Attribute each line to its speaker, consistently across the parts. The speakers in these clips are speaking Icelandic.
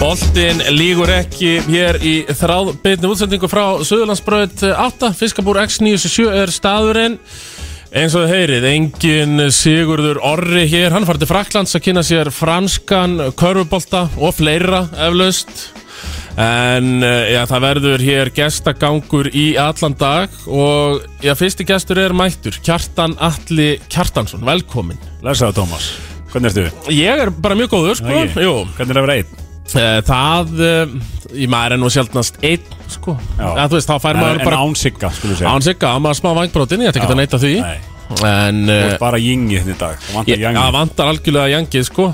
Speaker 1: Bóltin lígur ekki hér í þráð beitni útsendingu frá Suðurlandsbröð 8 Fiskabúr X97 er staðurinn eins og þið heyrið, engin Sigurður Orri hér, hann farið til Fraklands að kynna sér franskan, körfubólta og fleira eflaust en eh, já, það verður hér gestagangur í allan dag og já, fyrsti gestur er mættur Kjartan Atli Kjartansson, velkomin
Speaker 2: Læsaðu Tómas, hvernig ertu?
Speaker 1: Ég er bara mjög góður, sko
Speaker 2: Ekki?
Speaker 1: Jú,
Speaker 2: Hvernig er að vera einn?
Speaker 1: Eh, Það, eh, í maður er nú sjaldnast einn, sko
Speaker 2: Já.
Speaker 1: Eða, Þú veist, þá fær maður
Speaker 2: En, en
Speaker 1: bara
Speaker 2: án sigga, skulum við segja
Speaker 1: án sig gama smá vangbrotin, ég ætti ekki
Speaker 2: Já.
Speaker 1: að neita því
Speaker 2: Nei,
Speaker 1: En,
Speaker 2: þú
Speaker 1: eh,
Speaker 2: ert bara jingi þetta í dag Það vantar
Speaker 1: ég-
Speaker 2: jangi
Speaker 1: það vantar algjörlega jangið, sko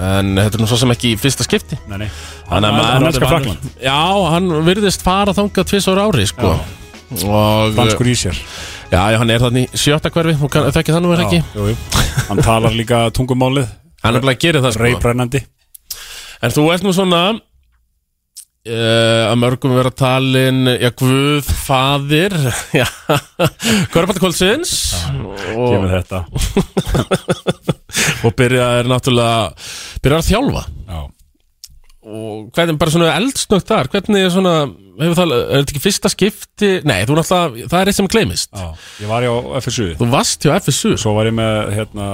Speaker 1: En þetta er nú svo sem ekki í fyrsta skipti
Speaker 2: Nei, nei
Speaker 1: Þannig að maður-
Speaker 2: Hann elskar
Speaker 1: maður-
Speaker 2: Frakland
Speaker 1: Já, hann virðist fara þangað tvis ára ári, sko Og, eh,
Speaker 2: Franskur í sér
Speaker 1: já, já, hann er þannig í sjötta hverfi, hún kann- þekki þannig verið ekki
Speaker 2: Já, jú, jú. Hann talar líka tungumálið
Speaker 1: Hann er bara að gera það, sko
Speaker 2: Reiprennandi
Speaker 1: En þú ert nú svona uh, að mörgum vera talin já, Guð, Fadir já, Körbættakólsins og,
Speaker 2: Kemur þetta
Speaker 1: og byrjaðir náttúrulega byrjaðir að þjálfa
Speaker 2: Já
Speaker 1: og hvernig bara svona eldsnögt þar hvernig er svona, hefur það, er þetta ekki fyrsta skipti nei, þú náttúrulega, það er eitt sem gleymist
Speaker 2: Já, ég var hjá FSU
Speaker 1: þú varst hjá FSU
Speaker 2: Svo var ég með hérna,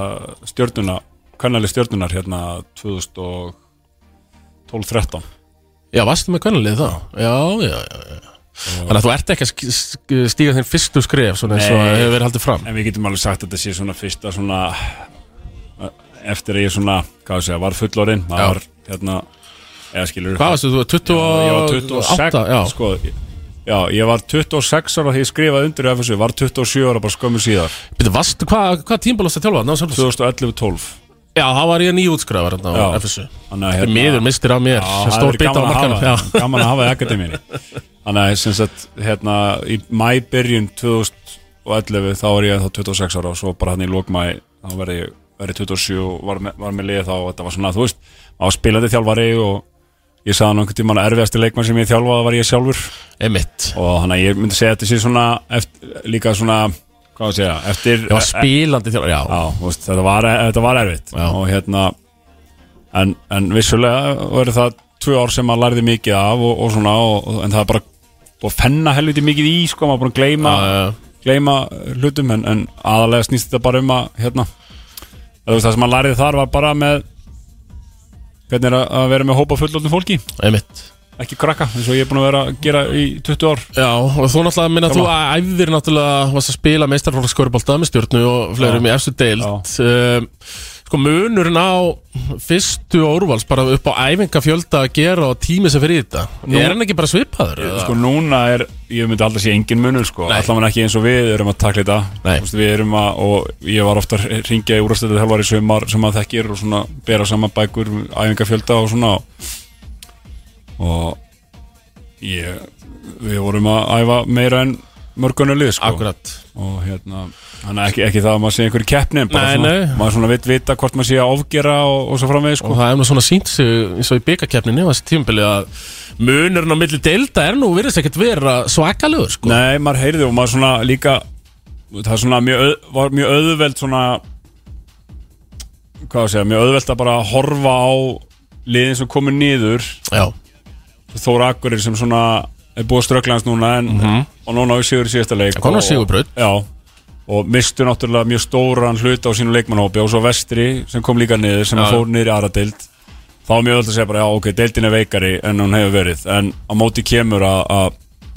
Speaker 2: stjörnuna Kannali stjörnunar hérna 2012-13
Speaker 1: já, varstu með kvennalið þá já, já, já, já. þannig að þú ert ekki að sk- sk- stíga þinn fyrstu skref svona eins og
Speaker 2: Nei.
Speaker 1: hefur verið haldið fram
Speaker 2: En við getum alveg sagt að þetta sé svona fyrsta svona eh, Eftir að ég svona, hvað sé, var fullorinn
Speaker 1: Já.
Speaker 2: Það var hérna Eða skilur
Speaker 1: hvað varstu, þú var 28
Speaker 2: Ég var 26
Speaker 1: já.
Speaker 2: sko, Já, ég var 26 ára þegar ég skrifaði undir í FSU Var 27 ára bara skömmu síðar
Speaker 1: Býttu, vastu, hvað hva tímbal varst að þjálfa? Ná, samtals-
Speaker 2: 2011-12
Speaker 1: já, það var ég nýjútskræðar á
Speaker 2: Já.
Speaker 1: FSU
Speaker 2: Þannig að hérna-
Speaker 1: Þetta er miður mistir af mér,
Speaker 2: Já, það
Speaker 1: stór
Speaker 2: er
Speaker 1: bita á
Speaker 2: gaman að
Speaker 1: markanum
Speaker 2: hafa
Speaker 1: Já,
Speaker 2: það, gaman að hafa í akademíunni Þannig að sem sagt hérna í mæbyrjun 2011 þá var ég þá 26 ára og svo bara hann í lókmæ þá verði ég verði 27 og var með, var með lið þá og þetta var svona, þú veist, maður var spilandi þjálfari og ég sagði hann einhvern tímann að erfiðasti leikmann sem ég þjálfaði var ég sjálfur
Speaker 1: emitt
Speaker 2: og þannig að ég myndi segja að þetta sé svona eftir, líka svona, hvað að segja eftir,
Speaker 1: Ég var spílandi þjálfur, já,
Speaker 2: Já, þú veist, þetta var, þetta var erfitt
Speaker 1: Já.
Speaker 2: og hérna en, en vissulega verður það tvö ár sem maður lærði mikið af og, og svona, og, og- en það er bara búið að fenna helviti mikið í, sko, maður er búin að gleyma
Speaker 1: já, já.
Speaker 2: gleyma hlutum, en, en aðalega snýst þetta bara um að, hérna eða, þú veist, það sem maður lærði þar var bara með hvernig er að, að vera með hópa fullotnum fólki,
Speaker 1: emitt
Speaker 2: ekki krakka eins og ég er búin að vera að gera í 20 ár
Speaker 1: Já, og þú náttúrulega minna þú að æfðir náttúrulega varst að spila meistarfólkskörbalta með stjórnu og fleirum í efstu deild um, Sko munurinn á fyrstu árvals bara upp á æfingafjölda að gera og tími sem fyrir í þetta
Speaker 2: Nú-
Speaker 1: Er hann ekki bara svipaður? eða?
Speaker 2: Sko núna er, ég myndi alltaf sé engin munur sko,
Speaker 1: Nei.
Speaker 2: allavega ekki eins og við erum að takla þetta
Speaker 1: Nei.
Speaker 2: Þú veist, Við erum að, og ég var ofta að ringja í úrastöldið helvar í sumar sem að þekkir og svona bera saman bækur, æfingafjölda og svona og ég, við vorum að æfa meira en mörgunu lið sko
Speaker 1: Akkurat
Speaker 2: og hérna, hann er ekki, ekki það að maður sé einhverju keppni en bara
Speaker 1: Nei,
Speaker 2: svona,
Speaker 1: nei.
Speaker 2: maður svona vitt vita hvort maður sé að ofgera og, og svo framvegis sko
Speaker 1: og það er nú svona sínt sig eins og í byggakeppninni og þessi tímabili að munurinn á milli delta er nú virðist ekkert vera svakalegur sko.
Speaker 2: Nei, maður heyrði og maður svona líka það er svona mjög, auð- var mjög auðveld svona hvað að segja, mjög auðveld að bara horfa á liðin sem komur niður
Speaker 1: Já,
Speaker 2: Þóra Akkurir sem svona er búið að ströggla hans núna en, og núna á sigur í síðasta leik
Speaker 1: kom nú
Speaker 2: og-
Speaker 1: Mhm. sigurbraut.
Speaker 2: Já, og mistu náttúrulega mjög stóran hlut á sínu leikmannhópi og svo Vestri sem kom líka niður sem
Speaker 1: Já.
Speaker 2: fór niður í aðra deild þá er mjög öll að segja bara, já ok, deildin er veikari en hún hefur verið, en á móti kemur að- að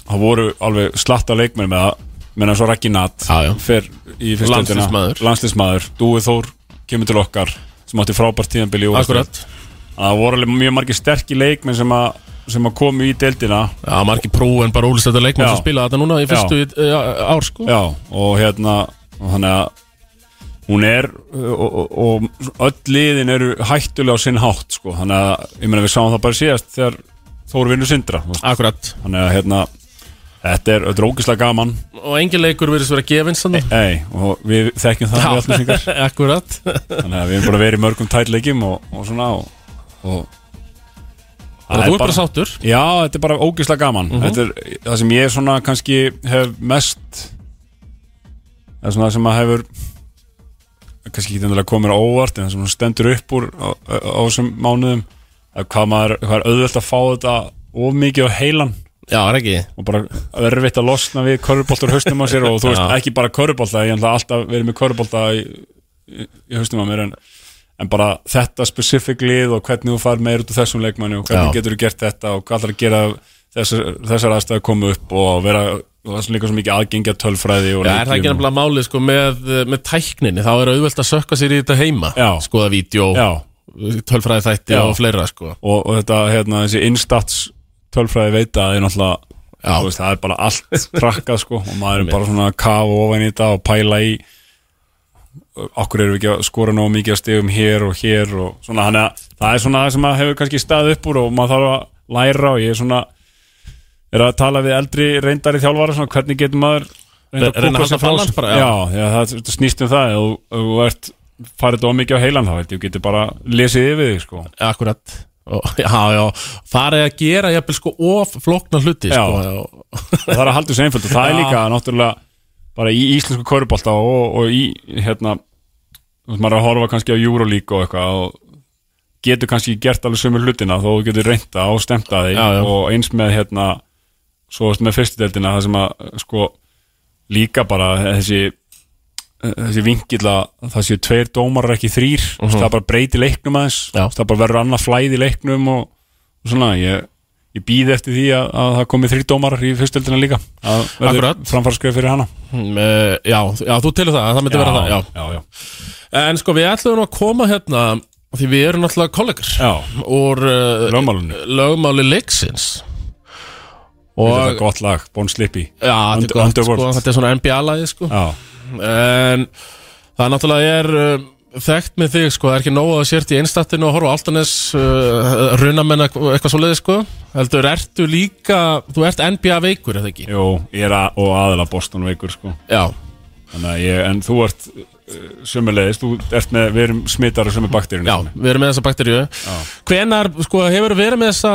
Speaker 2: það voru alveg slatta leikmenn með það, menna svo Raggi Natt
Speaker 1: Já, já.
Speaker 2: fer í fyrstu deildina.
Speaker 1: Landsliðsmaður.
Speaker 2: landsliðsmaður, Dúi Þór kemur til okkar, sem átti frábært tíðanbili í úrvalsdeild.
Speaker 1: akkurat
Speaker 2: Að Það voru alveg mjög margir sterkir leikmenn sem að, sem að komu í deildina
Speaker 1: Já, margir próf en bara úlist þetta leikmenn
Speaker 2: Já.
Speaker 1: sem spila þetta núna í fyrstu já. ár sko
Speaker 2: Já, og hérna og þannig að hún er og, og, og öll liðin eru hættulega á sinn hátt sko. þannig að ég meina við sáum það bara síðast þegar Þór vinnur sindra þú veist.
Speaker 1: Akkurat
Speaker 2: þannig að hérna þetta er drókislega gaman
Speaker 1: Og engin leikur virðist vera gefinns þannig
Speaker 2: Ei, og við þekkjum það við allmessingar
Speaker 1: Akkurat
Speaker 2: þannig að við erum bara verið í mörgum tætleikjum og, og svona og, og
Speaker 1: Þannig að þú er bara sáttur
Speaker 2: Já, þetta er bara ógeðslega gaman Þetta er það sem ég svona kannski hef mest Það svona það sem að hefur kannski ekki endilega komið mér á óvart en það sem svona stendur upp úr á á- á þessum mánuðum að hvað, maður, hvað er auðvelt að fá þetta of mikið á heilan
Speaker 1: Já, er ekki
Speaker 2: og bara verðvitt að losna við körfuboltur haustum á sér og þú veist
Speaker 1: Já.
Speaker 2: ekki bara körfubolta, ég ætla alltaf verið með körfubolta í, í, í haustum á mér en, en bara þetta specific lið og hvernig þú far meir út úr þessum leikmanni og hvernig
Speaker 1: Já.
Speaker 2: getur þú gert þetta og hvað ætlar að gera þessar, þessar aðstæður koma upp og vera og það er líka svo mikið aðgengja tölfræði og
Speaker 1: Já, er það ekki
Speaker 2: leikjum og-
Speaker 1: nefnilega málið sko með, með tækninni þá er auðvelt að sökka sér í þetta heima
Speaker 2: Já.
Speaker 1: skoða vídeo,
Speaker 2: Já,
Speaker 1: tölfræði þætti
Speaker 2: Já.
Speaker 1: og fleira sko
Speaker 2: og, og þetta hérna, þessi instats tölfræði veita það er náttúrulega þú veist, það er bara allt trakkað sko og maður er bara svona að kafa ofan í þetta og pæla í okkur erum við ekki að skora nógu mikið að stegum hér og hér og svona þannig að það er svona það sem maður hefur kannski stað upp úr og maður þarf að læra og ég er svona er að tala við eldri reyndari þjálfara svona hvernig getur maður
Speaker 1: Re- reyna að halda balans bara, já.
Speaker 2: já. Já, já, það þetta snýst um það ef þú- ef þú ert farið þetta mikið á heilan þá held ég þú getur bara lesið yfir þig sko
Speaker 1: Eh, Akkurat og, Já, já, það er að gera jafnvel sko of flókna hluti
Speaker 2: Já.
Speaker 1: sko, já.
Speaker 2: og það er að halda þessu einföld og það er
Speaker 1: Já.
Speaker 2: líka náttúrulega bara í íslensku körubólta og, og í hérna þú veist, maður er að horfa kannski á Euroleague og eitthvað og getur kannski gert alveg sömu hlutina þó þú getur reynda og stemta þig
Speaker 1: Já, já.
Speaker 2: og eins með hérna svo veist, með fyrstudeldina það sem að sko líka bara þessi Eh, þessi vingill að það séu tveir dómarar ekki þrýr uh það bara breyti leiknum aðeins
Speaker 1: Mhm. Já.
Speaker 2: það bara verður annað flæði í leiknum og, og svona ég, ég býð eftir því að, að það komi þrýr dómarar í fyrstöldina líka að verður
Speaker 1: Akkurat.
Speaker 2: framfarskrið fyrir hana
Speaker 1: Mm, eh, já, já, þú telur það, það myndi vera það já.
Speaker 2: já, já,
Speaker 1: En sko, við ætlum nú að koma hérna því við erum náttúrulega kollegar
Speaker 2: já.
Speaker 1: úr uh,
Speaker 2: lögmálunni
Speaker 1: lögmáli leiksins
Speaker 2: og þetta er
Speaker 1: og
Speaker 2: gott lag, Bon Slippy
Speaker 1: Já, þetta er
Speaker 2: Und-
Speaker 1: gott, sko,
Speaker 2: Underworld.
Speaker 1: þetta er svona NBA-lagi sko.
Speaker 2: já,
Speaker 1: En það náttúrulega er uh, þekkt með þig sko, það er ekki nóg að þú sért í einstattinu og horfa á Altanes uh, runamenn eitthvað svoleiði sko heldur, ertu líka, þú ert NBA veikur eða ekki?
Speaker 2: Jó, ég er að, og aðila Boston veikur sko.
Speaker 1: Já,
Speaker 2: Þannig að ég, en þú ert sömulegist, þú ert með, við erum smittar og sömu bakterjunni
Speaker 1: já, við erum með þessa bakteríu Hvenar, sko, hefur verið með þessa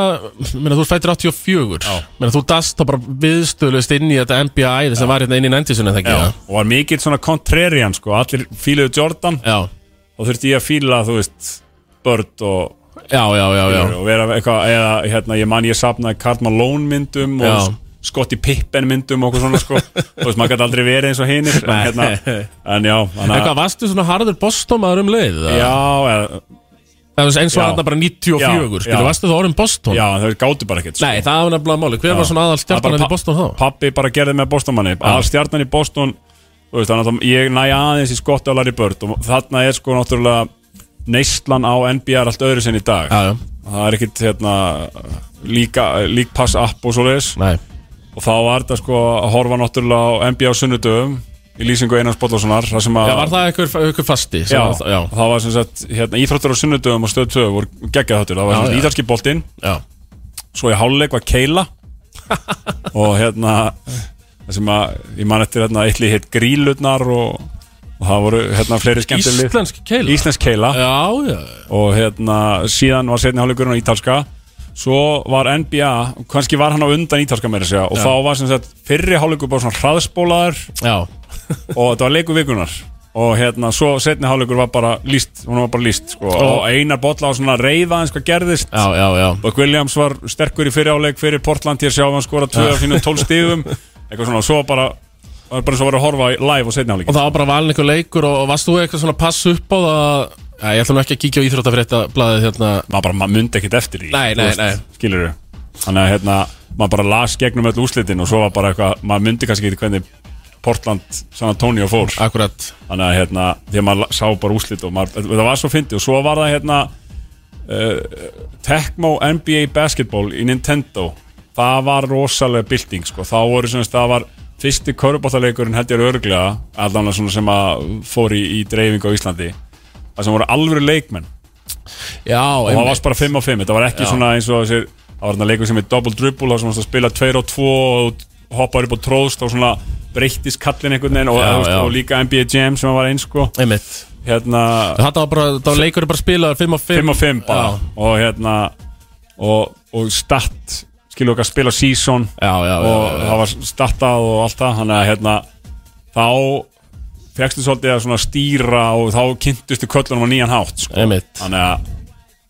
Speaker 1: meina, þú fættir 84
Speaker 2: Já.
Speaker 1: meina, þú dast þá bara viðstöðlust inn í þetta NBA-æði sem var hérna inn í nændisunni eða ekki?
Speaker 2: Já, og var mikill svona kontrarian sko. allir fíluðu Jordan
Speaker 1: Já,
Speaker 2: og þurfti ég að fíla, þú veist, börn og,
Speaker 1: já, já, já, já.
Speaker 2: og vera eitthvað, eða hérna, ég man ég safnaði Karl Malone myndum og
Speaker 1: Já.
Speaker 2: Scottie Pippen myndum og okkur svona sko, þú veist, maður gæti aldrei verið eins og hinir, en, hérna, en já,
Speaker 1: En
Speaker 2: þannig
Speaker 1: hvað,
Speaker 2: að
Speaker 1: varstu svona harður bostómaður um leið? eða?
Speaker 2: Já, eða,
Speaker 1: Það var eins og
Speaker 2: Já.
Speaker 1: þarna bara 94,
Speaker 2: Já,
Speaker 1: skilur,
Speaker 2: já.
Speaker 1: varstu þá orðin bostón?
Speaker 2: já, þau gátu bara ekkert sko.
Speaker 1: Nei, það var nefnilega máli, hver var svona aðal
Speaker 2: Það
Speaker 1: stjartan
Speaker 2: er bara
Speaker 1: í Boston þá?
Speaker 2: Pappi bara gerði með Bostonmanni Aðal stjarnan í Boston þú veist, þannig að Ég næ aðeins í skotti á Larry Bird Og þarna er sko náttúrulega Neyslan á NBA er allt öðru sinn í dag
Speaker 1: Já, já,
Speaker 2: Það er ekkit hérna Líka, líkpass app og svoleiðis
Speaker 1: nei
Speaker 2: Og þá var þetta sko að horfa náttúrulega á NBA á sunnudöfum Í lýsingu Einars Bollasonar Það sem að
Speaker 1: Já, var það einhver, einhver fasti? sem
Speaker 2: Já,
Speaker 1: var það- já,
Speaker 2: það var sem sagt hérna, Íþróttur á sunnudöfum og stöð 2 voru geggjað þáttur Það var
Speaker 1: Já,
Speaker 2: sem sagt
Speaker 1: já.
Speaker 2: íþarski boltinn
Speaker 1: já
Speaker 2: svo í háluleik var Keila og hérna það sem að ég man eftir hérna eitthvað hitt grílutnar og, og það voru hérna fleiri skemmtileg
Speaker 1: Íslensk keila?
Speaker 2: Íslensk Keila
Speaker 1: Já, já,
Speaker 2: og hérna síðan var setni háluleikurinn á Ítalska svo var NBA, kannski var hann á undan Ítalska meira að segja og
Speaker 1: Já.
Speaker 2: þá var sem sagt fyrri háluleikur bara svona hraðspólaður
Speaker 1: já
Speaker 2: og þetta var leiku vikunar og hérna svo setni háluleikur var bara líst, hún var bara líst sko. og einar botla á svona reyða eins hvað gerðist
Speaker 1: Já, já, já
Speaker 2: Buck Williams var sterkur í fyriráleik fyrir Portland hér sjáum hann skora 2 af sínum 12 stíðum eitthvað svona og svo bara var bara svo var að horfa í live og setna
Speaker 1: Og
Speaker 2: áleikin
Speaker 1: það var bara valin einhver leikur og, og varst þú eitthvað svona pass upp á það Já, ég ætla nú ekki að kíkja á íþróttafréttablaðið hérna
Speaker 2: maður bara maður myndi ekkit eftir því
Speaker 1: Nei, nei, nei.
Speaker 2: skilur þannig að hérna maður bara las gegnum öll úslitin og svo var bara eitthvað maður myndi kannski ekki hvernig Portland San Antonio fór
Speaker 1: Akkurat
Speaker 2: þannig að hérna þegar maður la- sá bara úslit og maður það var svo fyndið og svo var það hérna uh, Tecmo NBA Basketball í Nintendo það var rosalega bylting sko. þá voru sem sagt það var fyrsti köruboltaleikurinn held ég er örglega allan svona sem að fór í, í dreifing á Íslandi það sem voru alvöru leikmenn
Speaker 1: Já,
Speaker 2: og það
Speaker 1: einmitt.
Speaker 2: varst bara 5 á 5 þetta var ekki
Speaker 1: Já.
Speaker 2: svona eins og þessir það var þarna leikur sem er double dribble það sem varst að spila 2 og 2 og hoppar upp og tróðst og svona breyttist kallin einhvern veginn og,
Speaker 1: Já,
Speaker 2: já,
Speaker 1: já.
Speaker 2: og líka NBA Jam sem var eins sko
Speaker 1: Einmitt
Speaker 2: hérna
Speaker 1: Þetta var bara, það var leikurinn bara spilaður 5 á 5
Speaker 2: 5 og 5 bara og hérna og, og start skilu okkar spila season
Speaker 1: Já, já, já,
Speaker 2: og
Speaker 1: já, já.
Speaker 2: það var startað og allt það þannig að hérna þá fegstu svolítið að svona stýra og þá kynntustu köllunum á nýjan hátt sko.
Speaker 1: Einmitt
Speaker 2: þannig að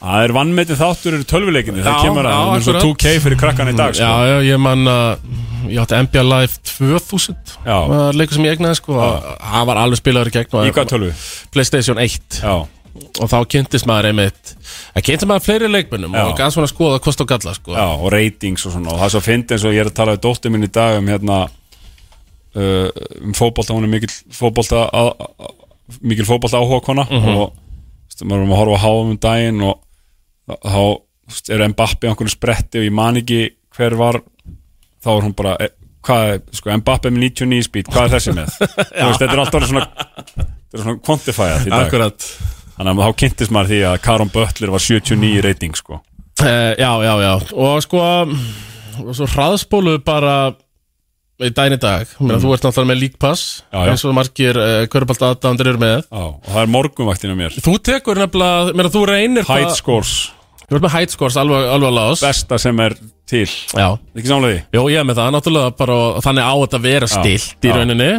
Speaker 2: Það er vannmetið þáttur eru tölvuleikinni, það
Speaker 1: Já,
Speaker 2: kemur að
Speaker 1: já,
Speaker 2: það er svo
Speaker 1: akkurat. Mm,
Speaker 2: 2K fyrir krakkan í dag sko.
Speaker 1: Já, já, ég man að ég átti NBA Live 2000
Speaker 2: Já.
Speaker 1: var leikur sem ég egnaði sko það var alveg spilaður í gegn og-
Speaker 2: Í hvað tölvu?
Speaker 1: Playstation 1
Speaker 2: Já,
Speaker 1: og þá kynntist maður einmitt það kynntist maður fleiri leikmennum
Speaker 2: Já.
Speaker 1: og gaf svona að skoða kost og galla sko
Speaker 2: já, og ratings og svona og það er svo fyndi eins og ég er að tala við dóttir minn í dag um hérna uh, um fótbolta, hún er mikil fótbolta að, að, mikil fótbolta áhuga kona og stu, maður erum að horfa á háum um daginn og þá stu, er Mbappi á einhvern spretti og ég man ekki hver var þá er hún bara, e, hvað er, sko Mbappi með 99 speed, hvað er þessi með? Þú veist, þetta er alltaf svona þetta er svona quantifierð í dag
Speaker 1: Akkurat
Speaker 2: Þannig að þá kynntist maður því að Karon Böttler var 79 rating sko.
Speaker 1: Eh, já, já, já og sko og svo hraðspólu bara í dæni dag, Meina, þú ert náttúrulega með líkpass
Speaker 2: Já, já.
Speaker 1: eins og margir uh, körbalt aðdæmdur eru með
Speaker 2: Já, og það er morgunvaktinu mér
Speaker 1: þú tekur nefnilega, meina, þú reynir
Speaker 2: Height scores,
Speaker 1: það, þú ert með height scores alveg, alveg lás
Speaker 2: besta sem er til
Speaker 1: já,
Speaker 2: Ekki samlega því?
Speaker 1: Jó, ég er með það, náttúrulega bara og þannig á þetta að vera stilt í
Speaker 2: já.
Speaker 1: rauninni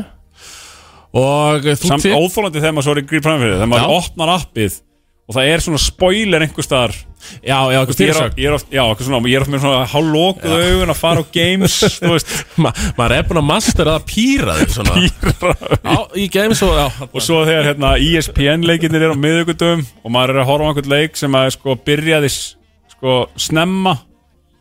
Speaker 1: og þú
Speaker 2: Samt
Speaker 1: tekur
Speaker 2: óþólandi þegar maður svo er í gríð framfyrir Þegar maður
Speaker 1: Já.
Speaker 2: opnar appið og það er svona spoiler einhver staðar
Speaker 1: já, já, eitthvað
Speaker 2: Ég er
Speaker 1: fyrirsögn
Speaker 2: oft, ég er oft, já, eitthvað svona, ég er oft með svona hálókuð augun að fara á games Þú veist,
Speaker 1: Ma, maður er búin að mastera að pýra þig svona
Speaker 2: býra
Speaker 1: á, í games og já,
Speaker 2: Og svo þegar hérna ESPN-leikinir er á miðugudum og maður er að horfa á einhvern leik sem að sko byrjaði s- sko snemma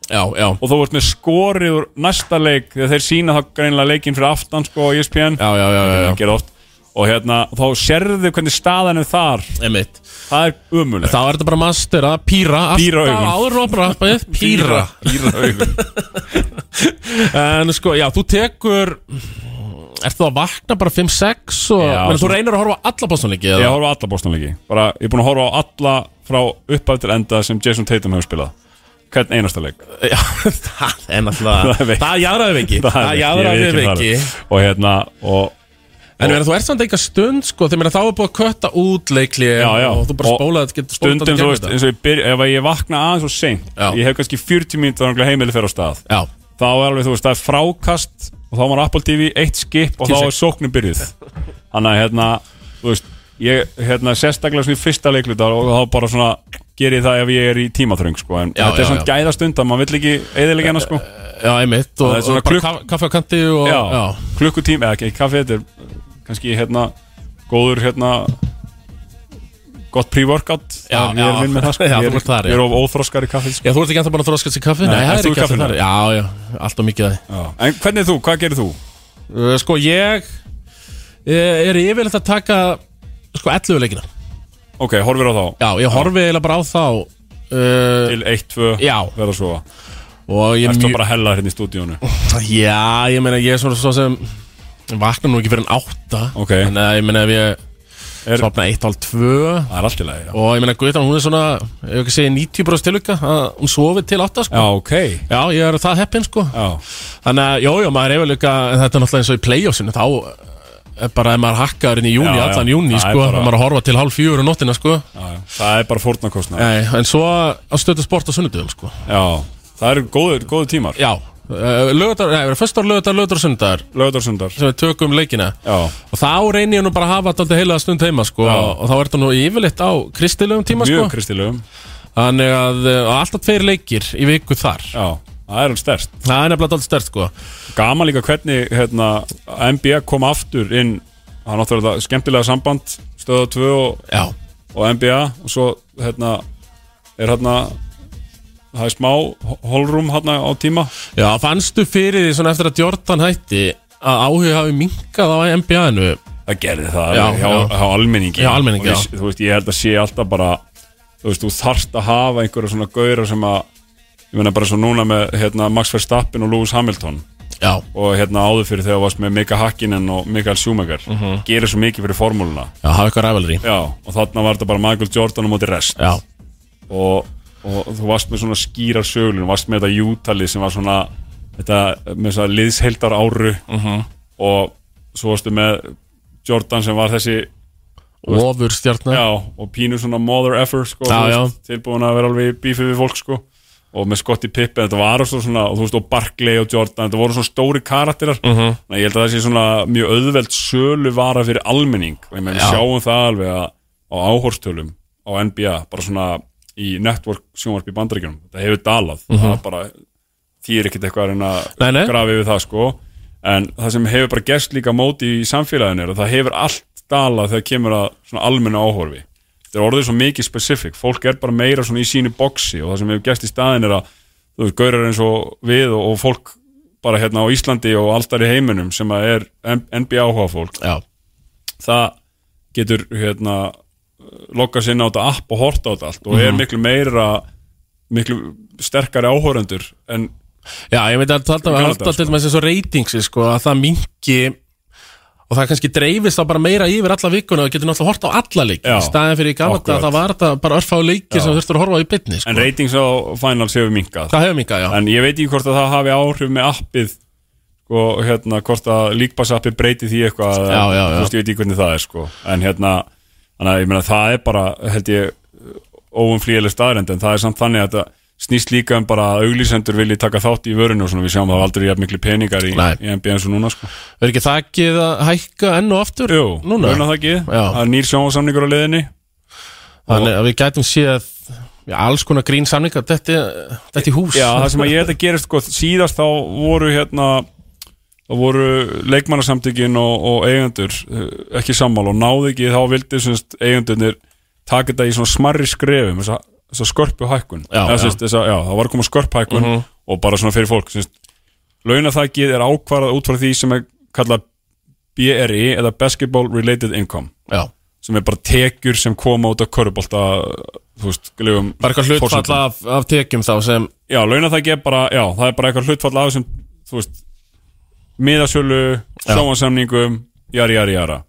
Speaker 1: já, já,
Speaker 2: og þú ert með skorið úr næsta leik þegar þeir sína þá greinlega leikinn fyrir aftan sko á ESPN
Speaker 1: já, já, já, já, já.
Speaker 2: Gera oft. og hérna þá sérðu hvernig staðan er þar
Speaker 1: Einmitt.
Speaker 2: það er umulegt
Speaker 1: þá er þetta bara master að pýra
Speaker 2: Píra augun.
Speaker 1: alltaf áður og bara appið, pýra
Speaker 2: píra augun
Speaker 1: en sko, já, þú tekur ert þú að vakna bara 5-6 og
Speaker 2: Já,
Speaker 1: menn, þú
Speaker 2: svo-
Speaker 1: reynir að horfa á alla bóstanleiki
Speaker 2: ég horfa á alla bóstanleiki bara ég er búin að horfa á alla frá upphaf til enda sem Jason Tatum hefur spilað hvern einasta leik
Speaker 1: Já, það er náttúrulega
Speaker 2: Það er veikt.
Speaker 1: Það jaðraði við ekki Það jaðraði
Speaker 2: ég
Speaker 1: við
Speaker 2: viðurkenni
Speaker 1: ekki
Speaker 2: það. og hérna og
Speaker 1: En ég meina, þú ert samt eitthvað stund sko Þegar þá er búið að kötta út leikli
Speaker 2: Já, já.
Speaker 1: Og þú bara
Speaker 2: Og
Speaker 1: spólaði getur spólað
Speaker 2: stundum
Speaker 1: þetta
Speaker 2: þú
Speaker 1: í
Speaker 2: veist
Speaker 1: gegnum
Speaker 2: eins og ég byrja ef ég vakna aðeins og seint
Speaker 1: Já.
Speaker 2: ég hef kannski 40 mínútur þannig að heimili fer á stað
Speaker 1: þetta.
Speaker 2: þá er alveg, þú veist, það er frákast og þá var Apple TV eitt skip og þá er sóknum byrjuð þannig að, hérna, þú veist ég, hérna, sérstaklega svona í fyrsta leiklutar og þá bara svona ger ég það ef ég er í tímaþröng, sko, en
Speaker 1: Já, já, Eh,
Speaker 2: þetta er svona gæðastund að maður vill ekki eðilega hana, sko
Speaker 1: Já, já, einmitt Og,
Speaker 2: Það er
Speaker 1: og
Speaker 2: svona
Speaker 1: bara
Speaker 2: klukk-
Speaker 1: kaf- kaffi á kanti og,
Speaker 2: já,
Speaker 1: eh, já.
Speaker 2: klukkutíma, eða ekki, kaffi þetta er uh, kannski, hérna, góður, hérna gott pre-workout
Speaker 1: Já,
Speaker 2: Það- ég
Speaker 1: já.
Speaker 2: er vinn með það, sko
Speaker 1: Já, þú
Speaker 2: ég er,
Speaker 1: ert þar, já.
Speaker 2: ég er of óþroskar í kaffið, sko
Speaker 1: já, þú ert ekki ennþá búin að þróskast í kaffi
Speaker 2: Nei,
Speaker 1: Nei, það
Speaker 2: ert
Speaker 1: er
Speaker 2: þú í
Speaker 1: ekki alltaf
Speaker 2: kaffinu?
Speaker 1: þar Já, já, alltaf mikið af því
Speaker 2: já. en hvernig þú, hvað gerir þú?
Speaker 1: Uh, Sko, ég eh, er yfirleitt að taka Sko, 11 leikina
Speaker 2: ok, horfir á þá,
Speaker 1: Já, ég horfi eiginlega bara á þá uh,
Speaker 2: til 1-2
Speaker 1: Já,
Speaker 2: verða að sofa
Speaker 1: og ég
Speaker 2: Ertu
Speaker 1: mjög-
Speaker 2: bara að hella hérna í stúdíónu
Speaker 1: Já, ég meina ég er svona svo sem ég vakna nú ekki fyrir en átta
Speaker 2: Ok.
Speaker 1: Þannig að ég meina ef ég
Speaker 2: Er-
Speaker 1: svapna eitt hálf tvö
Speaker 2: Það er allt í lagi, já
Speaker 1: Og ég meina Guðan hún er svona Ef ekki segja 90 bróðs tilvika að Hún sofi til átta sko
Speaker 2: Já, ok
Speaker 1: Já, ég er það heppinn sko
Speaker 2: Já,
Speaker 1: Þannig að, jójó, maður er yfirleika En þetta er náttúrulega eins og í playoffsinu Þá eh, er bara ef maður hakkaður inn í júni
Speaker 2: Já, já.
Speaker 1: Allan júni
Speaker 2: Það er
Speaker 1: sko
Speaker 2: bara-
Speaker 1: bara... Maður er að horfa til hálf fjögur um nóttina sko
Speaker 2: já, já. það er bara fórnarkostna
Speaker 1: Nei, En svo að stötu sport á sunnudöfum sko
Speaker 2: Já, það eru góður, góður tímar
Speaker 1: Já, lögutar, Eh, nei, föstar lögutar, lögutar og sunnudar
Speaker 2: Lögðarsundar
Speaker 1: Sem við tökum leikina
Speaker 2: Já,
Speaker 1: Og þá reynir ég nú bara að hafa alltaf heila stund heima sko,
Speaker 2: Já.
Speaker 1: og þá er þetta nú yfirleitt á kristilegum tíma
Speaker 2: mjög
Speaker 1: sko.
Speaker 2: kristilegum
Speaker 1: Þannig að uh, alltaf tveir leikir í viku þar
Speaker 2: Já, það er stærst
Speaker 1: Það er nefnilega alltaf stert sko.
Speaker 2: Gaman líka hvernig hérna, NBA kom aftur inn Það er náttúrulega skemmtilega samband Stöða 2 og,
Speaker 1: Já,
Speaker 2: og NBA Og svo hérna Er hérna Það er smá holrúm hérna á tíma
Speaker 1: Já fannstu fyrir því svona eftir að Jordan hætti að áhuga hafi minkað á NBA-inu
Speaker 2: Það gerði það
Speaker 1: Já,
Speaker 2: alveg hjá,
Speaker 1: já.
Speaker 2: hjá almenningi
Speaker 1: Já, almenningi,
Speaker 2: Og ég- Þú veist, ég held að sé alltaf bara Þú veist, þú þarft að hafa einhverja svona gauðra sem að Ég meina bara svo núna með hérna, Max Verstappen og Lewis Hamilton
Speaker 1: Já,
Speaker 2: Og hérna áður fyrir þegar þú varst með Mika Hakkinen og Mikael Schumacher
Speaker 1: Mhm.
Speaker 2: Gerir svo mikið fyrir formúluna
Speaker 1: já hafa eitthvað rævalri
Speaker 2: Já, og þarna var þetta bara Michael Jordan á móti rest
Speaker 1: Já,
Speaker 2: og, og þú varst með svona skýrar söglun varst með þetta jútalið sem var svona þetta, með þess að liðsheildar áru
Speaker 1: Mhm.
Speaker 2: og svo varstu með Jordan sem var þessi
Speaker 1: ofur stjarnar
Speaker 2: Já, og pínu svona mother effer sko,
Speaker 1: Já,
Speaker 2: þú veist, tilbúin að vera alveg í bífið við fólk sko. og með Scottie Pippen þetta var svo svona, og þú veist, og Barkley og Jordan þetta voru svona stóri karakterar uh
Speaker 1: Mhm.
Speaker 2: -huh. ég held að það sé svona mjög auðveld sölu vara fyrir almenning og ég meina, við
Speaker 1: Já.
Speaker 2: sjáum það alveg að á áhorstölum á NBA, bara svona í network sjónvarp í bandaríkjunum þetta hefur dalað,
Speaker 1: Mhm.
Speaker 2: það bara þýr ekkert eitthvað að reyna
Speaker 1: Nei, nei.
Speaker 2: að grafi yfir það sko en það sem hefur bara gerst líka móti í samfélaginu er að það hefur allt dalað þegar kemur að svona almennu áhorfi þetta er orðið svo mikið specific fólk er bara meira svona í sínu boxi og það sem hefur gerst í staðin er að þú veist, gaurar eins og við og, og fólk bara hérna á Íslandi og alltaf í heiminum sem að er M- NBA áhuga fólk
Speaker 1: Já,
Speaker 2: það getur hérna lokka sér inn á þetta app og horta á þetta allt og er
Speaker 1: Mhm.
Speaker 2: miklu meira miklu sterkari áhórendur en
Speaker 1: já ég veit að það
Speaker 2: Gamla
Speaker 1: er
Speaker 2: daga,
Speaker 1: alltaf til þess að reytingsi sko, að það mingi og það kannski dreifist þá bara meira yfir alla vikuna og getur náttúrulega hort á alla leiki
Speaker 2: Já,
Speaker 1: í staðin fyrir í gamla
Speaker 2: akkurat.
Speaker 1: þetta það var þetta bara örfá leiki sem þurftur að horfa á í bytni sko.
Speaker 2: en ratings á finals hefur minkað
Speaker 1: það hefur mingað, já
Speaker 2: en ég veit ekki hvort að það hafi áhrif með appið sko, hérna, hvort að líkbass appið breyti því eitthvað
Speaker 1: Já, já, já.
Speaker 2: þú veist, ég veit ekki hvernig það er sko. en hérna, þannig að ég meina það er bara held ég óumflýðileg staðrend en það er samt þannig að það snýst líka um bara að auglýsendur vilji taka þátt í vörinu og svona við sjáum það hafa aldrei jafn miklu peningar í,
Speaker 1: Nei.
Speaker 2: í NBA eins og núna sko.
Speaker 1: verður ekki þakkið að hækka enn og aftur
Speaker 2: Jú,
Speaker 1: núna
Speaker 2: muna það ekki
Speaker 1: Já.
Speaker 2: Það er nýr sjónvarsamningur á leiðinni
Speaker 1: þannig að við gætum séð já, alls konar grín samninga þetta, þetta í hús
Speaker 2: Já, það sem að ég þetta gerist sko, síðast þá voru hérna þá voru leikmannasamtökin og, og eigendur eh, ekki sammál og náði ekki þá vildi semst, eigendurnir taka þetta í svona smarri skrefum þessa, þessa skörpu hækkun
Speaker 1: Já,
Speaker 2: Eða,
Speaker 1: já. Mhm.
Speaker 2: Semst, þessa, já, það var að koma skörp hækkun og bara svona fyrir fólk semst, launaþakið er ákvarðað út frá því sem er kallað BRI eða Basketball Related Income
Speaker 1: já.
Speaker 2: sem er bara tekjur sem koma út af körubólta þú veist, legum
Speaker 1: bara eitthvað hlutfall af, af tekjum þá sem
Speaker 2: Já, launaþækki er bara, já, það er bara eitthvað hlutfall af sem, þú veist miðasölu, sjóansamningum jari, jari, jara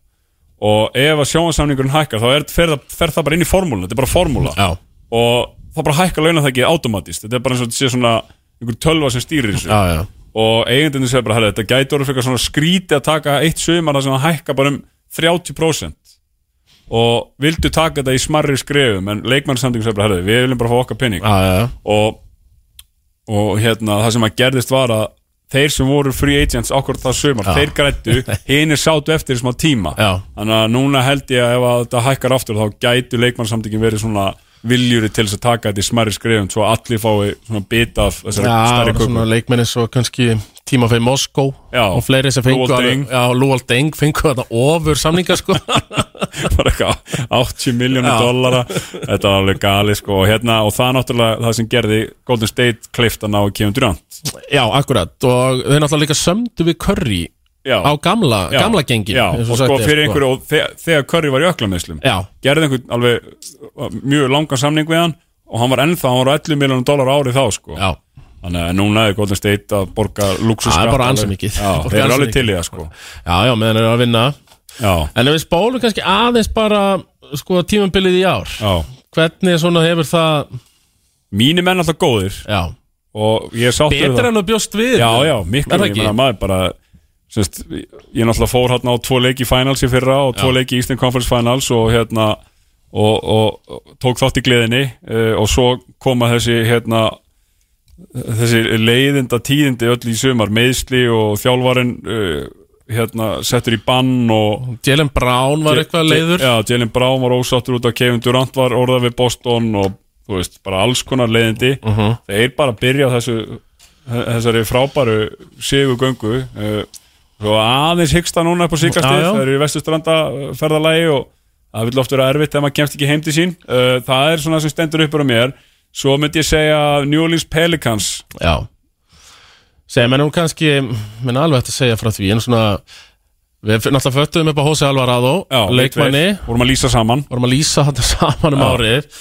Speaker 2: og ef að sjóansamningurinn hækkar þá er, fer, það, fer það bara inn í formúluna, þetta er bara formúla
Speaker 1: já,
Speaker 2: og það bara hækkar launaþækki automatist, þetta er bara eins og þetta sé svona einhver tölva sem stýrir þessu
Speaker 1: já, já.
Speaker 2: og eigendinu segir bara, herri, þetta gæti orðið fyrir svona skríti að taka eitt sumar þar sem það hækka bara um 30% og vildu taka þetta í smarri skrefum en leikmannsamtingu segir bara, herri, við viljum bara fá okkar penning
Speaker 1: Já, já, já.
Speaker 2: og, og hérna, það sem að gerðist var að þeir sem voru free agents okkur það sumar, þeir grættu hinir sátu eftir í smá tíma
Speaker 1: Já.
Speaker 2: þannig að núna held ég að ef að þetta hækkar aftur þá gætu leikmannsamtingin verið svona viljuri til þess að taka þetta í smarri skrefum svo allir fái svona bita af þessari
Speaker 1: Já,
Speaker 2: stærri köku
Speaker 1: svona leikmenni svo kannski tíma fyrir Moskó
Speaker 2: Já.
Speaker 1: og fleiri sem fengu
Speaker 2: Luol
Speaker 1: alveg-
Speaker 2: Deng.
Speaker 1: Já, Lúal Deng fengu þetta ofur samninga sko
Speaker 2: bara eitthvað 80 miljónu dollara þetta var alveg gali sko og hérna og það er náttúrulega það sem gerði Golden State kliftan á Kevin Durant
Speaker 1: Já, akkurat og þeir náttúrulega líka sömdu við Curry
Speaker 2: já,
Speaker 1: á gamla,
Speaker 2: já,
Speaker 1: gamla gengi
Speaker 2: já,
Speaker 1: eins
Speaker 2: og
Speaker 1: og
Speaker 2: sko
Speaker 1: sagt er,
Speaker 2: fyrir einhverju og þegar, þegar Curry var í öklameyslum
Speaker 1: Já,
Speaker 2: gerði einhvern alveg uh, mjög langan samning við hann og hann var ennþá, hann var á 11 miljónu dollara árið þá sko
Speaker 1: já
Speaker 2: þannig að núna er Golden State að borga luxuskatt
Speaker 1: Það er bara
Speaker 2: alveg.
Speaker 1: ansi mikið.
Speaker 2: já,
Speaker 1: Borga
Speaker 2: þeir eru
Speaker 1: ansi
Speaker 2: alveg
Speaker 1: mikið.
Speaker 2: til í það sko
Speaker 1: Já, já, meðan þeir eru að vinna
Speaker 2: já,
Speaker 1: En ef við spólum kannski aðeins bara sko tímabilið í ár
Speaker 2: já
Speaker 1: Hvernig svona hefur það
Speaker 2: mínu menn alltaf góðir
Speaker 1: Já,
Speaker 2: og ég er sáttur við það.
Speaker 1: betra en að bjóst við
Speaker 2: Já, já,
Speaker 1: Er
Speaker 2: miklu,
Speaker 1: það
Speaker 2: ég
Speaker 1: ekki?
Speaker 2: meina maður bara sérst, ég náttúrulega fór hérna á tvo leiki í finals í fyrra og tvo leiki í Eastern Conference Finals og hérna og, og, og tók þátt í gleðinni uh, og svo koma þessi hérna þessi leiðinda tíðindi öll í sumar, meðsli og þjálfarin uh, hérna settur í bann og
Speaker 1: Jalen Brown var eitthvað leiður
Speaker 2: Já, Jalen Brown var ósáttur út af Kevin Durant var orðað við Boston og þú veist, bara alls konar leiðindi þeir bara byrja á þessu þessari frábæru sigugöngu uh, svo aðeins hyggsta núna upp á
Speaker 1: Já,
Speaker 2: síkastíð
Speaker 1: já.
Speaker 2: það eru í vestustranda uh, ferðalagi og það vil oft vera erfitt þegar maður kemst ekki heim til sín uh, það er svona sem stendur uppur á mér svo myndi ég segja New Orleans Pelicans
Speaker 1: Já Segir mér nú kannski, menn alveg hægt að segja frá því en svona, við f- náttúrulega föttuðum upp á Hosei Alvarado,
Speaker 2: Já,
Speaker 1: leikmanni
Speaker 2: við tveir vorum að lýsa saman
Speaker 1: vorum að lýsa þetta saman um árið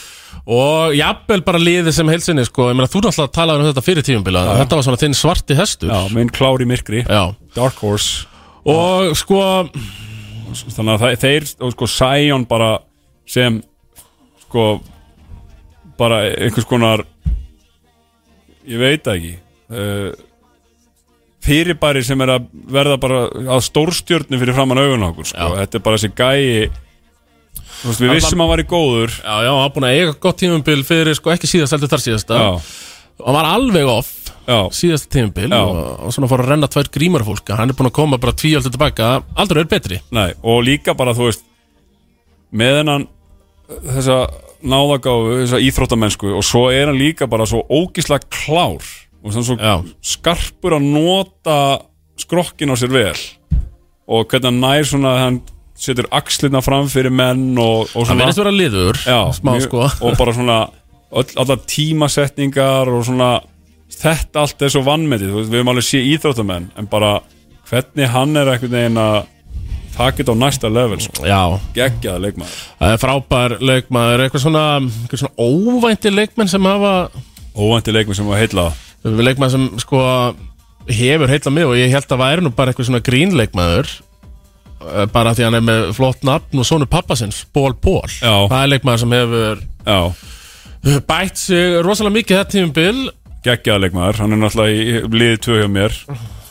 Speaker 1: og jafnvel bara liðið sem helsinni sko, ég meina þú náttúrulega talaði um þetta fyrir tímumbila þetta var svona þinn svarti hestur
Speaker 2: já, minn klári myrkri
Speaker 1: Já.
Speaker 2: Dark Horse
Speaker 1: og sko
Speaker 2: þannig að það, þeir og sko Sion bara sem sko bara einhvers konar ég veit það ekki uh, fyrirbæri sem er að verða bara að stórstjörnu fyrir framann augun á okkur sko. þetta er bara þessi gæi þú veist, við
Speaker 1: Alla-
Speaker 2: vissum að hann væri góður
Speaker 1: já, já, hann var búin að eiga gott tímumbil fyrir sko ekki síðast heldur þar síðasta
Speaker 2: já,
Speaker 1: og hann var alveg off
Speaker 2: já,
Speaker 1: síðasta tímumbil
Speaker 2: Já.
Speaker 1: og, og svona fór að renna tvær grímar fólk hann er búin að koma bara tvíaldur tilbaka aldrei er betri
Speaker 2: nei, og líka bara þú veist með hennan þessa náðagáfu, þessa íþróttamennsku og svo er hann líka bara svo ógíslega klár og þannig svo
Speaker 1: Já.
Speaker 2: skarpur að nota skrokkin á sér vel og hvernig hann nær svona hann setur axlirna fram fyrir menn og, og
Speaker 1: Hann
Speaker 2: svona
Speaker 1: verðist vera liður,
Speaker 2: Já,
Speaker 1: smá
Speaker 2: mjög-
Speaker 1: sko
Speaker 2: og bara svona öll, allar tímasetningar og svona þetta allt er svo vannmetið þú veist, við höfum alveg sé íþróttamenn en bara hvernig hann er einhvern veginn að taka þetta á næsta level sko.
Speaker 1: Já,
Speaker 2: geggjaða leikmaður
Speaker 1: það er frábær leikmaður eitthvað svona, eitthvað svona óvænti leikmenn sem hafa
Speaker 2: óvænti leikmaður sem var heila
Speaker 1: leikmaður sem sko hefur heilla mig og ég held að væri nú bara eitthvað svona grínleikmaður eh, bara því hann er með flott nafn og sonur pappasins, Ból Ból
Speaker 2: Já.
Speaker 1: það er leikmaður sem hefur
Speaker 2: já,
Speaker 1: bætt sig rosalega mikið þetta tímubil
Speaker 2: geggjaða leikmaður hann er náttúrulega í liðið tvö hjá mér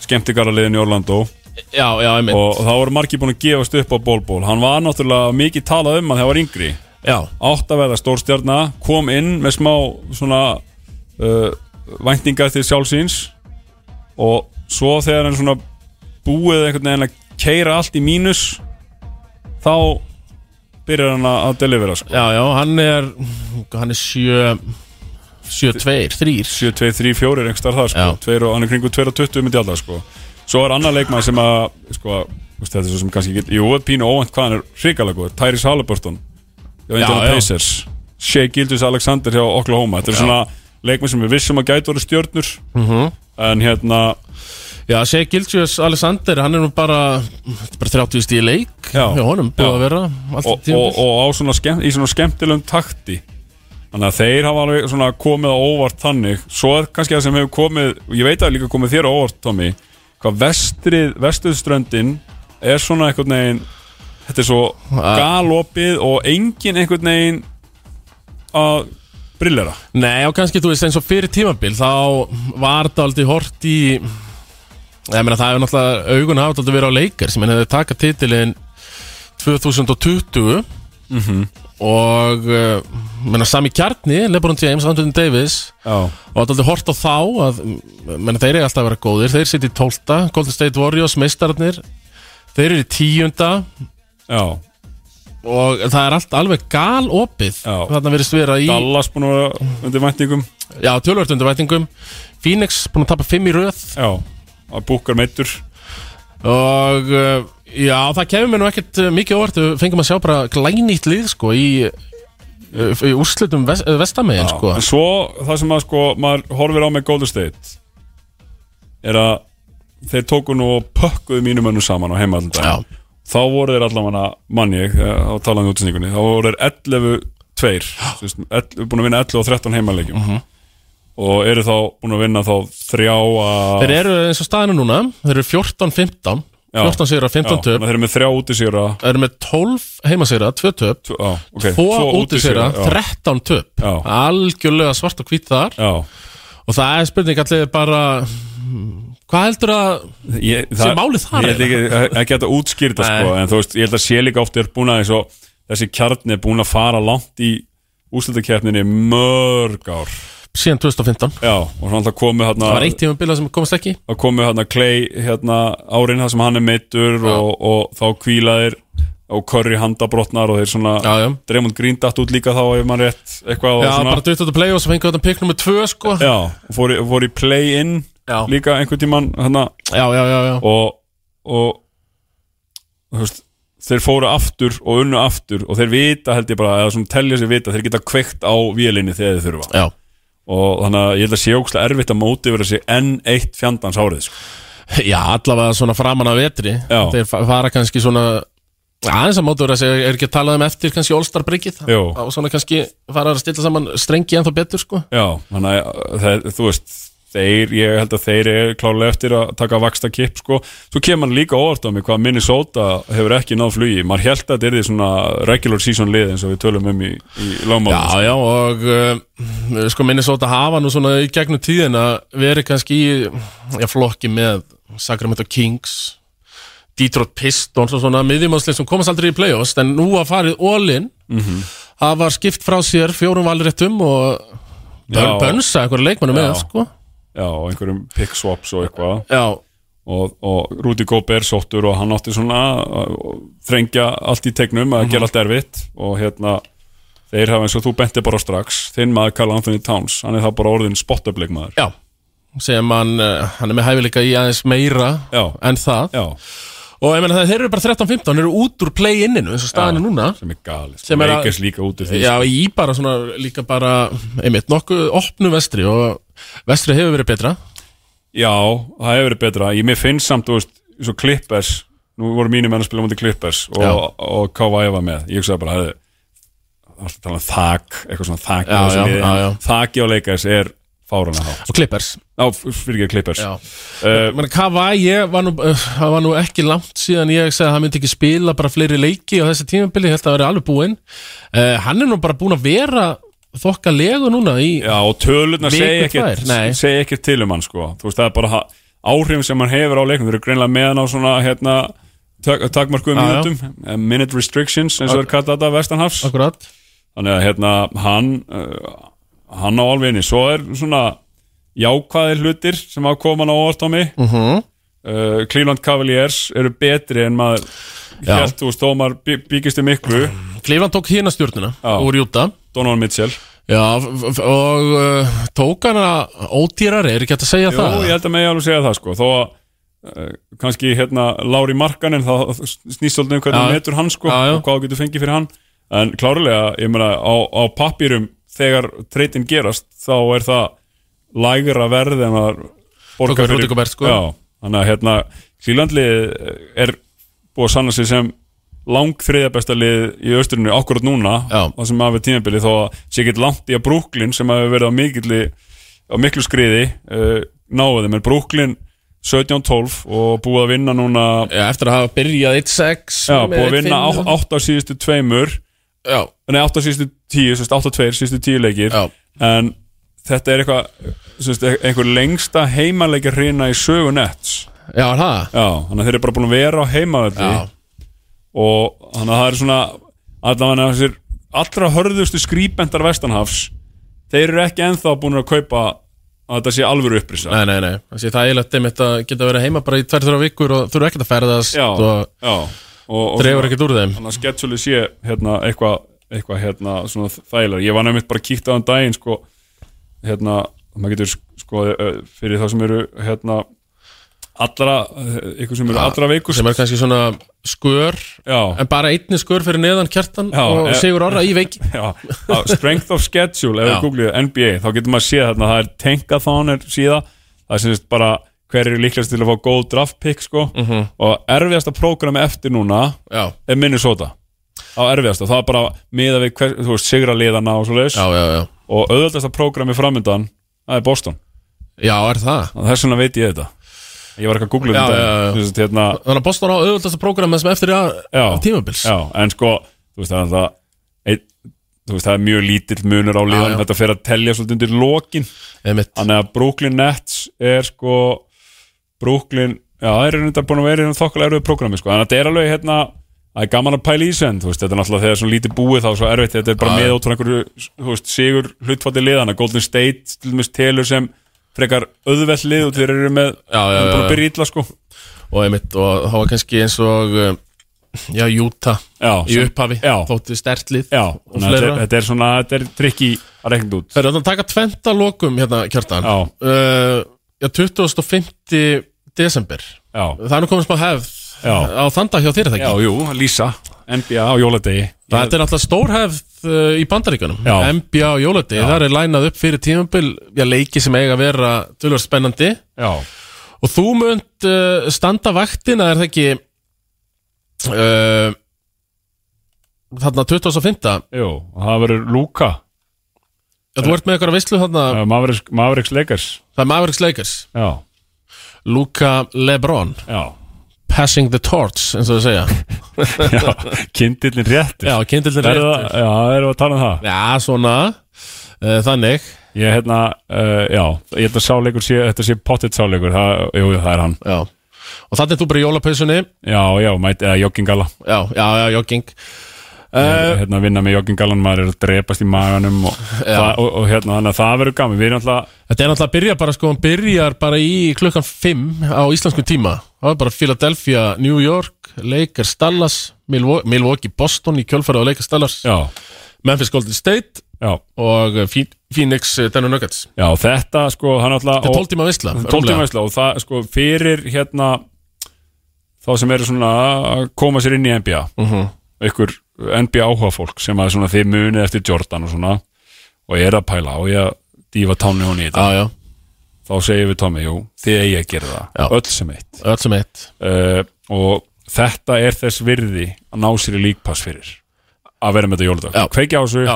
Speaker 2: skemmtikara liðin í Orlando og,
Speaker 1: já, já, einmitt
Speaker 2: og þá voru margir búin að gefast upp á bólból hann var náttúrulega mikið talað um að það var yngri
Speaker 1: já,
Speaker 2: átt að verða stórstjarna kom inn með smá svona uh, væntingar til sjálfsins og svo þegar hann svona búið einhvern veginn að keira allt í mínus þá byrjar hann að að delivera sko.
Speaker 1: já, já, hann er hann er sjö sjö, tveir, þrýr
Speaker 2: 7, 2, 3, 4 er einhver starf það sko.
Speaker 1: Já.
Speaker 2: Tveir og, hann er kringu 2 og 20 myndi alltaf sko. svo er annar leikmann sem að sko, þú veist, þetta er svo sem kannski get, jú, pínu óvænt hvað hann er hrikalega góð Tyrese Halliburton hjá Indiana
Speaker 1: já.
Speaker 2: Pacers Shea Gildus Alexander hjá Oklahoma þetta er svona leikmann sem við vissum að gætu voru stjörnur
Speaker 1: Mhm.
Speaker 2: -hmm. en hérna
Speaker 1: já, Shea Gildjus Alexander, hann er nú bara þetta er bara 30 stíð leik
Speaker 2: Já.
Speaker 1: hjá honum, búið
Speaker 2: Já.
Speaker 1: að vera
Speaker 2: og,
Speaker 1: allt
Speaker 2: og,
Speaker 1: tímubil
Speaker 2: og á svona skemm, í svona skemmtilegum takti þannig að þeir hafa alveg svona komið á óvart þannig svo er kannski það sem hefur komið og ég veit að það er líka komið þér á óvart Tommy hvað vestrið, vestuðströndin er svona einhvern veginn þetta er svo galopið og engin einhvern veginn að brillera
Speaker 1: Nei, og kannski, þú veist, eins og fyrir tímabil þá var það aldrei hort í ég meina, það hefur náttúrulega augun hafa aldrei verið á leikar sem hefur takað titilin 2020
Speaker 2: Mhm.
Speaker 1: og uh, meina, sami kjarni, Lebron James, Anthony Davis
Speaker 2: já,
Speaker 1: og það er aldrei hort á þá að, meina, þeir eru alltaf að vera góðir, þeir sitja í 12. Golden State Warriors, meistararnir þeir eru í 10.
Speaker 2: já,
Speaker 1: og það er allt alveg gal opið
Speaker 2: Já.
Speaker 1: þarna verðist vera í
Speaker 2: Dallas búin að vera undir væntingum
Speaker 1: Já, tölvört undir vætingum Phoenix búin að tapa 5 í röð
Speaker 2: já, að búkar meittur
Speaker 1: Og uh, já, það kemur mér nú ekkert uh, mikið óvart Við fengum að sjá bara glænýtt lið sko Í, uh, í úrslitum vest, vestamegin sko
Speaker 2: En svo það sem að sko maður horfir á með Golden State er að þeir tóku nú og pökkuðu mínum önnu saman á heima allan
Speaker 1: Já,
Speaker 2: dag þá voru þeir allavega manni ég, eh, á talaðum útsendingunni, þá voru þeir 11 tveir, þú veist, 11 búin að vinna 11 og 13 heimaleikjum
Speaker 1: Mhm.
Speaker 2: og eru þá búin að vinna þá þrjá að
Speaker 1: þeir eru eins og staðinu núna Þeir eru 14-15
Speaker 2: Já.
Speaker 1: 14 sigra,
Speaker 2: Já,
Speaker 1: 15
Speaker 2: þannig
Speaker 1: töp
Speaker 2: að þeir eru með þrjá útisýra
Speaker 1: Þeir eru með 12 heimasigra, 2 töp
Speaker 2: okay,
Speaker 1: 2
Speaker 2: tvo
Speaker 1: útisigra,
Speaker 2: já.
Speaker 1: 13 töp
Speaker 2: Já.
Speaker 1: Algjörlega svart og hvít þar
Speaker 2: Já,
Speaker 1: Og það er spurning allir bara hmm, Hvað heldur að
Speaker 2: ég,
Speaker 1: Sé málið þar,
Speaker 2: Ég held ekki að- ekki að þetta útskýrta
Speaker 1: Nei.
Speaker 2: sko, en þú veist, ég held að sé líka oft er búin að eins og þessi kjarni er búin að fara langt í úslutakefninni mörg ár
Speaker 1: síðan 2015
Speaker 2: Já, og svo alltaf komið hérna
Speaker 1: Það var eitt tímabila sem komast ekki
Speaker 2: þá komið hérna Clay hérna árin það sem hann er meittur og, og þá kvílaðir og Curry handabrotnar og þeir svona
Speaker 1: Já, já.
Speaker 2: Draymond Green datt út líka þá ef maður rétt eitthvað og
Speaker 1: Já,
Speaker 2: svona
Speaker 1: bara dutt út að play og svo fengið þetta pikk nummer 2 sko
Speaker 2: já, og fór, í- fór í play-in
Speaker 1: Já.
Speaker 2: líka einhvern tímann hérna
Speaker 1: Já, já, já, já
Speaker 2: og, og þú veist, þeir fóru aftur og unnu aftur og þeir vita held ég bara eða svona telja sér vita, þeir geta kveikt á vélinni þegar þeir þurfa
Speaker 1: Já,
Speaker 2: og þannig að ég held að sé ókslega erfitt að móti vera sér enn eitt fjandans árið sko.
Speaker 1: já allavega svona framan af vetri
Speaker 2: Já.
Speaker 1: Þeir fa- fara kannski svona aðeins að mótur að segja, er ekki að tala um eftir kannski All-Star bryggið
Speaker 2: Jú.
Speaker 1: og svona kannski fara að stilla saman strengi ennþá betur sko
Speaker 2: Já, þannig að uh, það, þú veist þeir, ég held að þeir er klálega eftir að taka vaksta kipp sko svo kemur hann líka óvart á mig hvað Minnesota hefur ekki náð flugi, maður held að þetta er því svona regular season lið eins og við tölum um í, í
Speaker 1: Já,
Speaker 2: lágmáli
Speaker 1: já, og uh, sko Minnesota hafa nú svona í gegnum tíðina verið kannski í já, flokki með Sacramento Kings Detroit Pistons og svona miðjumannslið sem komast aldrei í playoffs en nú að farið all-in
Speaker 2: Mhm.
Speaker 1: hafa skipt frá sér fjórum valréttum og
Speaker 2: Já.
Speaker 1: bönsa einhverju leikmannu með
Speaker 2: Já.
Speaker 1: sko
Speaker 2: Já, og einhverjum pick swaps og eitthvað
Speaker 1: Já,
Speaker 2: og, og Rúdi Góp er sóttur og hann
Speaker 1: Mhm.
Speaker 2: átti svona að að þrengja allt í tegnum að gera allt erfitt og hérna Þeir hafa eins og þú benti bara á strax Þinn maður Karl Anthony Towns Hann er það bara orðin spottablik maður
Speaker 1: Já, sem hann, eh, hann er með hæfileika í aðeins meira
Speaker 2: Já.
Speaker 1: en það
Speaker 2: Já,
Speaker 1: og ég meina það, þeir eru bara 13-15, eru út úr play-inninu eins og staðinu
Speaker 2: Já.
Speaker 1: núna
Speaker 2: sem er galið
Speaker 1: Sem er að-
Speaker 2: Lakers líka út í því
Speaker 1: Já, í bara svona líka bara einmitt nokkuð opnu vestri og vestri hefur verið betra
Speaker 2: Já, það hefur verið betra Ég mér finnst samt, þú veist, svo Clippers Nú voru mínir menn að spila mútið Clippers
Speaker 1: Já.
Speaker 2: og, og Kawhi var með Ég hugsaði bara, hefði Það var að tala um þak, eitthvað svona þak
Speaker 1: Já, já, já, já.
Speaker 2: Þaki á leikars er fárana hátt
Speaker 1: og klippers
Speaker 2: Ná, fyrir ekki Clippers
Speaker 1: Já,
Speaker 2: Eh,
Speaker 1: menn Kava, ég var nú, uh, það var nú ekki langt síðan ég sagði að hann myndi ekki spila bara fleiri leiki á þessi tímabili, ég held að það væri alveg búinn uh, Hann er nú bara búinn að vera þokka legu núna í
Speaker 2: Já, og tölurnar
Speaker 1: Viku
Speaker 2: segja
Speaker 1: tvær, nei.
Speaker 2: ekkert segja ekkert til um hann, sko Þú veist, það er bara ha- áhrifin sem hann hefur á leiknum Þeir eru greinlega með hann á svona, hérna tak-
Speaker 1: Já,
Speaker 2: takmörkuðum
Speaker 1: já.
Speaker 2: minutum eh, minute restrictions, eins og þeir kalla þetta vestanhafs
Speaker 1: akkurat
Speaker 2: þannig að hérna hann uh, hann á alveg inni, svo er svona jákvæðir hlutir sem hafa koma hann á óvart á mig uh
Speaker 1: Mhm.
Speaker 2: Cleveland Cavaliers eru betri en maður
Speaker 1: Já.
Speaker 2: held, þú veist, Ómar bí- bíkist um miklu
Speaker 1: Kleifan tók hérna stjórnina
Speaker 2: Já.
Speaker 1: úr Júta
Speaker 2: Donovan Mitchell
Speaker 1: Já, f- f- og uh, tók hana ódýrari, er ekki hægt að segja
Speaker 2: Jú,
Speaker 1: það?
Speaker 2: ég held að megi alveg segja það sko þó að uh, kannski hérna Lári Markan en það snýst svolítið um hvernig
Speaker 1: Já.
Speaker 2: hann metur hann sko
Speaker 1: Já, já.
Speaker 2: og hvað þú getur fengið fyrir hann en klárlega, ég meina á, á pappýrum þegar treytin gerast þá er það lægra verð en að
Speaker 1: Tók við Rudy Gobert, sko.
Speaker 2: Já, þannig að hérna Sýlandlið er búið að sanna sig sem lang þriðja besta lið í austrinu akkurat núna
Speaker 1: Já.
Speaker 2: það sem hafi tímabili þó að sé ekki langt í að Brooklyn sem hafi verið á mikilli á miklu skriði uh, náðu þeim en Brooklyn 17-12 og búið að vinna núna
Speaker 1: Já, eftir að hafa byrjað 1-6
Speaker 2: já,
Speaker 1: með
Speaker 2: búið að vinna
Speaker 1: 1-5.
Speaker 2: 8 af síðustu tveimur
Speaker 1: Já,
Speaker 2: nei 8 af síðustu 10 8-2 síðustu 10 leikir
Speaker 1: já,
Speaker 2: en þetta er eitthvað sem sagt, e- einhver lengsta heimaleikir hreina í sögu Nets
Speaker 1: já, er það
Speaker 2: já, þannig að þeir eru bara búin að vera á heimavelli
Speaker 1: Já,
Speaker 2: og þannig að það er svona allavega þessir allra hörðustu skrýpendar vestanhafs þeir eru ekki ennþá búin að kaupa að þetta sé alvöru upprýsa
Speaker 1: nei, nei, nei Þessi, Það er eiginlega einmitt að geta verið heima bara í 2-3 vikur og þurfa ekkert að ferðast
Speaker 2: já,
Speaker 1: og
Speaker 2: já og, og
Speaker 1: dreifur
Speaker 2: svona-
Speaker 1: ekkert úr þeim
Speaker 2: þannig að sketsjulið sé hérna, eitthvað eitthva, hérna, svona þægilega ég var nefnitt bara kíkt á þann daginn sko, hérna, maður getur sko, eh, fyrir þá sem eru hérna, allra, eh, ykkur sem eru allra veikust
Speaker 1: sem er kannski svona skör
Speaker 2: já,
Speaker 1: en bara einni skör fyrir neðan kjartan
Speaker 2: Já,
Speaker 1: og
Speaker 2: eh,
Speaker 1: Sigur Orra í veiki
Speaker 2: Já, á strength of schedule ef
Speaker 1: Já.
Speaker 2: við googlið NBA, þá getur maður séð þarna það er tankathon er síða það er sem sagt bara hver er líklegast til að fá góð draft pick sko
Speaker 1: Mhm.
Speaker 2: og erfiðasta prógrami eftir núna
Speaker 1: Já,
Speaker 2: er Minnesota á erfiðasta, það er bara miða við hver, þú veist, sigra liðana og svo leis
Speaker 1: já, já, já
Speaker 2: og auðvöldasta prógrami framöndan það er Boston,
Speaker 1: Já, er það
Speaker 2: og þess vegna veit ég þetta ég var ekki að googla um
Speaker 1: Já,
Speaker 2: þetta
Speaker 1: já, já.
Speaker 2: Sem sagt, hérna,
Speaker 1: Þannig að Boston á auðvöldasta prógrama sem eftir að
Speaker 2: já,
Speaker 1: tímabils
Speaker 2: já, en sko þú veist það er alltaf ein, þú veist það er mjög lítill munur á
Speaker 1: Já, já.
Speaker 2: liðan þetta fer að telja svolítið undir lokin
Speaker 1: Einmitt.
Speaker 2: þannig að Brooklyn Nets er sko Brooklyn, já það er þetta búin að vera í þokkala erfið prógrami sko, þannig að þetta er alveg hérna það er gaman að pæla í sen, þú veist, þetta er náttúrulega þegar svona lítið búið þá er svo erfitt, þetta er bara
Speaker 1: Já, já.
Speaker 2: með út frá einhverju, þú veist, sigur hlutfalli liðana, Golden State, til dæmis telur sem frekar auðvelt lið og þeir eru með,
Speaker 1: Já, já,
Speaker 2: þeir eru búin
Speaker 1: já,
Speaker 2: að byrja illa sko
Speaker 1: Og einmitt, og það var kannski eins og um, Já, Júta
Speaker 2: Já,
Speaker 1: í
Speaker 2: sem-
Speaker 1: upphafi
Speaker 2: já.
Speaker 1: Þótti stertlið
Speaker 2: Já, þannig að
Speaker 1: fleira.
Speaker 2: þetta, þetta er svona, þetta er trikki að reikna út
Speaker 1: Það er að taka tventa lokum hérna kjartan
Speaker 2: Já.
Speaker 1: uh, já 25. desember
Speaker 2: Já,
Speaker 1: Það er nú komin smá hefð
Speaker 2: Já.
Speaker 1: á þanda hjá þér er það
Speaker 2: já,
Speaker 1: ekki
Speaker 2: jú, Lísa NBA á jóladegi
Speaker 1: Þetta er náttúrulega stór hefð uh, í bandaríkunum
Speaker 2: Já.
Speaker 1: NBA og Jólati, þar er lænað upp fyrir tímabil já, leiki sem eiga að vera tölvöld spennandi
Speaker 2: Já,
Speaker 1: og þú munt uh, standa vaktina er það ekki uh, þarna 2005
Speaker 2: jú, og það verður Luka
Speaker 1: Já, þú ert með einhverja veislu þarna,
Speaker 2: uh, Mavericks, Mavericks Lakers
Speaker 1: það er Mavericks Lakers
Speaker 2: Já,
Speaker 1: Luka Lebron,
Speaker 2: já,
Speaker 1: Passing the Torch eins og þau segja
Speaker 2: já Kindillin réttur
Speaker 1: Já, kindildin
Speaker 2: Er
Speaker 1: rétt
Speaker 2: það, já, erum við að tala um það
Speaker 1: Já, svona uh, Þannig
Speaker 2: Ég hérna, uh, já, ég held að sáleikur sé, þetta sé pottitt sáleikur það, Jú, jú, það er hann
Speaker 1: Já Og þannig þú bara í jólapausunni
Speaker 2: Já, já, mæti, eða joggingala
Speaker 1: Já, já, já, jogging uh,
Speaker 2: Hérna vinna með joggingalan, maður er að drepast í maganum og, það, og, og hérna, þannig að það verður gaman Við erum alltaf,
Speaker 1: Þetta er náttúrulega að byrja bara sko Hann byrjar bara í klukkan 5 á íslenskum tíma Það var bara Philadelphia, New York Lakers, Dallas Milwa- Milwaukee, Boston í kjölfæri á Lakers, Dallas
Speaker 2: já,
Speaker 1: Memphis Golden State
Speaker 2: já,
Speaker 1: og eh, Phoen- Phoenix eh, Denver Nuggets
Speaker 2: já, þetta sko hann alltaf
Speaker 1: Þetta er 12 tíma visla rúmlega.
Speaker 2: tóltímaðisla og það sko fyrir hérna þá sem eru svona að koma sér inn í NBA
Speaker 1: Mhm.
Speaker 2: einhver NBA áhuga fólk sem að svona þið munið eftir Jordan og svona og er að pæla og ég að dýfa tánni hún í þetta
Speaker 1: Já, já,
Speaker 2: þá segjum við Tommy, jú, þið eigi að gera það
Speaker 1: Já.
Speaker 2: öll sem eitt
Speaker 1: öll sem eitt
Speaker 2: uh, og þetta er þess virði að ná sér í líkpass fyrir að vera með þetta jóludag
Speaker 1: Já.
Speaker 2: kveikja á þessu,
Speaker 1: Já.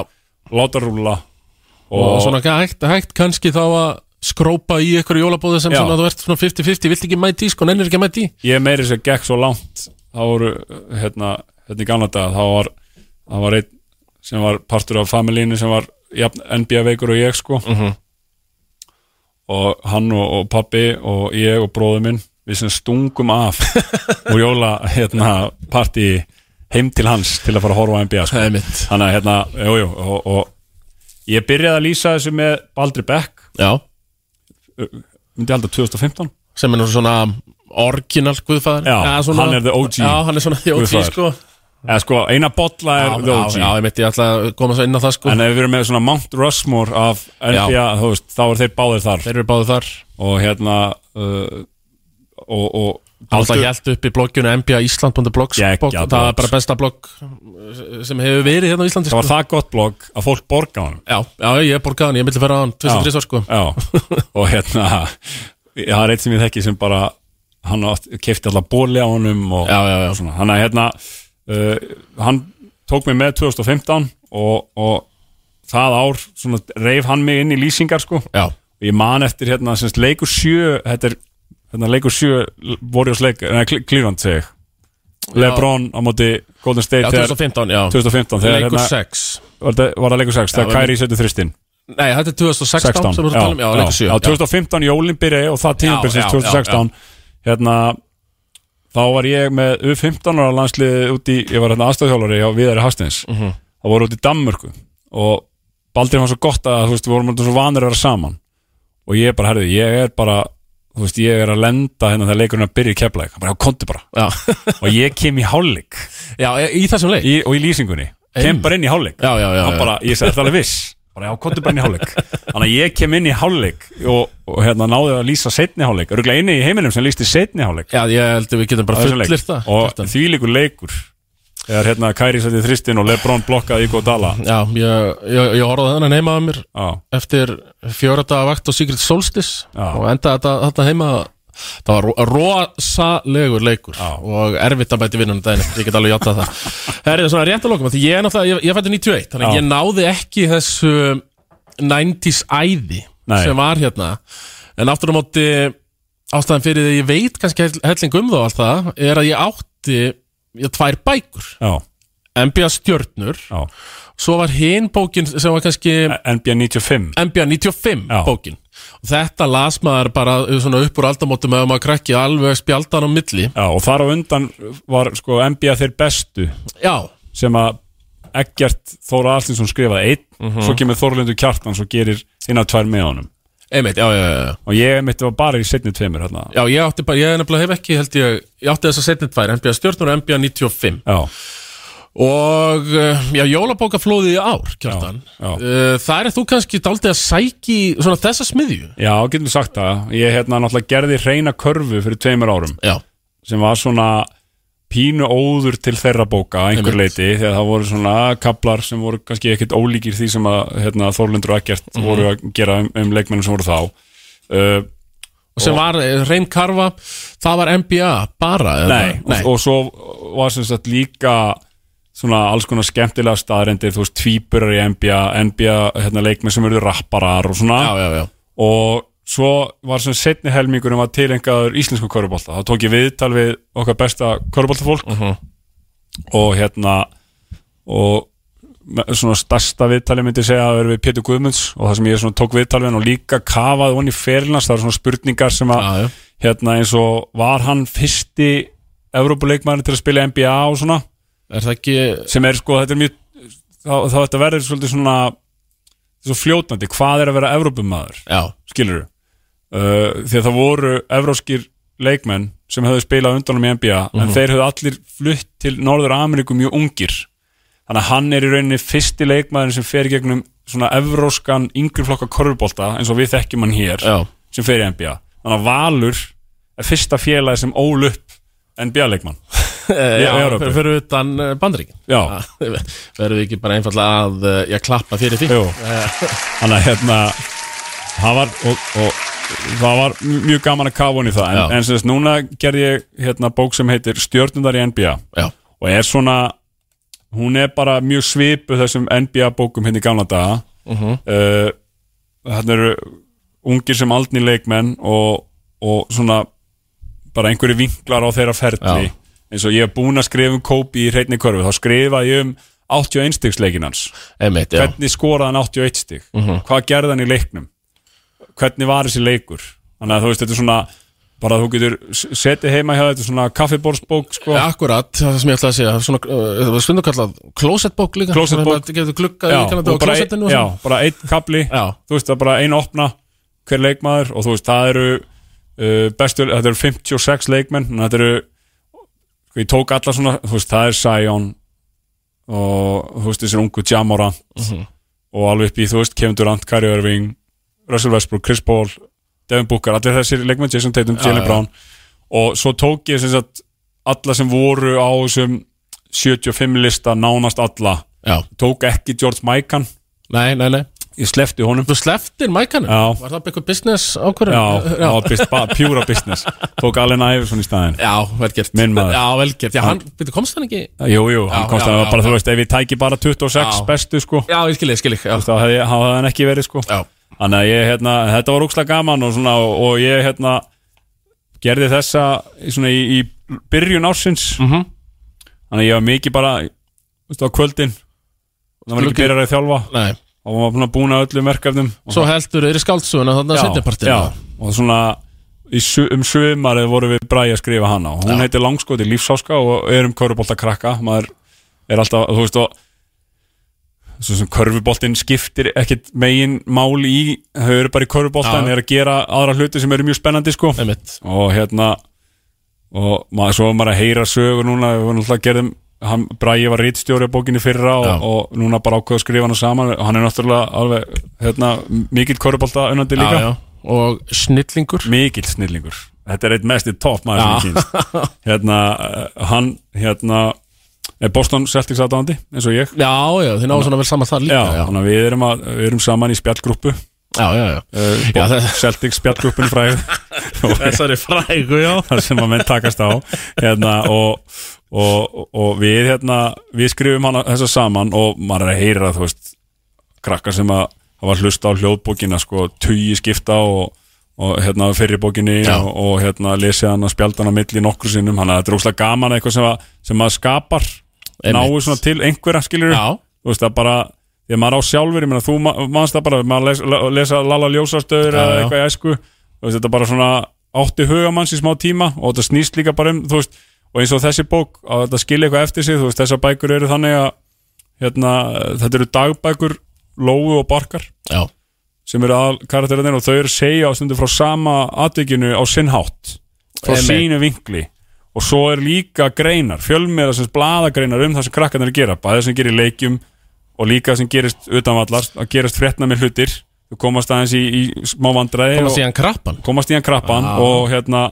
Speaker 2: láta rúla
Speaker 1: og, svona hægt, hægt kannski þá að skrópa í einhverju jólabóði sem
Speaker 2: Já.
Speaker 1: svona þú ert svona 50-50, vilt ekki mæti sko, nennir ekki að mæti
Speaker 2: ég meiri sem gekk svo langt þá voru, hérna, hérna í gamla dag þá var, það var einn sem var partur af familínu sem var jafn, NBA veikur og ég sko
Speaker 1: Mhm.
Speaker 2: og hann og, og pappi og ég og bróður minn við sem stungum af og jóla hérna partí heim til hans til að fara að horfa á NBA sko.
Speaker 1: Það er mitt
Speaker 2: þannig að hérna, jújú jú, og, og ég byrjaði að lýsa þessu með Baldri Beck,
Speaker 1: Já,
Speaker 2: myndi held að 2015
Speaker 1: sem er nú svona orginal guðfæðar
Speaker 2: Já, hann er the OG
Speaker 1: Já, hann er svona the OG
Speaker 2: guðfaðir.
Speaker 1: sko
Speaker 2: eða sko, eina bolla er
Speaker 1: Já,
Speaker 2: The OG
Speaker 1: já, já, ég mitt ég ætla að koma svo inn á það sko
Speaker 2: En ef við erum með svona Mount Rushmore af NBA, þú veist, þá eru þeir báðir þar
Speaker 1: Þeir eru báðu þar
Speaker 2: og hérna uh, og, og
Speaker 1: Alltaf hjælt upp í blogginu mbaisland.blogs
Speaker 2: Gekkja
Speaker 1: blogg. Það
Speaker 2: blogs.
Speaker 1: er bara besta blogg uh, sem hefur verið hérna á Íslandi
Speaker 2: það
Speaker 1: sko.
Speaker 2: var það gott blogg að fólk borga honum
Speaker 1: Já, já, ég borgaði hann, ég myndi að vera á hann 2003 sko
Speaker 2: Já, og hérna það er eitt sem ég þekki sem bara hann kefti alltaf bóli á honum og,
Speaker 1: Já, já, já.
Speaker 2: og svona, hann að hérna uh, hann tók mig með 2015 og, og það ár svona reif hann mig inn í lýsingar sko
Speaker 1: Já,
Speaker 2: og ég man eftir hérna semst, leikur sjö þetta er hérna, leikur sjö Warriors leik, neða Cleveland segi ég. Lebron á móti Golden
Speaker 1: já
Speaker 2: State þegar,
Speaker 1: 2015, já
Speaker 2: 2015 þegar
Speaker 1: Leikur
Speaker 2: hérna,
Speaker 1: 6
Speaker 2: var, það, var það leikur 6
Speaker 1: Já,
Speaker 2: þegar Kairi setur þristinn
Speaker 1: Nei, þetta er 2016
Speaker 2: 16
Speaker 1: sem við erum að tala um Já, leikur 7
Speaker 2: já, 2015 jólin byrjaði og það tímabil
Speaker 1: já,
Speaker 2: sérst 2016 hérna þá var ég með U15 ára landsliði út í, ég var hérna aðstæðhjólari á Viðari Hastins,
Speaker 1: Mhm.
Speaker 2: það voru út í Danmörku og Baldur var svo gott að þú veist, við vorum alltaf svo vanir að vera saman og ég bara, herðu, ég er bara þú veist, ég er að lenda hérna þegar leikurinn er að byrja í keflæk, bara, já, konti bara
Speaker 1: já.
Speaker 2: og ég kem í hálfleik
Speaker 1: já, í þessum leik
Speaker 2: í, og í lýsingunni, kem
Speaker 1: Einmitt.
Speaker 2: bara inn í hálfleik
Speaker 1: Já, já, já,
Speaker 2: hann
Speaker 1: já.
Speaker 2: bara, ég sagði þetta alveg viss bara, já, komdu bara inn í hálfleik þannig að ég kem inn í hálfleik og, og hérna náði að lýsa setni hálfleik örgulega inni í heiminum sem lýsti setni hálfleik
Speaker 1: Já, ég held að við getum
Speaker 2: á
Speaker 1: bara
Speaker 2: þessum leik.
Speaker 1: fullir það
Speaker 2: og
Speaker 1: Kjartan.
Speaker 2: þvílíkur leikur þegar hérna Kairi sætti þristin og Lebron blokkaði í Godala
Speaker 1: Já, ég, ég, ég horfði þennan heima að mér
Speaker 2: já,
Speaker 1: eftir fjóra daga vakt og Sigrid Solstis
Speaker 2: Já.
Speaker 1: og endaði þetta, þetta heima það var ro- rosalegur leikur
Speaker 2: Já.
Speaker 1: og erfitt að bæti vinnunum daginn eftir, ég get alveg játað það það er svona rétt að lokum af því ég er náttúrulega, ég, ég fætti 91 þannig
Speaker 2: Já.
Speaker 1: að ég náði ekki þessu 90s æði
Speaker 2: Nei.
Speaker 1: sem var hérna en aftur á móti ástæðan fyrir því ég veit kannski hell- helling um þá allt það er að ég átti ég, tvær bækur
Speaker 2: já,
Speaker 1: NBA stjörnur,
Speaker 2: já
Speaker 1: svo var hinn bókin sem var kannski
Speaker 2: NBA 95
Speaker 1: NBA 95
Speaker 2: Já.
Speaker 1: bókin og þetta las maður bara uh, svona upp úr aldamótum eða maður krakki alveg spjaldan á milli
Speaker 2: já, og þar á undan var sko NBA þeir bestu
Speaker 1: já,
Speaker 2: sem að Eggert Þóra Alstinsson skrifaði einn
Speaker 1: Mhm.
Speaker 2: svo kemur Þorlindu Kjartan svo gerir hinn að tvær með honum
Speaker 1: einmitt, já, já, já, já
Speaker 2: og ég mitt var bara í setni tveimur hérna.
Speaker 1: Já, ég átti bara, ég nefnilega hef ekki, held ég, ég átti þess að setja tvær, NBA stjórnur og NBA 95
Speaker 2: já,
Speaker 1: og, eh, já, jólabókaflóðið í ár, kjartan
Speaker 2: Já, já.
Speaker 1: Eh, Þar er þú kannski daldið að sæki svona þessa smiðju
Speaker 2: já, getum við sagt það ég hérna náttúrulega gerði reyna körfu fyrir tveimur árum
Speaker 1: Já,
Speaker 2: sem var svona pínu óður til þeirra bóka að einhver
Speaker 1: Einmitt.
Speaker 2: leiti þegar það voru svona kaplar sem voru kannski ekkert ólíkir því sem að hérna, Þorlundur og Eggert voru að gera um, um leikmennum sem voru þá uh,
Speaker 1: og sem var eh, Reyn Karfa, það var NBA bara, eða?
Speaker 2: Nei, hérna, Og, og svo var sem sagt líka svona alls konar skemmtilega staðrendir þú veist, tvíburar í NBA NBA hérna, leikmenn sem eru rapparar og svona
Speaker 1: Já, já, já,
Speaker 2: og svo var sem setni helmingurinn var tilengaður íslensku körubólta þá tók ég viðtal við okkar besta körubóltafólk og hérna og me- svona stærsta viðtalið myndi ég segja að vera við Pétur Guðmunds og það sem ég svona tók viðtalið hann og líka kafaði hann í ferilnast það eru svona spurningar sem að
Speaker 1: já, já
Speaker 2: hérna eins og var hann fyrsti Evrópuleikmæðin til að spila í NBA og svona
Speaker 1: Er það ekki,
Speaker 2: sem er sko, þetta er mjög þá, þá þetta verður svolítið svona svo fljótandi, hvað er að vera Evrópumæður
Speaker 1: já,
Speaker 2: skilur uh, því að það voru evróskir leikmenn sem höfðu spilað undanum í NBA en þeir höfðu allir flutt til Norður Ameríku mjög ungir þannig að hann er í rauninni fyrsti leikmaður sem fer í gegnum svona evróskan yngri flokka korfubólta eins og við þekkjum hann hér
Speaker 1: Já.
Speaker 2: sem fer í NBA þannig að Valur er fyrsta félagi sem ól upp NBA leikmann
Speaker 1: Já,
Speaker 2: Eh, Evrópu.
Speaker 1: fyrir, fyrir utan eh, bandrikin
Speaker 2: Já.
Speaker 1: Verðum við ekki bara einfallega að eh, Já, klappa fyrir því Eh,
Speaker 2: Jú. þannig að hérna það var, og, og, það var mjög gaman að kafa hún í það en,
Speaker 1: Já.
Speaker 2: en sem þess, núna gerði ég hérna, bók sem heitir Stjörnundar í NBA
Speaker 1: Já,
Speaker 2: og er svona hún er bara mjög svipu þessum NBA bókum hérna í gamla daga
Speaker 1: Mhm.
Speaker 2: uh, þarna eru ungir sem aldni leikmenn og, og svona bara einhverju vinklar á þeirra ferli
Speaker 1: Já.
Speaker 2: eins og ég er búin að skrifa um Kobe í hreinni körfu, þá skrifa ég um 81 stigsleikin hans
Speaker 1: einmitt, já
Speaker 2: hvernig skoraði hann 81 stig hvað gerði hann í leiknum hvernig var þessi leikur þannig að þú veist þetta er svona bara þú getur s- setið heima hjá þetta er svona kaffiborðsbók sko.
Speaker 1: Eh, Akkurat, það sem ég ætla að segja það er svona, uh, Það var stundu kallað closetbók líka
Speaker 2: Closet bók.
Speaker 1: Það getur gluggað í kannandi á
Speaker 2: og bara,
Speaker 1: closetinu og
Speaker 2: já,
Speaker 1: svona.
Speaker 2: bara einn kapli
Speaker 1: Já.
Speaker 2: þú veist það er bara einn opna hver leikmaður og þú veist það eru uh, bestu, þetta eru 56 leikmenn þannig að þetta eru sko, ég tók alla svona, þú veist það er Sion og þú veist þessir ungu Jamorant
Speaker 1: Mhm.
Speaker 2: og alveg upp í þú veist Kevin Durant, Kyrie Irving Russell Westbrook, Chris Paul, Devin Booker allir þessir leikmenn, Jason Tatum, Jalen
Speaker 1: já.
Speaker 2: Brown og svo tók ég sem sagt alla sem voru á þessum 75 lista, nánast alla
Speaker 1: já,
Speaker 2: tók ekki George Mikan
Speaker 1: nei, nei, nei
Speaker 2: ég slefti honum
Speaker 1: Þú sleftir mækanu?
Speaker 2: Já.
Speaker 1: Var það bara eitthvað business ákvörðun?
Speaker 2: já, það var bist, ba, pjúra business tók Allen Iverson í staðin
Speaker 1: Já, velgert
Speaker 2: Minn maður.
Speaker 1: Já, velgert, já, hann, byrju, komst hann ekki?
Speaker 2: jú, jú, hann
Speaker 1: Já,
Speaker 2: komst
Speaker 1: já,
Speaker 2: að
Speaker 1: já,
Speaker 2: bara
Speaker 1: já.
Speaker 2: þú veist, ef ég tæki bara 26
Speaker 1: Já.
Speaker 2: bestu sko,
Speaker 1: Já, ég skil ég, skil ég Já,
Speaker 2: þá hefði þá hefði hann ekki verið sko
Speaker 1: já,
Speaker 2: þannig að ég, hérna, þetta var úkslega gaman og svona, og, og ég, hérna gerði þessa, í svona í, í byrjun ársins
Speaker 1: Mhm.
Speaker 2: þannig að ég var mikið bara, þú veist, á kvöldin það var ekki
Speaker 1: Lukki.
Speaker 2: byrjar að þjálfa
Speaker 1: nei
Speaker 2: og maður var búin að búna öllum verkefnum og
Speaker 1: Svo heldur þeir í skáldsuguna þannig að setja partið
Speaker 2: já, og svona í, su- um sumarið vorum við bræði að skrifa hana og hún
Speaker 1: Já.
Speaker 2: heitir Langskoti lífsáska og er um körfubolta krakka maður er alltaf, þú veist og svo sem körfuboltin skiptir ekkit megin máli í þau eru bara í körfubolta
Speaker 1: Já.
Speaker 2: en er að gera aðra hluti sem eru mjög spennandi sko
Speaker 1: Einmitt
Speaker 2: og hérna og maður, svo var maður að heyra sögur núna við vorum alltaf gerðum hann, Bræði var rítstjóri á bókinni fyrra og,
Speaker 1: Já.
Speaker 2: og núna bara ákveða að skrifa hana saman og hann er náttúrulega alveg hérna, mikill korubólta unnandi líka
Speaker 1: Já, já Og snillingur
Speaker 2: mikill snillingur þetta er eitt mesti topp maður sem ég kynst hérna, eh, hann hérna, er Boston Celtics aðdáðandi eins og ég
Speaker 1: Já, já, þeir náðu svona vel saman þar
Speaker 2: já,
Speaker 1: líka Já,
Speaker 2: þannig að við erum, að, við erum saman í spjallgrúppu
Speaker 1: já, já, já.
Speaker 2: uh,
Speaker 1: Já, það-
Speaker 2: Celtics spjallgrúppun fræð og
Speaker 1: Þessari frægu, já
Speaker 2: það sem að menn takast á hérna, og, og, og við hérna, við skrifum hana þessa saman og maður er að heyra þú veist krakkar sem að hafa hlusta á hljóðbókina sko, tugi skipta og, og hérna fyrri bókinni
Speaker 1: Já.
Speaker 2: og, og hérna lesið hana spjaldana milli nokkru sinnum, hann að þetta er óslega gaman eitthvað sem, að, sem maður skapar
Speaker 1: Einmitt.
Speaker 2: náu svona til einhverja skilur
Speaker 1: Já.
Speaker 2: þú veist það bara því að maður á sjálfur, ég meina þú ma- manst það bara maður les, la- lesa Lala Ljósastöður
Speaker 1: Já,
Speaker 2: eða
Speaker 1: já.
Speaker 2: eitthvað í æsku þú veist þetta bara svona átti hugamanns í smá tíma og þetta snýst líka bara um þú veist og eins og þessi bók að þetta skilja eitthvað eftir sig þú veist þessar bækur eru þannig að hérna, þetta eru dagbækur Lóu og Barkar
Speaker 1: Já,
Speaker 2: sem eru aðal karakterinir og þau eru að segja á stundum frá sama atvikinu á sinn hátt frá
Speaker 1: Einmitt.
Speaker 2: sínu vinkli og svo er líka greinar, fjölmiðar sem bladagreinar um það sem krakkarnir gera bæðið sem gerir í leikjum og líka sem gerist utanvallast, að gerast frétna með hlutir þú komast aðeins í, í smá vandræði
Speaker 1: koma
Speaker 2: og-
Speaker 1: síðan Ah. krappan
Speaker 2: komast í hann krappan og hérna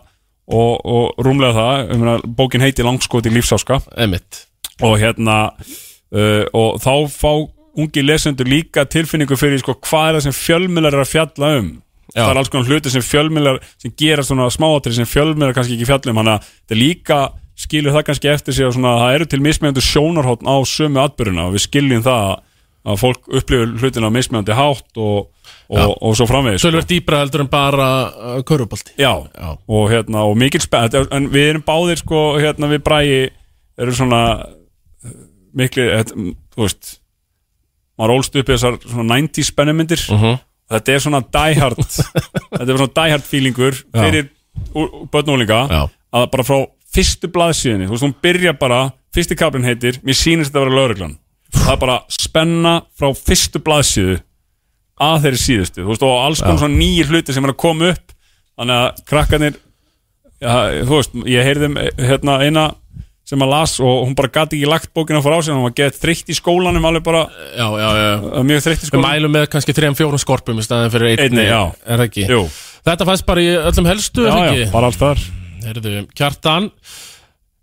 Speaker 2: og, og rúmlega það, um, bókin heiti langskoti lífsáska
Speaker 1: Einmitt
Speaker 2: og hérna uh, og þá fá ungi lesendur líka tilfinningu fyrir sko, hvað er það sem fjölmiðlar er að fjalla um
Speaker 1: Já.
Speaker 2: það er alls konar hluti sem fjölmiðlar sem gera svona smáatri sem fjölmiðlar kannski ekki fjalla um þannig að þetta líka skilur það kannski eftir sig og svona, það eru til mismjöndu sjónarhóttn á sömu atbyrjuna og við skiljum það að- að fólk upplifur hlutina á mismjöndi hátt og, og, og svo framvegis sko.
Speaker 1: Sölvert dýbra heldur en bara uh, körubalti
Speaker 2: Já,
Speaker 1: Já.
Speaker 2: og hérna og mikil spennt en við erum báðir sko hérna við bræði erum svona eh, miklu, eh, þú veist maður ólst upp í þessar svona 90 spennumyndir
Speaker 1: Mhm.
Speaker 2: þetta er svona diehard þetta er svona diehard feelingur fyrir börnúlinga
Speaker 1: Já.
Speaker 2: að bara frá fyrstu blaðsíðinni þú veist hún byrja bara, fyrsti kaplinn heitir mér sýnist þetta að vera lögreglan það er bara spenna frá fyrstu blaðsíðu að þeirri síðustu þú veist, og alls konar svona nýjir hluti sem er að koma upp þannig að krakkanir já, þú veist, ég heyrði um, eh, hérna eina sem að las og hún bara gati ekki lagt bókina frá sér, hún var gett þreytt í skólanum alveg bara,
Speaker 1: já, já, já.
Speaker 2: uh, mjög þreytt í
Speaker 1: Við
Speaker 2: skólanum
Speaker 1: mælum með kannski 3-4 skorpum í staðin fyrir einni,
Speaker 2: Einni, já.
Speaker 1: er það ekki?
Speaker 2: Jú,
Speaker 1: Þetta fannst bara í öllum helstu,
Speaker 2: já,
Speaker 1: er það
Speaker 2: já,
Speaker 1: ekki?
Speaker 2: bara alls þar
Speaker 1: Herðu, Kjartan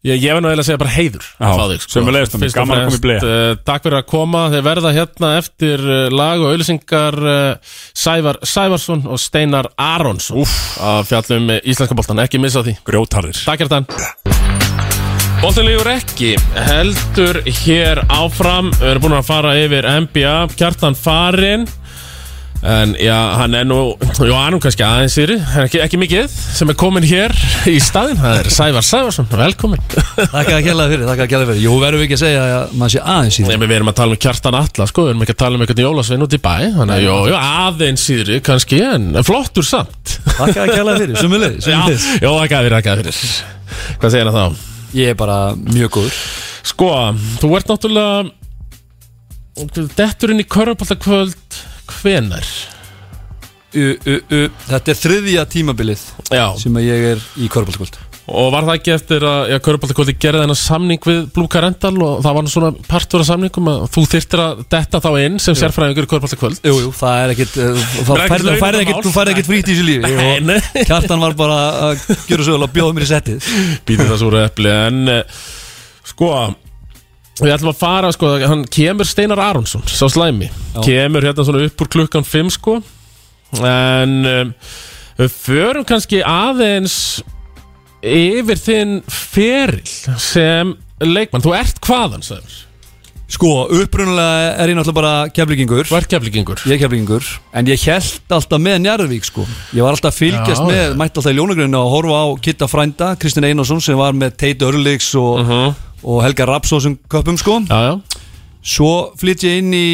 Speaker 1: Ég, ég verð nú eiginlega að segja bara heiður að fá þig, sko.
Speaker 2: sömuleiðis, Tommy.
Speaker 1: Fyrst og
Speaker 2: Gaman að koma í
Speaker 1: fremst,
Speaker 2: blea.
Speaker 1: eh, Takk fyrir að koma, þeir verða hérna eftir eh, lag og auðlýsingar eh, Sævar Sævarsson og Steinar Aronsson Úf. að fjallum eh, íslenska boltan, ekki missa því
Speaker 2: grjótarðir
Speaker 1: Takk Kjartan Boltin lífur ekki heldur hér áfram við erum búin að fara yfir NBA Kjartan farinn en já, hann er nú já, hann er nú kannski aðeins yfir ekki, ekki mikið sem er komin hér í staðinn það er Sævar Sævarsson, velkomin
Speaker 3: Þakka að kjalla fyrir, þakka að kjalla fyrir Jú, verðum við ekki að segja að maður sé aðeins í
Speaker 1: Nei,
Speaker 3: því
Speaker 1: við erum að tala um Kjartan Atla sko, við erum ekki að tala um eitthvað jólasvein út í bæ þannig að, jú, jú, aðeins yfir kannski en en flottur samt
Speaker 3: Þakka að kjalla fyrir, sumulegis
Speaker 1: Já, jú, það gæðir, það gæðir Hvað segir það þá?
Speaker 3: Ég er bara mjög góður
Speaker 1: Sko, þú ert náttúrulega Detturinn í Körbáltakvöld Hvenar?
Speaker 3: u, u, u. Þetta er þriðja tímabilið
Speaker 1: Já,
Speaker 3: sem að ég er í korfbóltkvöld
Speaker 1: og var það ekki eftir að Körbáltakvöldi gerði þennan samning við Blúka Rendal og það var nú svona partur af samningum að þú þyrftir að detta þá inn sem sérfræðingur í Körbáltakvöld
Speaker 3: Jú, jú, það er ekkit uh,
Speaker 1: Það er
Speaker 3: það
Speaker 1: ekkit
Speaker 3: færði- færði
Speaker 1: launamál.
Speaker 3: ekkit- Þú færði ekkit frýtt í þessu lífi Ég-
Speaker 1: En
Speaker 3: Kjartan var bara að gjöra svo vel að bjóða mér í settið
Speaker 1: býti það úr epli en eh, sko við ætlum að fara sko, hann kemur Steinar Aronsson, sá slæmi kemur hérna svona upp úr klukkan 5 sko en um, við förum kannski aðeins yfir þinn feril sem leikmann, þú ert hvaðan sagður,
Speaker 3: Sko, upprunalega er ég náttúrulega bara keflingingur
Speaker 1: þú ert keflingingur
Speaker 3: Ég er keflingingur En ég held alltaf með Njarðvík sko Ég var alltaf að fylgjast
Speaker 1: Já,
Speaker 3: með, mætti alltaf í ljónagrunni og horfa á Kitta Frænda, Kristinn Einarsson sem var með Tate Örlíks
Speaker 1: Mhm.
Speaker 3: og, og Helga Raps og þessum köpum sko
Speaker 1: Uh-huh. já, já,
Speaker 3: Svo flytt ég inn í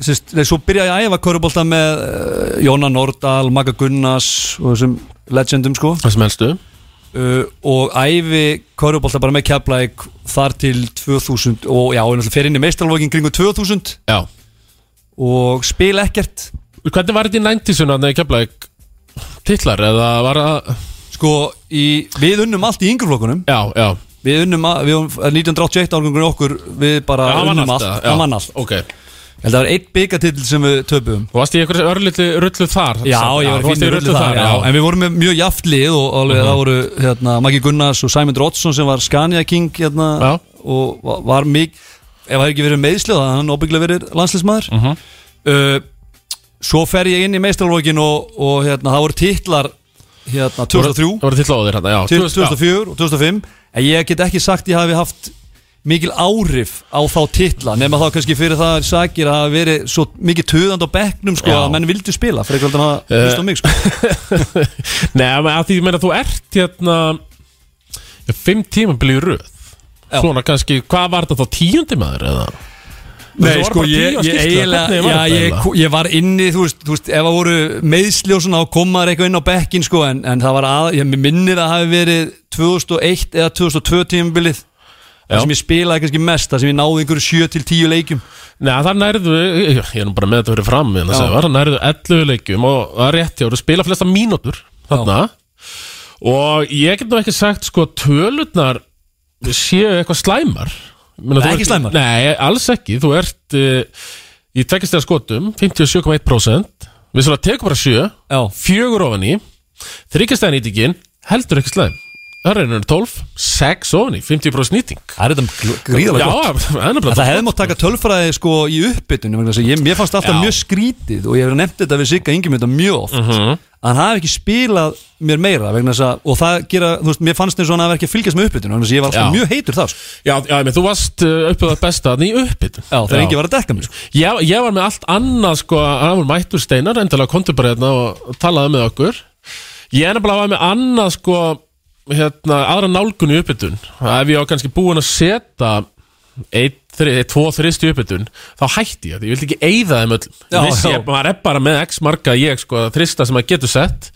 Speaker 3: sérst, nei, Svo byrja ég að æfa körubólta með uh, Jóna Nordal, Magga Gunnars og þessum legendum sko
Speaker 1: það sem helstu
Speaker 3: uh, og æfi körubólta bara með Keflæk þar til 2000 og já, ég náttúrulega fer inn í meistralvókin kringu 2000
Speaker 1: já.
Speaker 3: og spila ekkert
Speaker 1: hvernig var þetta í 90-suna þegar keflaðið titlar eða var það
Speaker 3: Sko, í, við unnum allt í yngreflokkunum
Speaker 1: já, já,
Speaker 3: Við unnum, að- við, eh, 1981 álgöngunum okkur Við bara
Speaker 1: Já, hann vann
Speaker 3: unnum allt
Speaker 1: allt, já.
Speaker 3: Hann vann allt
Speaker 1: ok
Speaker 3: Ég held að Það var einn byggatill sem við töpuðum
Speaker 1: Þú varst í einhverju örlítlu rullu þar
Speaker 3: Já, ég var
Speaker 1: þú varst
Speaker 3: fínt í rullu þar, já. En við vorum með mjög jaft lið og alveg, það voru hérna, Maggi Gunnars og Simon Drottsson sem var Scania King hérna,
Speaker 1: Já.
Speaker 3: og var, var mikið ef það hefði ekki verið meðslið það hann óbygglega verið landslismæður uh, Svo fer ég inn í meistralókin og, og hérna, það voru titlar hérna, 2003
Speaker 1: Það voru til loðir hérna, já
Speaker 3: til 2004 og 2005 en ég get ekki sagt ég hafi haft mikil áhrif á þá titla nema þá kannski fyrir það er sakir að hafa verið svo mikið töðand á bekknum sko,
Speaker 1: Já.
Speaker 3: að menn vildu spila fyrir eitthvað að hlusta á mig sko.
Speaker 1: Nei, menn, að því ég meina þú ert hérna já, Fimm tíma byrju röð
Speaker 3: Já.
Speaker 1: Svona kannski, hvað var þetta þá tíundi maður eða?
Speaker 3: Nei,
Speaker 1: Þú
Speaker 3: sko,
Speaker 1: var bara
Speaker 3: ég,
Speaker 1: tíu á
Speaker 3: ég
Speaker 1: skýrslu,
Speaker 3: eiginlega
Speaker 1: hvernig var
Speaker 3: já,
Speaker 1: þetta
Speaker 3: ég,
Speaker 1: eiginlega?
Speaker 3: ég var inni, þú veist, þú veist ef það voru meiðsli og svona þá kom maður eitthvað inn á bekkin sko, en, en það var að, ég mig minnir að hafi verið 2001 eða 2002 tímabilið
Speaker 1: Já.
Speaker 3: það sem ég spilaði kannski mest, það sem ég náði einhverju 7 til 10 leikjum
Speaker 1: Nei, það nærðu, ég ég er nú bara með þetta fyrir fram en það var, það nærðu 11 leikjum og það er rétt hjá, þú spila flesta mínútur þarna og ég get nú ekki sagt sko tölurnar séu eitthvað slæmar Meina,
Speaker 3: Nei,
Speaker 1: þú
Speaker 3: ekki
Speaker 1: ert-
Speaker 3: slæmar.
Speaker 1: Nei, alls ekki, þú ert uh, í tekistega skotum, 57,1% við svona tekum bara 7
Speaker 3: Já.
Speaker 1: fjögur ofan í þryggjastega nýtingin, heldur ekki slæm það er einhvern 12, 6 ofan í 50% nýting
Speaker 3: Það er þetta gríðalega gott
Speaker 1: Já, það er
Speaker 3: En
Speaker 1: nefnilega
Speaker 3: það hefði mátt taka tölfræði sko í uppbytunum vegna þess að ég, mér fannst alltaf
Speaker 1: Já.
Speaker 3: mjög skrítið og ég hef nefnt þetta við Sigga Ingemynda mjög oft
Speaker 1: Mhm.
Speaker 3: að hann hafi ekki spilað mér meira vegna þess að, og það gera, þú veist, mér fannst eins og hann hafi ekki að fylgjast með uppbytunum vegna þess að ég var alltaf
Speaker 1: Já.
Speaker 3: mjög heitur þá sko.
Speaker 1: Já, já menn, þú varst uh, uppið það besta þannig í uppbytun
Speaker 3: Já, það er ekki var að dekka mér sko.
Speaker 1: ég, ég var með allt annað sko hann var mættur steinar, endalega komdu bara hérna og talaði með okkur ég er nefnilega var með annað sko hérna, aðra nálgun í uppbytun ef ég var kannski búin að setja einn, þri, einn, tvo, þrist í uppbytun þá hætti ég, því ég vildi ekki eyða þeim öllum
Speaker 3: Já,
Speaker 1: já, vissi,
Speaker 3: já.
Speaker 1: Ég, maður er bara með x marga ég sko, þrista sem maður getur sett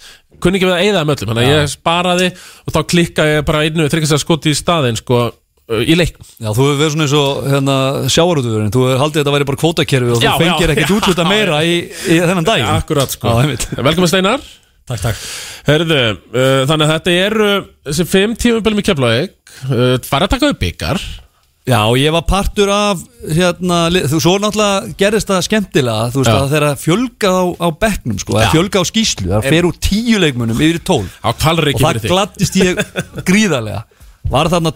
Speaker 1: kunni ekki við að eyða þeim öllum, þannig að ég sparaði og þá klikkaði ég bara einu þryggast að skoti í staðinn sko, uh, í leiknum
Speaker 3: Já, þú hefur verið svona eins og hérna, sjáarútuvörinn, þú hefur haldið að þetta væri bara kvótakerfi og
Speaker 1: Já,
Speaker 3: þú fengir
Speaker 1: já,
Speaker 3: ekkert
Speaker 1: já.
Speaker 3: útluta meira í, í þennan dag
Speaker 1: Akkurat sko
Speaker 3: Já, einmitt.
Speaker 1: Velkomin Steinar
Speaker 4: Takk, takk
Speaker 1: Herðu, uh, þannig að þetta eru þessi fimm tímumbilum í Keflavík uh, fara að taka upp ykkar
Speaker 3: Já, ég var partur af hérna, li- þú svo náttúrulega gerðist það skemmtilega þú veist
Speaker 1: Já.
Speaker 3: að þeirra fjölga á, á bekknum sko, það
Speaker 1: Já.
Speaker 3: fjölga á skýslu, það fer úr tíu leikmunum yfir í tól
Speaker 1: á
Speaker 3: og
Speaker 1: kvalriki
Speaker 3: það gladdist ég gríðarlega var þarna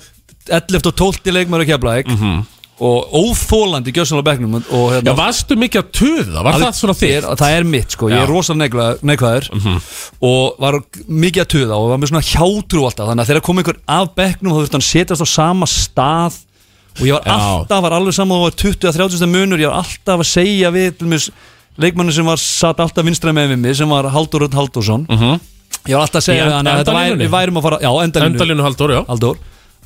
Speaker 3: 11 og 12 leikmur að kefla mm -hmm. og óþólandi gjössan á bekknum og
Speaker 1: Mhm. Já,
Speaker 3: hérna
Speaker 1: varstu mikið að tuða, var það svona þig?
Speaker 3: er, það er mitt sko, ég
Speaker 1: Já. Mhm.
Speaker 3: er rosalega neikvæður og var mikið að tuða og var með svona hjátrú alltaf þannig að þegar kom einhver af bekknum þá þurfti hann setjast á sama stað og ég var
Speaker 1: Já.
Speaker 3: alltaf, var alveg saman og var 20-30 munur, ég var alltaf að segja við til mér leikmannu sem var satt alltaf vinstra með mig sem var Haldur Rönd Haldursson ég var alltaf að segja
Speaker 1: Mhm. Í
Speaker 3: við hann að þetta væri,
Speaker 1: endalínunni?
Speaker 3: við værum að fara já, endalínu,
Speaker 1: Endalínu Halldór, já
Speaker 3: Haldur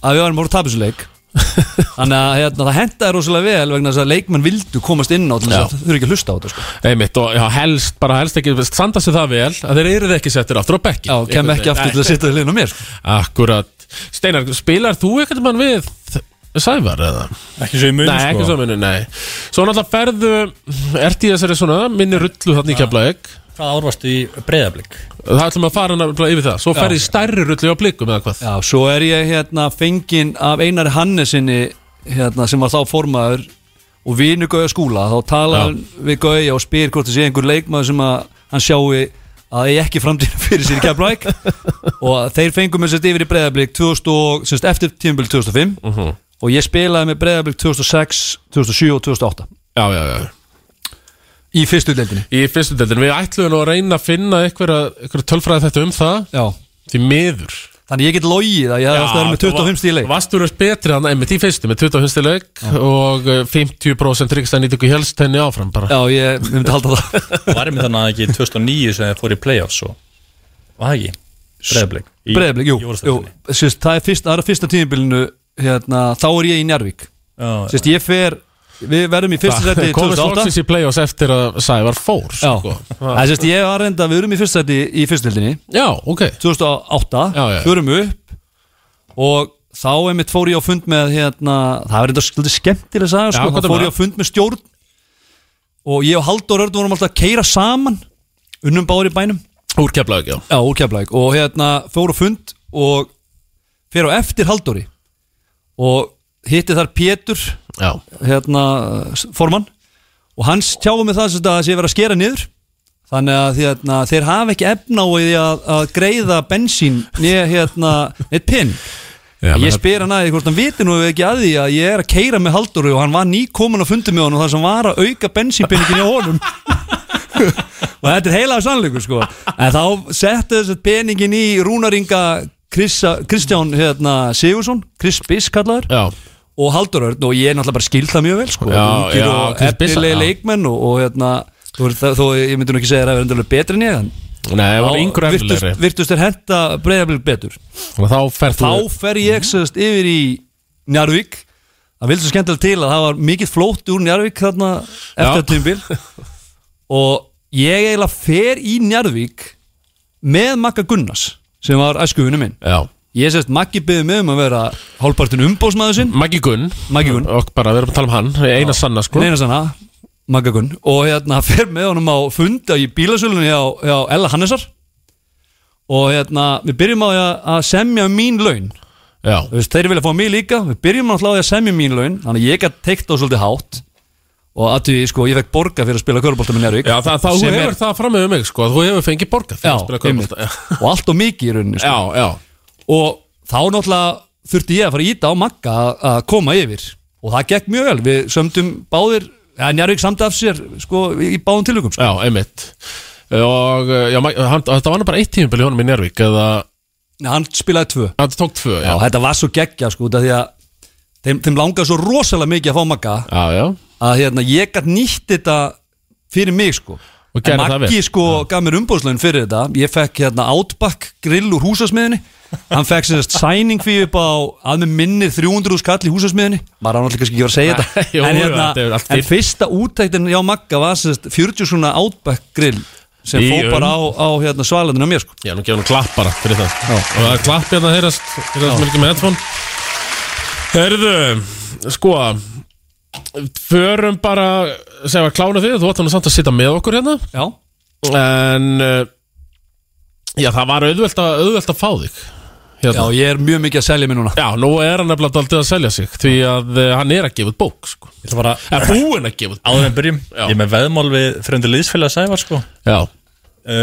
Speaker 3: að við varum að tapa þessu leik þannig að hérna, það hendaði rosalega vel vegna þess að leikmenn vildu komast inn á til þess að þau eru ekki að hlusta á þetta sko.
Speaker 1: Einmitt, og já, helst, bara helst ekki, veist, standa sig það vel að þeir eru ekki settir aftur á bekki
Speaker 3: já, kem ekki aftur til að sitja liðin á mér sko.
Speaker 1: Akkurat Steinar, spilar þú ekkert mann við Sævar eða?
Speaker 2: Ekki svo í mun, sko.
Speaker 1: Nei, ekki svo minni, nei Svo náttúrulega ferðu, ert í þessari svona minni rullu þarna í Keflavík
Speaker 4: Hvað árvastu í breyðablík?
Speaker 1: Það ætlum að fara nefnilega yfir það Svo ferði í stærri rullu á blikum eða hvað
Speaker 3: já, svo er ég hérna fenginn af Einari Hannesinni hérna, sem var þá formaður og vinu Gauja skúla þá tala hann við Gauja og spyr hvort það sé einhver leikmaður sem að hann sjáu að ég ekki framtíðin fyrir sér í Keflæk og þeir fengum mér sérst yfir í Breiðablík 2000 og- sem sagt eftir tímbil 2005 og ég spilaði með Breiðablík 2006, 2007 og 2008
Speaker 1: Já, já, já
Speaker 3: í fyrstu deildinni
Speaker 1: Í fyrstu deildin, við ætlum nú að reyna að finna eitthvað tölfræði þetta um það
Speaker 3: Já.
Speaker 1: Því miður
Speaker 3: þannig ég get logið að ég hef alltaf verið með 25 stíð leik
Speaker 1: Vastu verið betri hann einmitt í fyrstu með 25 stíð leik og eh, 50% ríkstæðnýtingu helst henni áfram bara
Speaker 3: já ég ég myndi halda það
Speaker 4: Varum við þannig að ekki 2009 sem þið fór í playoffs og Var það ekki? Breyðablík
Speaker 3: Breiðablik, jú, jú
Speaker 4: Jórastöldinni
Speaker 3: sérst, það, er fyrst, það er á fyrsta tíðinbílinu hérna, þá er ég í Njarvík
Speaker 4: Já,
Speaker 3: sérst, ég fer, við verðum í fyrsta seti
Speaker 1: komið
Speaker 3: 2008
Speaker 1: slóksins í play-offs eftir að Sævar fór
Speaker 3: Já,
Speaker 1: sko.
Speaker 3: það sérst, ég var reynda, við erum í fyrsta seti í fyrstildinni
Speaker 1: já, ok
Speaker 3: 2008,
Speaker 1: Já, já, já.
Speaker 3: förum upp og þá einmitt fór ég á fund með hérna, það var reynda svolítið skemmtileg saga,
Speaker 1: Já,
Speaker 3: sko,
Speaker 1: hvað
Speaker 3: þá
Speaker 1: er
Speaker 3: fór
Speaker 1: það?
Speaker 3: ég á fund með stjórn og ég og Halldór Örn vorum alltaf að keira saman unnum báður í bænum
Speaker 1: úr keflaug, já
Speaker 3: Já, úr Keflæk og hérna fór á fund og fyrir á eftir Halldóri og hitti þar Pétur
Speaker 1: já,
Speaker 3: hérna s- formann og hans tjáum með það sem þetta sé verið að skera niður þannig að hérna, þeir hafa ekki efna á því að, að greiða bensín nýja hérna eitt pinn
Speaker 1: já
Speaker 3: ég spyr hann aðeins hvort hann viti nú ekki að því að ég er að keira með Halldóri og hann var nýkomin að fundi með honum þar sem var að auka bensínpinningin í honum og þetta er heilaður sannleikur sko en þá settu þessi peningin í rúnaringa Krissa, Kristján hérna, Sigursson, Chris Biss kallaður
Speaker 1: já,
Speaker 3: og Haldur Örn og ég er náttúrulega bara skil það mjög vel sko,
Speaker 1: Já,
Speaker 3: Ungir
Speaker 1: já,
Speaker 3: og
Speaker 1: Chris Biss,
Speaker 3: efnilegi
Speaker 1: já.
Speaker 3: leikmenn og, og hérna Þú veist það, þó ég myndi nú ekki segja þér að það er endurlega betri en ég en
Speaker 1: nei, það var
Speaker 3: þá
Speaker 1: yngur
Speaker 3: virtust,
Speaker 1: efnilegri
Speaker 3: virtust er henta breyðablið betur
Speaker 1: og þá fer þú Mhm.
Speaker 3: Þá fer ég sérst yfir í Njarvík Það vildi svo skemmtilega til að það var mikið flótt úr Njarvík þarna eftir
Speaker 1: Já.
Speaker 3: að tímbil Og ég eiginlega fer í Njarvík með Magga Gunnars sem var æskuðunum minn
Speaker 1: já,
Speaker 3: Ég sérst Maggi byggði mig um að vera hálfpartin umbósmaður sinn
Speaker 1: Maggi Gunn
Speaker 3: Maggi Gunn,
Speaker 1: og bara, við erum að tala um hann, eina sanna sko
Speaker 3: neina sanna Magga Gunn og hérna fer með honum á funda í bílasölunni hjá, hjá Ella Hannesar og hérna við byrjum á því að að semja um mín laun
Speaker 1: já,
Speaker 3: Þú veist, þeir vilja fá mig líka, við byrjum náttúrulega á því að semja mín laun Þannig að ég gætt teikt á svolítið hátt Og að því, sko, ég fekk borga fyrir að spila körbólta með Njárvík
Speaker 1: já það, það, þú
Speaker 3: Sem
Speaker 1: hefur
Speaker 3: er-
Speaker 1: það fram með mig sko, að þú hefur fengið borgað
Speaker 3: Já,
Speaker 1: fyrir að spila
Speaker 3: einmitt.
Speaker 1: körfubolta.
Speaker 3: Og allt og mikið í rauninni sko.
Speaker 1: já, já,
Speaker 3: Og þá náttúrulega þurfti ég að fara að íta á Magga að- að koma yfir Og það gekk mjög vel, við sömdum báðir ja, Njárvík samt af sér, sko, í báðum tilugum sko.
Speaker 1: já, einmitt og eh, já, Mag- hann, þetta var hann bara eitt tímubili honum í Njárvík eða
Speaker 3: Hann spilaði tvö
Speaker 1: hann tók tvö, já,
Speaker 3: Já, þetta var svo geggja, sko, út af því að Þeim, þeim langaði svo rosalega mikið að fá Magga
Speaker 1: já, já.
Speaker 3: að hérna, ég gætt nýtt þetta fyrir mig sko
Speaker 1: Og gerði
Speaker 3: En
Speaker 1: það
Speaker 3: Maggi
Speaker 1: vel.
Speaker 3: sko gaf mér umbóðslaun fyrir þetta ég fekk hérna Outback grill úr húsasmiðinni hann fekk sérst sæning fyrir upp á að með minni 300 skall í húsasmiðinni maður á náttúrulega kannski ekki verið að segja þetta
Speaker 1: Jú,
Speaker 3: en,
Speaker 1: þetta er
Speaker 3: hérna,
Speaker 1: allt fínt.
Speaker 3: en fyrsta úttæktin hjá Magga var sérst 40 svona Outback grill sem
Speaker 1: Í
Speaker 3: fór
Speaker 1: um.
Speaker 3: bara á, á hérna, svalandinu á mér sko
Speaker 1: Já, nú gefum við klapp bara fyrir það sko. Og það er klapp hérna að heyrast Heyrast mjög ekki með headphone Herðu, sko Förum bara Segja að klána þig, þú ætti hann samt að sitja með okkur hérna
Speaker 3: já,
Speaker 1: En uh, Já, það var auðvelt að, auðvelt að fá þig
Speaker 3: Já,
Speaker 1: hérna. já,
Speaker 3: ég er mjög mikið að selja mér núna
Speaker 1: nú er hann nefnilega daldið að selja sig Því að eh, hann er að gefa út bók sko.
Speaker 4: Ég ætla bara
Speaker 1: Er búinn að gefa út bók
Speaker 4: áður en byrjum
Speaker 1: Já.
Speaker 4: Ég er með veðmál við fremdi liðsfélag Sævar sko
Speaker 1: Já,
Speaker 4: uh,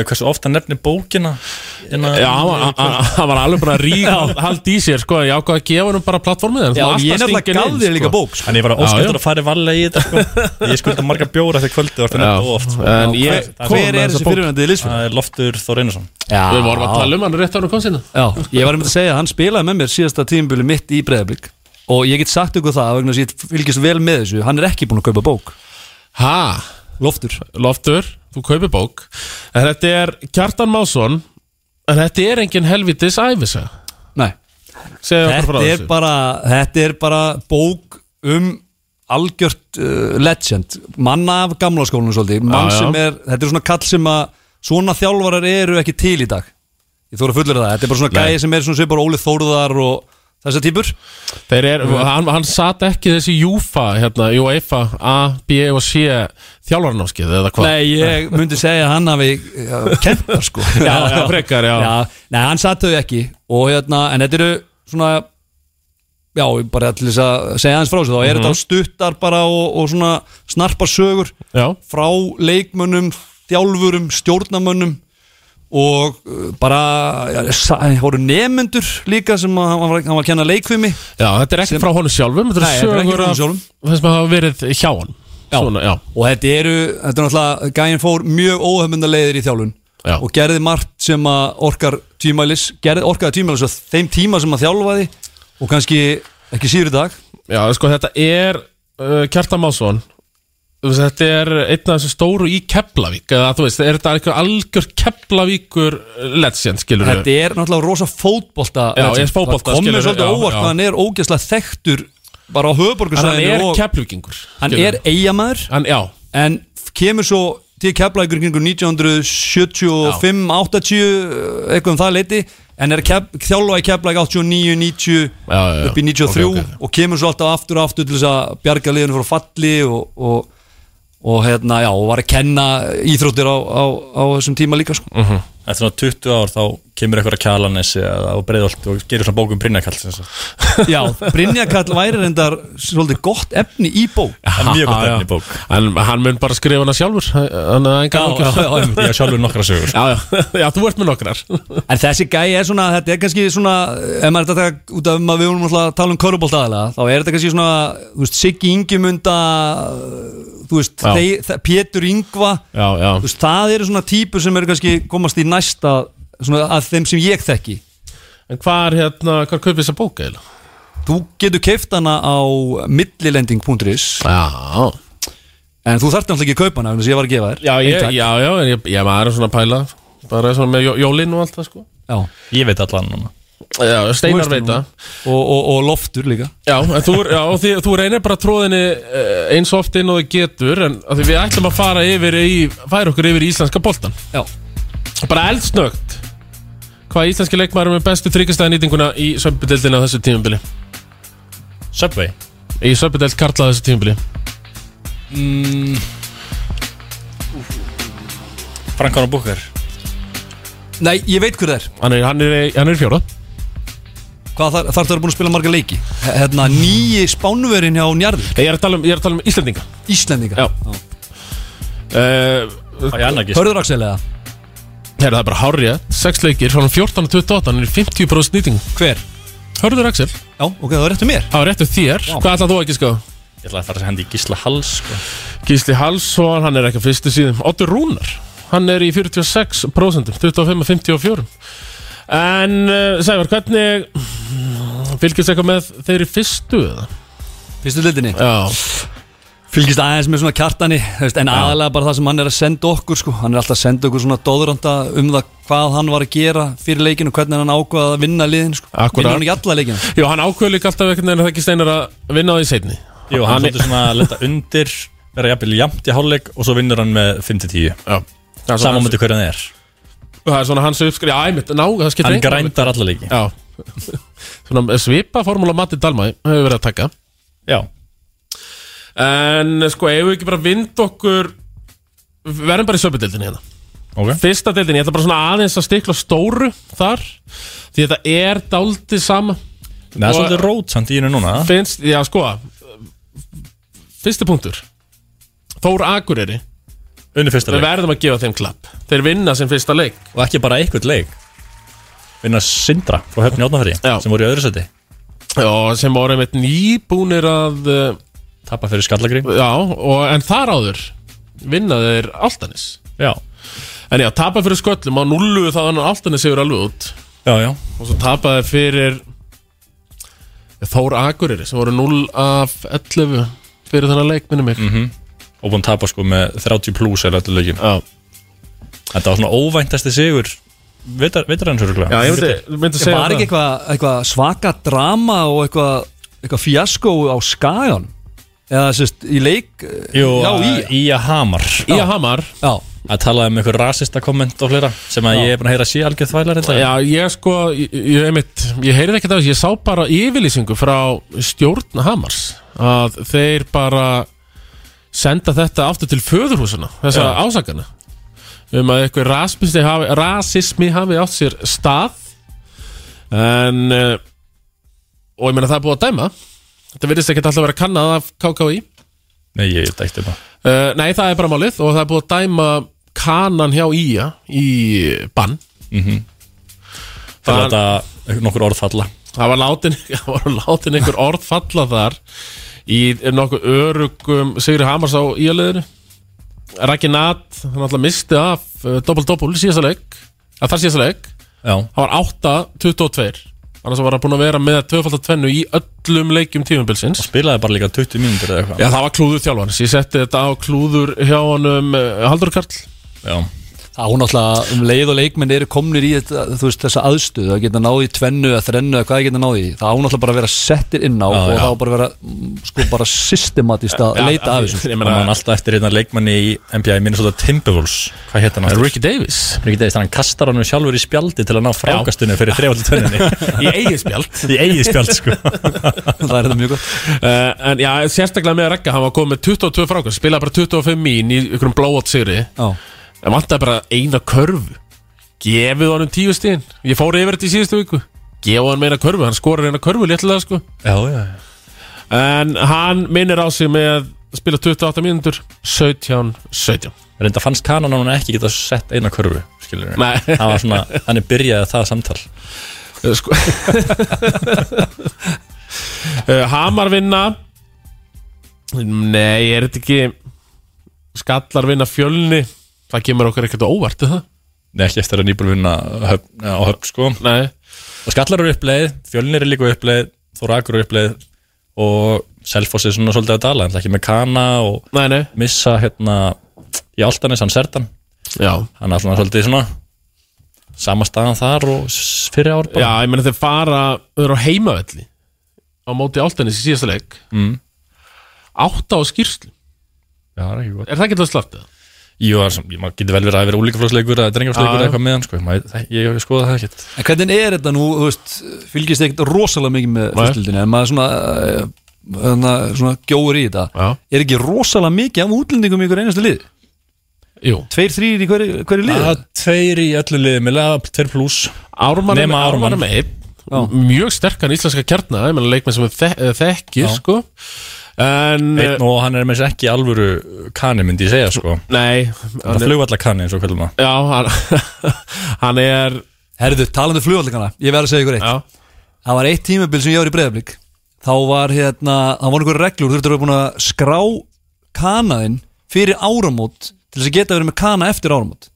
Speaker 4: Hversu ofta nefnir bókina innan,
Speaker 1: já hann, var- hann, hann var alveg bara rík Hald í sér, sko, ég ákvað að gefa hann bara plattformið en
Speaker 3: Já,
Speaker 1: þú varst að
Speaker 3: ég er nefnilega
Speaker 1: stinga
Speaker 3: gaf
Speaker 1: inn,
Speaker 3: þér líka
Speaker 1: sko.
Speaker 3: bók sko.
Speaker 4: En ég var að
Speaker 1: Já,
Speaker 4: óskættur
Speaker 1: já.
Speaker 4: að fara í valega í þetta sko Ég skulda marga bjóra þegar kvöldi var
Speaker 1: Já.
Speaker 4: fyrir oft sko.
Speaker 1: En ég-
Speaker 4: það
Speaker 1: kom með
Speaker 3: Hver er
Speaker 1: þessa
Speaker 3: þessi
Speaker 1: bók.
Speaker 3: fyrirvændið í liðsfélag?
Speaker 4: Það er Loftur Þór Einarsson
Speaker 1: Við vorum að tala um hann rétt ára og kom sinna
Speaker 3: Já, ég var um að segja að hann spilaði með mér síðasta tímabili mitt í Breiðablík og ég get sagt ykkur það vegna þess að ég fylgist vel með þessu hann er ekki búin að kaupa bók
Speaker 1: Ha,
Speaker 3: Loftur
Speaker 1: Loftur, þú kaupir bók En þetta er Kjartan Másson En þetta er engin helvitis æfisa
Speaker 3: Nei,
Speaker 1: Segðu okkur frá
Speaker 3: þetta er,
Speaker 1: þessu
Speaker 3: bara, þetta er bara bók um algjört uh, legend manna af gamla skólanum svolítið mann
Speaker 1: Já, já.
Speaker 3: sem er, þetta er svona kall sem að svona þjálfarar eru ekki til í dag ég þóra fullur það, þetta er bara svona
Speaker 1: Nei.
Speaker 3: gæi sem er svona svipar Óli Þórðar og þessa típur
Speaker 1: Þeir er,
Speaker 3: Mm.
Speaker 1: hann, hann sat ekki þessi Júfa, hérna, Júfa, A, B og C Þjálfarnámskið eða hvað
Speaker 3: Nei, ég myndi segja að hann hafi kentar sko
Speaker 1: Já, já, frekar, já.
Speaker 3: Nei, hann satt þau ekki og hérna, en þetta eru svona já, bara til þess að segja hans frá sig þá er
Speaker 1: Mhm.
Speaker 3: þetta stuttar bara og, og svona snarpar sögur
Speaker 1: Já,
Speaker 3: frá leikmönnum, þjálfurum stjórnamönnum og uh, bara já, sa- voru nemyndur líka sem að, hann, var, hann var að kenna leikfimi
Speaker 1: já, þetta er ekki frá honum sjálfum Þetta
Speaker 3: Nei,
Speaker 1: er
Speaker 3: þetta er ekki
Speaker 1: sögur
Speaker 3: frá honum
Speaker 1: af
Speaker 3: sjálfum.
Speaker 1: þess að hafa verið hjá hann
Speaker 3: Já.
Speaker 1: Svona, já,
Speaker 3: og þetta eru, þetta er náttúrulega gæin fór mjög óhefmynda leiðir í þjálfun
Speaker 1: Já.
Speaker 3: og gerði margt sem að orkar tímælis, gerði orkaði tímælis á þeim tíma sem að þjálfaði og kannski ekki síður í dag
Speaker 1: já, sko, þetta er uh, Kjartan Másson Þetta er einn af þessu stóru í Keflavík eða þú veist, er þetta einhver algjör Keflavíkur uh, legend, skilur
Speaker 3: þetta er náttúrulega rosa fótbolta
Speaker 1: Já, ég er fótbolta,
Speaker 3: það komur
Speaker 1: skilurðu, já,
Speaker 3: svolítið óvart
Speaker 1: já.
Speaker 3: hvað hann er ógeðslega þekktur bara á
Speaker 1: En hann er
Speaker 3: höfuborgarsæðinu og
Speaker 1: keflugingur
Speaker 3: hann er eigamæður
Speaker 1: hann, Já,
Speaker 3: en f- kemur svo til keflækur kringu 1975-80 eitthvað um það leiti en er kef, þjálfa í keflæk 89-90
Speaker 1: Já, já, já.
Speaker 3: upp í 93
Speaker 1: Ok, ok.
Speaker 3: og kemur svo alltaf aftur og aftur til þess að bjarga liðinu frá falli og, og, og hérna já og var að kenna íþróttir á, á, á þessum tíma líka sko.
Speaker 4: Eftir svona 20 ár þá kemur eitthvað að kjalanessi eða á breiðolt og gerir svona um bókum Brynjakall sem sagt.
Speaker 3: já, Brynjakall væri reyndar svolítið gott efni í bók
Speaker 4: Það er mjög gott
Speaker 1: Ha,
Speaker 4: efni
Speaker 1: já.
Speaker 4: í bók
Speaker 1: En hann mun bara skrifa hana sjálfur Þannig að enga ákjör já,
Speaker 4: Ég hef sjálfur nokkra sögur
Speaker 1: já, já, þú ert með nokkrar
Speaker 3: En þessi gæi er svona, þetta er kannski svona ef maður er þetta taka út af um að við vorum náttúrulega að tala um körubólt aðalega, þá er þetta kannski svona þú veist, Siggi Ingemunda uh, þú veist,
Speaker 1: Já.
Speaker 3: þeir, þe- Pétur Ingva
Speaker 1: Já, já,
Speaker 3: þú veist, það eru svona típur sem eru kannski komast í næsta svona að þeim sem ég þekki
Speaker 1: en hvað er hérna Hvað kaupið þessa bók eða?
Speaker 3: Þú getur keift hana á millilending.is
Speaker 1: Já,
Speaker 3: en þú þarft náttúrulega ekki að kaupa hana, vegna þess að ég var að gefa þér
Speaker 1: já, ég,
Speaker 3: Eintak.
Speaker 1: já, já, en ég, ég maður er svona að pæla Bara svona með jó, jólinn og allt það sko
Speaker 3: Já.
Speaker 4: Ég veit allan núna
Speaker 1: Já,
Speaker 3: Þú
Speaker 1: Steinar
Speaker 3: veist það
Speaker 1: veit
Speaker 3: núna.
Speaker 1: það
Speaker 3: og, og, og loftur líka
Speaker 1: Já, en þú, já, og því, þú reynir bara tróðinni eh, eins oft inn og þú getur En af því við ætlum að fara yfir í Færa okkur yfir í íslenska boltan
Speaker 3: Já,
Speaker 1: bara eldsnögt hvað íslenski leikmaður er með bestu þryggastæðanýtinguna í söpbudildinu á þessu tímubili
Speaker 4: Subway
Speaker 1: í söpbudild karla á þessu tímubili
Speaker 4: Frank Arnold Booker
Speaker 3: nei, ég veit hver það er
Speaker 1: hann er, hann er, hann er fjóra
Speaker 3: Hvað þar, þar það eru búin að spila marga leiki? H- Hérna, nýji spánverin hjá Njarðvík
Speaker 1: ég er að tala um, ég er að tala um Íslendinga
Speaker 3: Íslendinga
Speaker 1: já uh,
Speaker 4: Það er annað ekki
Speaker 3: Hörður Axel eða?
Speaker 1: Heyrðu, það er bara hárja, sex leikir frá hann 14 og 28, hann er í 50% nýting
Speaker 3: Hver?
Speaker 1: Hörður Axel,
Speaker 3: Já, ok, það er réttu mér
Speaker 1: það var réttu þér Hvað ætlað þú ekki sko?
Speaker 4: Ég ætla að fara að hendi í Gísla Hals sko.
Speaker 1: Gísli Hallsson, hann er ekki á fyrstu síðum Otur Rúnar, hann er í 46% 25-54 En uh, Sævar, hvernig fylgist eitthvað með þeirri fyrstu eða?
Speaker 3: Fyrstu lildinni
Speaker 1: Já,
Speaker 3: Fylgist aðeins með svona kjartani þú veist, En aðalega bara það sem hann er að senda okkur sko. Hann er alltaf að senda okkur svona dóðranda Um það hvað hann var að gera fyrir leikinu Hvernig hann ákvaða að vinna liðin sko.
Speaker 1: Akkúrat.
Speaker 3: Vinnur hann ekki alla leikina
Speaker 1: Jú, hann ákveður líka alltaf einhvern veginn að það ekki steinar að vinna á því seinni
Speaker 4: Jú, hann
Speaker 1: Hann er-
Speaker 4: er svona að leta undir vera jafnvel jæmt í hálfleik og svo vinnur hann með 5-10
Speaker 1: Já Það er
Speaker 4: Saman
Speaker 1: svona,
Speaker 4: myndi hverja hann er
Speaker 1: það er svona hans uppskrið Já, einmitt, ná, það skiptir
Speaker 4: Hann
Speaker 1: engu máli.
Speaker 4: grændar alla leiki
Speaker 1: Já Svona eh, svipa formúla Matti Dalmæ hefur verið að taka eh,
Speaker 4: Já
Speaker 1: En sko, ef við ekki bara vind okkur Verðum bara í söpudildinni hérna
Speaker 4: Ok.
Speaker 1: Fyrsta deildin, ég ætla bara svona aðeins að stikla á stóru þar Því þetta er daldið sama
Speaker 4: Nei, það er
Speaker 1: Og-
Speaker 4: svolítið rót samt í hennu núna
Speaker 1: Finnst, já sko Fyrsti punktur Þór Akureyri,
Speaker 4: Unni fyrsta
Speaker 1: við
Speaker 4: leik
Speaker 1: verðum að gefa þeim klapp Þeir vinna sem fyrsta leik
Speaker 4: Og ekki bara einhvern leik Vinna Sindra frá höfni átnafæri
Speaker 1: Já.
Speaker 4: Sem voru í öðru seti
Speaker 1: Já, sem voru einmitt nýbúnir að uh,
Speaker 4: Tappa fyrir skallagri
Speaker 1: Já, og, en þar áður vinna þeir Altanis
Speaker 4: Já,
Speaker 1: En já, tapa fyrir sköllum á nullu þá þannig að Altanis hefur alveg út
Speaker 4: já, já
Speaker 1: Og svo tapa þeir fyrir Þór Akureyri sem voru 0 af 11 fyrir þennan leik, minni mig
Speaker 3: Mhm.
Speaker 4: Og búin að tapa sko með 30 plus eða öllu leikin
Speaker 1: Já,
Speaker 4: Þetta var svona óvæntasti sigur Vitaransöruglega
Speaker 1: já ég myndi, myndi segja
Speaker 3: Var ekki eitthvað, eitthvað svaka drama og eitthvað, eitthvað fjasko á skagan eða sérst í leik
Speaker 4: Jú,
Speaker 3: já, í,
Speaker 4: Ía Hamar
Speaker 1: Ía Hamar,
Speaker 3: já,
Speaker 4: Að talaði um einhver rasista komment og fleira Sem að ég er búin að heyra að sé algjörð þvælar þetta
Speaker 1: já, ég sko ég, ég, einmitt, ég heyrði ekkert af þessu, ég sá bara yfirlýsingu frá stjórn Hamars að þeir bara senda þetta aftur til föðurhúsuna þessa
Speaker 4: Já.
Speaker 1: ásakana um að eitthvað rasismi hafi, rasismi hafi átt sér stað en eh, og ég meina það er búið að dæma þetta virðist ekkert alltaf að vera kannað af KKI
Speaker 4: Nei, ég veit ekkert um það
Speaker 1: Uh, nei, það er bara málið og það er búið að dæma kanan hjá Ía í bann
Speaker 4: Það
Speaker 1: það,
Speaker 4: er þetta nokkur orð falla
Speaker 1: það var látin, það var látin einhver orð falla þar í nokkuð örugum Sigri Hamars á Ía-leðinu Raki Nat, hann alltaf misti af uh, doppel-doppel síðasta leik að þar síðasta leik,
Speaker 4: Já,
Speaker 1: það var 8-22 annars var hann búin að vera með tvöfaldar tvennu í öllum leikjum tífumbilsins
Speaker 4: spilaði bara líka 20 mínútur eða eitthvað
Speaker 1: Já, það var klúður þjálfans, ég setti þetta á klúður hjá honum uh, Haldur Karl
Speaker 4: Já.
Speaker 3: það hún alltaf um leið og leikmenn eru komnir í þetta, þú veist, þessa aðstöð að geta náði tvennu eða þrennu eða hvað geta náði það hún alltaf bara að vera settir inn á
Speaker 4: Já,
Speaker 3: og
Speaker 4: já.
Speaker 3: þá bara vera mm, sko bara systematist að
Speaker 1: Já,
Speaker 3: leita
Speaker 1: af
Speaker 3: af
Speaker 1: því-
Speaker 3: þessu
Speaker 1: ég
Speaker 4: Það
Speaker 1: meina-
Speaker 4: man alltaf eftir hérna leikmanni í NBA Minnesota Timberwolves Hvað hétt hann aftur?
Speaker 1: Ricky Davis
Speaker 4: Ricky Davis, þannig að hann kastar hann sjálfur í spjaldi til að ná frákastunni fyrir þrefaldi tönninni
Speaker 1: í eigið spjald
Speaker 4: Í eigi spjald sko
Speaker 3: það er þetta mjög gott
Speaker 1: uh, En já, sérstaklega með Rekka, hann var komið með 22 frákast Spilaði bara 25 mín í ykkurum blowout sigri
Speaker 3: já.
Speaker 1: En vantaði bara eina körfu Gefið honum 10 stíðin Ég fór yfir þetta í síðustu viku Gefið honum eina körfu, hann skorar eina körfu léttilega sko
Speaker 4: Já, já,
Speaker 1: En hann minnir á sig með að spila 28 mínútur 17, 17
Speaker 4: Reynda fannst kanan hann ekki geta sett eina körfu skilur við
Speaker 1: Nei,
Speaker 4: Það var svona, hann er byrjaði það samtal
Speaker 1: sko uh, Hamar vinna Nei, er þetta ekki Skallar vinna fjölni Það kemur okkur ekkert á óvart er það?
Speaker 4: Nei, ekki eftir að nýbúl vinna höfn, á höfn sko
Speaker 1: Nei,
Speaker 4: Og skallar eru uppleið, fjölnir eru líka uppleið Þórakur eru uppleið og Selfoss er svona svolítið að dala en það ekki með kana og
Speaker 1: nei, nei
Speaker 4: missa hérna í Altanis, hann Sertan
Speaker 1: Já,
Speaker 4: hann er svona svolítið svona sama staðan þar og s- fyrir ár
Speaker 1: Já
Speaker 4: bara
Speaker 1: ég meina þeir fara Þau eru á heimavelli Á móti áltanis í síðasta leik
Speaker 4: Mm.
Speaker 1: Átta á skýrslu
Speaker 4: Já, það er ekki gott
Speaker 1: Er það ekki það slaftið?
Speaker 4: Jú, það er sem- ég- maður getur vel verið að það vera úlíkaflóksleikur eða drengjaflóksleikur
Speaker 1: Já,
Speaker 4: eða
Speaker 1: já.
Speaker 4: eitthvað með hann sko. maður, það, ég hef skoðað það ekkert
Speaker 3: En hvernig er þetta nú, þú veist, fylgist ekkert rosalega mikið með fyrstildinni, en maður svona, eh, svona, svona gjóður í þetta.
Speaker 1: Já.
Speaker 3: Er ekki rosalega mikið af útlendingum í hverju einastu lið?
Speaker 1: Jú
Speaker 3: Tveir, þrýr í hverju, hverju lið?
Speaker 4: Það er tveir í öllu liði, með lega tveir pluss
Speaker 1: Ármann er
Speaker 4: Nema
Speaker 1: með, Ármann
Speaker 4: Ármann.
Speaker 1: er með einn,
Speaker 3: Já.
Speaker 1: Mjög sterkan íslenska kjarna Ég meina leikmenn sem við þek þekkir
Speaker 4: Já.
Speaker 1: sko. En
Speaker 4: einn og hann er með þess ekki alvöru kani myndi ég segja sko
Speaker 1: eh, Nei
Speaker 4: það
Speaker 1: hann er,
Speaker 4: flugvalla kani eins og kvöldum að
Speaker 1: Já, hann, hann er
Speaker 3: Herðu, talandi flugvallikana, ég verð að segja ykkur eitt.
Speaker 1: Já,
Speaker 3: Það var eitt tímabil sem ég var í breyðablík. Þá var hérna, það var einhver reglur, þú þurftur að vera búin að skrá kanaðinn fyrir áramót til þess að geta verið með kana eftir áramót.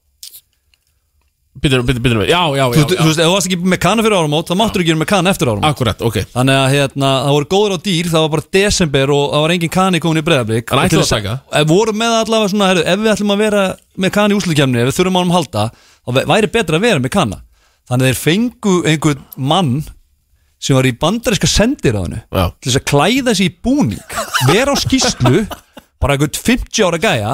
Speaker 1: býtum við, býtum við Já, já,
Speaker 3: Þú
Speaker 1: já,
Speaker 3: þú- þú
Speaker 1: já.
Speaker 3: veist, ef þú varst ekki með kana fyrir áramót, þá máttur ekki verið með kana eftir áramót.
Speaker 1: Akkurat, ok
Speaker 3: Þannig að hérna, það voru góður á dýr, það var bara desember og það var engin kani komin í breðablík
Speaker 1: En ætlaðu að taka?
Speaker 3: Ef voru Eh, með allavega svona, heru, ef við ætlum að vera með kani í úslutkemni, ef við þurfum á hann að halda þá væ- væri betra að vera með kana Þannig að þeir fengu einhvern mann sem var í bandaríska sendiráðinu
Speaker 1: Já.
Speaker 3: til þess að klæða sig í búning vera á skýslu, bara einhvern 50 ára gæja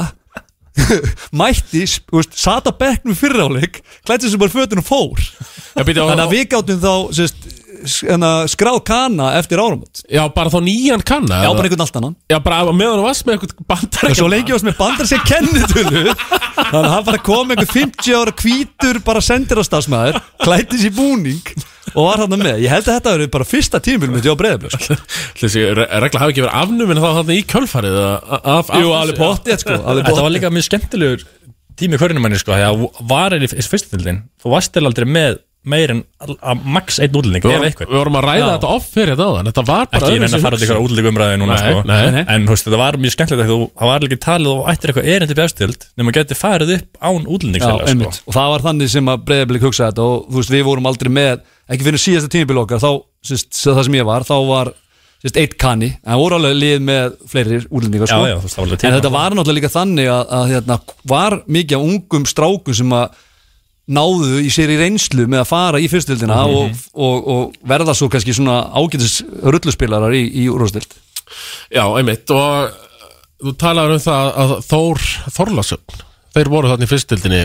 Speaker 3: mætti, sp- þú veist, sat á bekknum fyrráleik, klætti sig bara fötun og fór
Speaker 1: Já, býtum
Speaker 3: Þannig að við gáttum þá sérst, hérna, skráð kana eftir áramót
Speaker 1: Já, bara þá nýjan kanna
Speaker 3: Já,
Speaker 1: eða?
Speaker 3: bara einhvern allt annan
Speaker 1: Já, bara að meðan þú varst með eitthvað bandar
Speaker 3: Og svo lengi ás með bandar sér kennitölu Þannig að hann bara kom einhver 50 ára hvítur bara sendir á stafsmæður Klættis í búning Og var hann með Ég held að þetta verið bara fyrsta tímul með Jó Breiðablöks
Speaker 1: Þessi re- regla hafi ekki verið afnumin þá þarna í kjölfarið eða af, af,
Speaker 3: Jú, alveg pottið sko alveg
Speaker 4: Þetta
Speaker 3: pottþétt.
Speaker 4: var líka mjög skemmtilegur tími hverjumæni sko, þegar varir í fyrstutildin þú varst til aldrei með meir en all- að max einn útlending,
Speaker 1: Við
Speaker 4: ef
Speaker 1: vorum,
Speaker 4: eitthvað
Speaker 1: við vorum að ræða
Speaker 3: Já.
Speaker 1: þetta off fyrir þetta áðan Þetta var bara
Speaker 4: ekki ég reyna að fara til ykkur útlending umræði núna
Speaker 1: Nei,
Speaker 4: sko.
Speaker 1: nei.
Speaker 3: Nei, nei.
Speaker 4: en þú veist, þetta var mjög skemmtilegt að þú, það var líka talið og ættir eitthvað erindi bjárstild nema geti farið upp án sko. útlending
Speaker 3: Já, einmitt. Og það var þannig sem að Breiðablík hugsaði þetta og þú veist, við vorum aldrei með ekki fyrir síðasta tímabil okkar, þá sérst, það sem ég var, þá var sérst, eitt kanni, en voru alveg lið með fleiri útlendingar, sko.
Speaker 4: Já, já, þú veist, það var alveg
Speaker 3: en
Speaker 4: tíma.
Speaker 3: þetta var náttúrulega líka þannig að, að hérna, var mikið af ungum strákum sem að náðu í sér í reynslu með að fara í fyrstildina
Speaker 4: Mhm.
Speaker 3: og, og, og verða svo kannski svona ágætis rulluspilarar í, í úrvastild
Speaker 1: Já, einmitt og eh, þú talaður um það að Þór Þorlasögn þeir voru þarna í fyrstildinni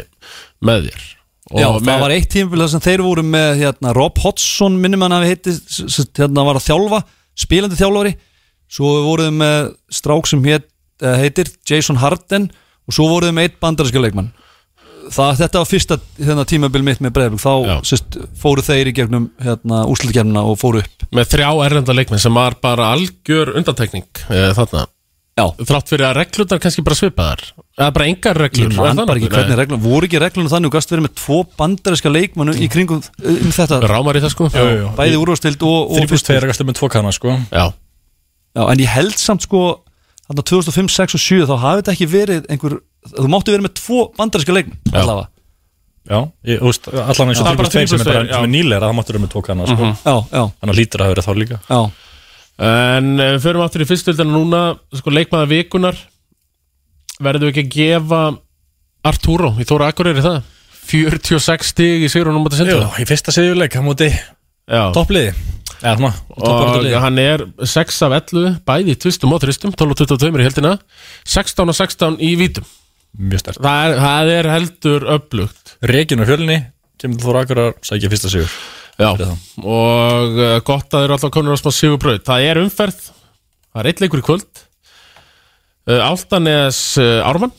Speaker 1: með þér og
Speaker 3: Já,
Speaker 1: með,
Speaker 3: það var eitt tímabil þar sem þeir voru með hérna, Rob Hodgson, minnum hann að við heiti s- s- hérna var að þjálfa, spilandi þjálfari svo voruðu með strák sem heit, eh, heitir Jason Harden og svo voruðu með eitt bandarinska leikmann það, þetta var fyrsta hérna, tímabil mitt með Breiðblik,
Speaker 1: Já.
Speaker 3: þá sérst, fóru þeir í gegnum hérna, úslutkefnina og fóru upp
Speaker 1: með þrjá erlenda leikminn sem var bara algjör undantekning e, þarna
Speaker 3: Já,
Speaker 1: þrátt fyrir að reglurnar kannski bara svipaðar eða bara engar reglur
Speaker 3: ég man bara ekki hvernig reglum voru ekki reglunum þannig og gast verið með tvo bandarinska leikmannu í kringum um þetta,
Speaker 1: Rámar í það sko
Speaker 4: Jú, jú.
Speaker 3: bæði úrvastild og, og
Speaker 4: þrjúbúst tveir að stömmu tvo kanna sko.
Speaker 1: Já,
Speaker 3: Já, en ég held samt sko þarna 2005, 6 og 7 þá hafi þetta ekki verið einhver, þú máttu verið með tvo bandarinska leikn allavega
Speaker 4: já, ég, þú veist, allan eins og
Speaker 1: Það er bara
Speaker 4: þrjúbúst tveir sem er,
Speaker 1: þríbustu
Speaker 4: bara,
Speaker 1: tveir, já. Mhm.
Speaker 4: sem er nýleira, það máttur um með tvo kanna sko.
Speaker 3: Já, já,
Speaker 4: þannig að lítur að hafa verið þá líka
Speaker 3: já
Speaker 1: En eh, við förum aftur í fyrstöldina núna sko, leikmaða vikunar verðum við ekki að gefa Arturo í Þóra Akureyri það 46 stig í Sigrunum á þetta
Speaker 4: Jú,
Speaker 1: sendur
Speaker 4: í fyrsta siðurleik, hann múti
Speaker 1: Já,
Speaker 4: toppliði eða svona,
Speaker 1: og
Speaker 4: toppliði
Speaker 1: hann er 6 af 11 bæði í tvistum og þristum 12 og 22 í heldina 16 og 16 í vítum
Speaker 4: mjög stærkt
Speaker 1: það er, það er heldur öflugt
Speaker 4: Rekin og Hjölni kemur þú akkurar sækja fyrsta sigur
Speaker 1: Já. og uh, gott að þeir eru alltaf konur á smá sigurbröð það er umferð það er eitt leikur í kvöld uh, Áltanes uh, Ármann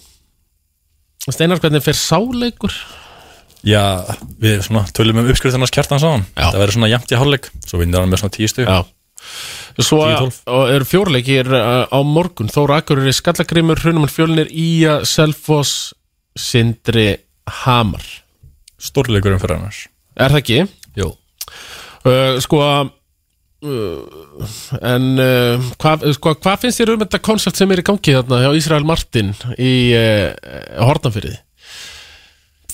Speaker 1: Steinar hvernig fer sáleikur
Speaker 4: Já, við svona tölum um uppskriftin hans kjartan sá hann
Speaker 1: Já.
Speaker 4: Það verður svona jæmt í hálfleik Svo vinnir hann með svona tíu stug
Speaker 1: Já Svo
Speaker 4: 10-12.
Speaker 1: og eru fjórleikir uh, á morgun Þóra Akureyri Skallagrimur Hrunumar Fjölnir Ía Selfoss Sindri Hamar
Speaker 4: Stórleikurinn fyrir annars
Speaker 1: Er það ekki?
Speaker 4: Jó
Speaker 1: Uh, sko uh, En uh, hvað sko, hva finnst þér um þetta koncept sem er í gangi þarna hjá Ísrael Martin í uh, Hortanfyrði?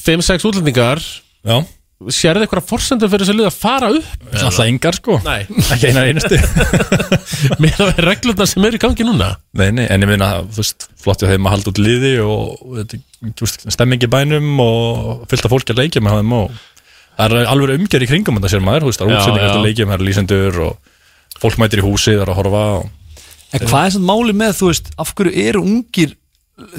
Speaker 1: 5-6 útlendingar
Speaker 4: Já,
Speaker 1: Sérðu eitthvað forsendur fyrir þessu lið að fara upp?
Speaker 4: alltaf engar sko
Speaker 1: Nei
Speaker 4: Ekki einar einustu
Speaker 1: Með það er reglurnar sem er í gangi núna
Speaker 4: Nei, nei, en ég minna, þú veist, flott ég þeim að halda út liði og, og þetta, þú veist, stemmingi bænum og fyllt af fólki að leikja með þeim og það er alveg umgjör í kringum þetta sér maður, þú veist, það
Speaker 1: Já,
Speaker 4: er útsendingar
Speaker 1: já.
Speaker 4: eftir leikjum, það er lýsendur og fólk mætir í húsi, það er að horfa og
Speaker 3: En hvað er samt máli með, þú veist, af hverju eru ungir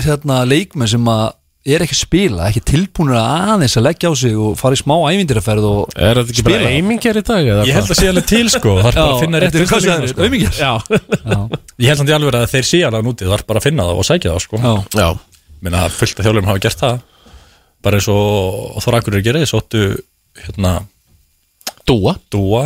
Speaker 3: hérna, leikmenn sem að er ekki að spila, ekki tilbúinir að aðeins að leggja á sig og fara í smá ævindiraferð og
Speaker 1: Er þetta ekki
Speaker 3: Spila?
Speaker 1: bara eimingjar í dag? eða
Speaker 4: Ég held
Speaker 1: hvað?
Speaker 4: að sé alveg til sko, það er bara að finna rétt
Speaker 3: þetta er hvað sem er,
Speaker 4: leikmenn, sko.
Speaker 1: Já,
Speaker 3: auðmingjar
Speaker 4: Ég held samt í alveg að þeir sé alveg nútið, það er bara að finna það og sækja það sko
Speaker 3: Já,
Speaker 1: já
Speaker 4: minna að fullt af þjálfum hafa gert það bara eins og Þóra Akureyri gerði sóttu hérna
Speaker 1: Dúa,
Speaker 4: Dúa,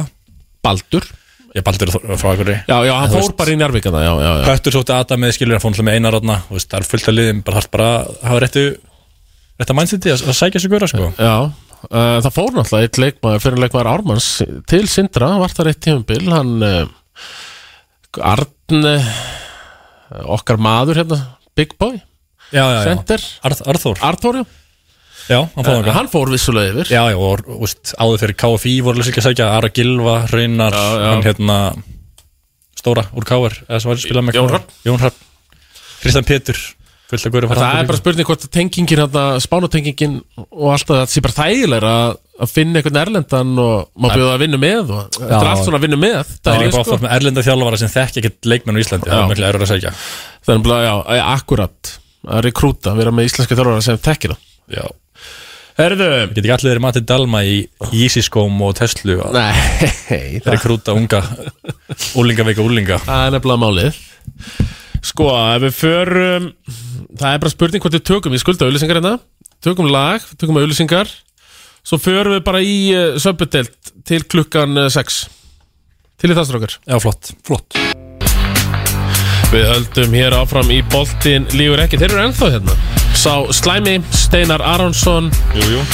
Speaker 1: Baldur
Speaker 4: ég baldur frá Akureyri
Speaker 1: Já, já, hann
Speaker 4: Þú
Speaker 1: fór
Speaker 4: veist-
Speaker 1: bara í njárvíkana Já, já, já
Speaker 4: Höttur sóttu Adam með skilur hann fór náttúrulega með einar þarna, þú veist, það er fullt af liðum bara hægt bara að hafa réttu rétt að mannsindi að, að sækja sig góra sko
Speaker 1: Já, uh, það fór náttúrulega eitt leikmaður fyrir leikmaður Ármanns til Sindra, var það eitt tímabil hann uh, Arn uh, okkar maður hérna, Big Boy
Speaker 4: Já, já, já,
Speaker 1: Center,
Speaker 4: Arð, Arþór
Speaker 1: Arthur já,
Speaker 4: Já, hann fór
Speaker 1: uh,
Speaker 4: það
Speaker 1: hann fór vissulega yfir
Speaker 4: Já, já, og þú veist, áður fyrir KFI voru líka að sækja Ara Gilva, Reynar,
Speaker 1: Já, já.
Speaker 4: hann hérna Stóra úr KR, eða sem var að spila með
Speaker 1: Jón
Speaker 4: KR.
Speaker 1: Hrafn.
Speaker 4: Jón Hrafn, Kristján Pétur fullt af góra
Speaker 1: Það er bara spurning hvort tengingin hérna, spánatengingin og allt að það sé bara þægilega að, að finna einhvern erlendan og má bjóða að vinna með og þetta er allt svona að vinna með
Speaker 4: Það er líka
Speaker 1: sko.
Speaker 4: bara oft með erlenda þjálfara sem þekki ekkert leikmenn á Íslandi, það er mjög erfur að segja
Speaker 1: Þannig að, já, akkurat að rekrúta, vera með íslenska þjálfara sem þekkir það
Speaker 4: Já,
Speaker 1: Herðu
Speaker 4: Get ekki allir verið matið Dalma í Yeezy-skóm og Tesla að
Speaker 1: Nei, það
Speaker 4: rekrúta unga úlinga veika úlinga
Speaker 1: það er nefnilega málið Sko, ef við förum Það er bara spurning hvort við tökum Ég skulda auðlýsingar hérna Tökum lag, tökum auðlýsingar Svo förum við bara í uh, söpudelt Til klukkan uh, 6 Til í þessar okkar
Speaker 4: Já, flott
Speaker 3: flott
Speaker 1: Við höldum hér áfram í boltin Lígur ekki, þeir eru ennþá hérna Sá Slæmi, Steinar Aronsson
Speaker 4: Jú, jú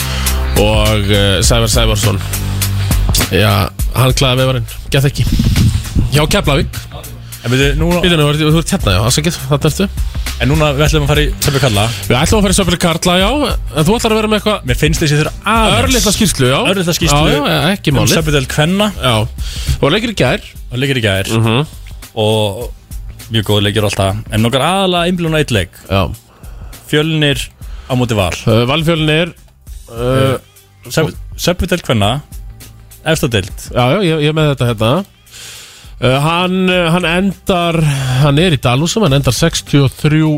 Speaker 1: Og uh, Sævar Sævarsson Já, hann klæði vefarinn Gæð ekki Já, Keflavík
Speaker 4: En, við, núna,
Speaker 1: Býtum, þú ert- þú ert hérna, já, afsakið, þarna ertu
Speaker 4: en núna við ætlum að fara í Söpju Kalla
Speaker 1: Við ætlum að fara í Söpil Karla, já En þú ætlar að vera með eitthvað
Speaker 4: Mér finnst þessi þurfa
Speaker 1: örlitla skýrslu, já
Speaker 4: Örlitla skýrslu.
Speaker 1: Já, já, ekki
Speaker 4: um
Speaker 1: málið
Speaker 4: Söpju Del Kvenna
Speaker 1: Já, þú var leikir í gær
Speaker 4: og leikir í gær
Speaker 1: Mhm.
Speaker 4: og mjög góð leikir alltaf en nokkar aðalega einblun á eitt leik
Speaker 1: Já
Speaker 4: Fjölnir á móti val
Speaker 1: uh, Valfjölnir uh,
Speaker 4: Söpvidel Kvenna Efstadelt
Speaker 1: Já, já, ég, ég er með þetta hérna uh, hann, uh, hann endar Hann er í Dalúsum, hann endar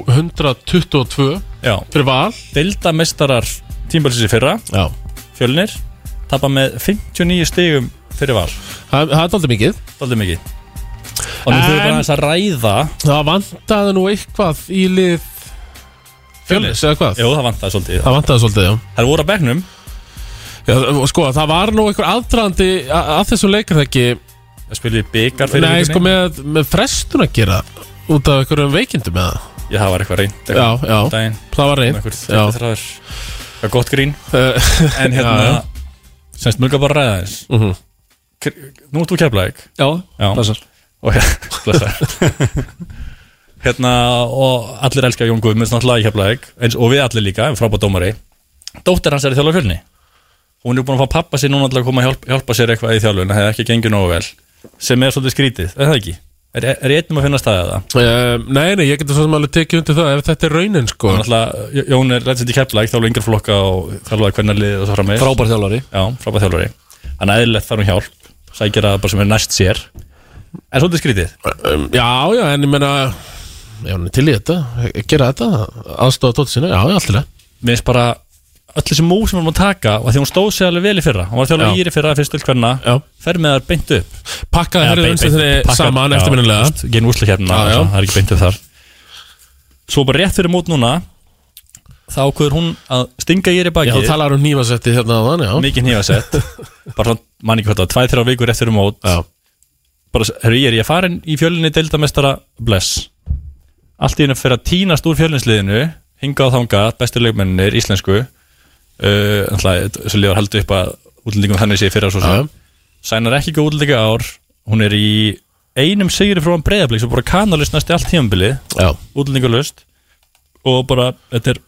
Speaker 1: 63-122
Speaker 4: Já,
Speaker 1: Fyrir val
Speaker 4: deildamestarar tímbalsins í fyrra
Speaker 1: Já
Speaker 4: Fjölnir tapa með 59 stigum fyrir val
Speaker 1: Það, það er daldið mikið
Speaker 4: Daldið mikið Og nú
Speaker 1: En-
Speaker 4: þurfum við bara aðeins að ræða
Speaker 1: Það vantaði nú eitthvað í lið Fjölnis eða hvað
Speaker 4: Jú, það vantaði svolítið
Speaker 1: Það vantaði svolítið, já
Speaker 4: Það voru að begnum
Speaker 1: Já, og sko, það var nú einhver aðdraðandi að að þessum leikar það ekki
Speaker 4: Það spilið byggar fyrir
Speaker 1: Nei,
Speaker 4: vikunni.
Speaker 1: sko, með, með frestun að gera út af einhverjum veikindum eða
Speaker 4: Já, það var eitthvað reynd
Speaker 1: Já, já,
Speaker 4: Dæin
Speaker 1: það var reynd
Speaker 4: Einhver
Speaker 1: Já,
Speaker 4: þræður Það er gott grín
Speaker 1: uh,
Speaker 4: En
Speaker 1: Já, já.
Speaker 4: hérna Semst mjög bara að ræða þess
Speaker 1: Mhm.
Speaker 4: Nú ert þú keflaðið
Speaker 3: já,
Speaker 4: Já
Speaker 3: blessar
Speaker 4: og blessaður hérna og allir elska Jón Guðmunds náttúrulega í Keflavík eins og við allir líka, frábæð dómari dóttir hans er í þjálfur fjölni hún er búin að fá pappa sér núna til að koma að hjálpa, hjálpa sér eitthvað í þjálfun, það hefði ekki gengið nógu vel sem er svolítið skrítið, er það ekki? er, er ég einnum að finna staðið það?
Speaker 1: Ehm, Nei, nei, ég getur svo sem alveg tekið undir það ef þetta er raunin, sko
Speaker 4: Náttúrulega, Jón er ræðsett í Keflavík, þjálfur yngri flokka og þjálfaði hvernig liðið og svo fram með
Speaker 3: frábær þjálfari
Speaker 4: Já, frábæð þjálfari hann eðlilegt þarf hún hjálp, sækir að bara sem er næst sér en svolítið skrítið
Speaker 1: um, Já, já, en ég meina Já, hann er til í þetta, gera þetta aðstofa tótt sína, já, já, alltaf
Speaker 4: mér finnst bara öll þessi mú sem hann var að taka og af því hún stóð sér alveg vel í fyrra hún var þjálfur
Speaker 1: Já.
Speaker 4: íri fyrra, fyrst til hverna
Speaker 1: Já.
Speaker 4: fer með þar beint upp
Speaker 1: Pakkaði herrið umsettinni saman eftirminnilega
Speaker 4: genn
Speaker 1: Já,
Speaker 4: úrslakefna,
Speaker 1: já.
Speaker 4: hérna, það er ekki beint upp þar svo bara rétt fyrir mót núna þá ákveður hún að stinga íri
Speaker 1: Já,
Speaker 4: baki
Speaker 1: þú talar um nýfasetti hérna að þann, já
Speaker 4: mikið nýjasett bara svona, mann ekki hvað það, tvæð þrjá vikur rétt fyrir mót
Speaker 1: Já,
Speaker 4: bara, herru, ég er ég farin í fjölinni deildamestara bless allt í hennu fyrir að tínast úr fjölinsliðinu hinga á þanga, bestu leikmennir, íslensku uh, alltaf, svo liðar heldur upp að útlendingum þannig sé fyrir að svo
Speaker 1: já,
Speaker 4: sem sænar ekki góð útlendinga ár hún er í einum sigri frá hann breyðablík sem bara kanalust næstu allt tímabilið
Speaker 1: já
Speaker 4: útlendingalust og bara, þetta er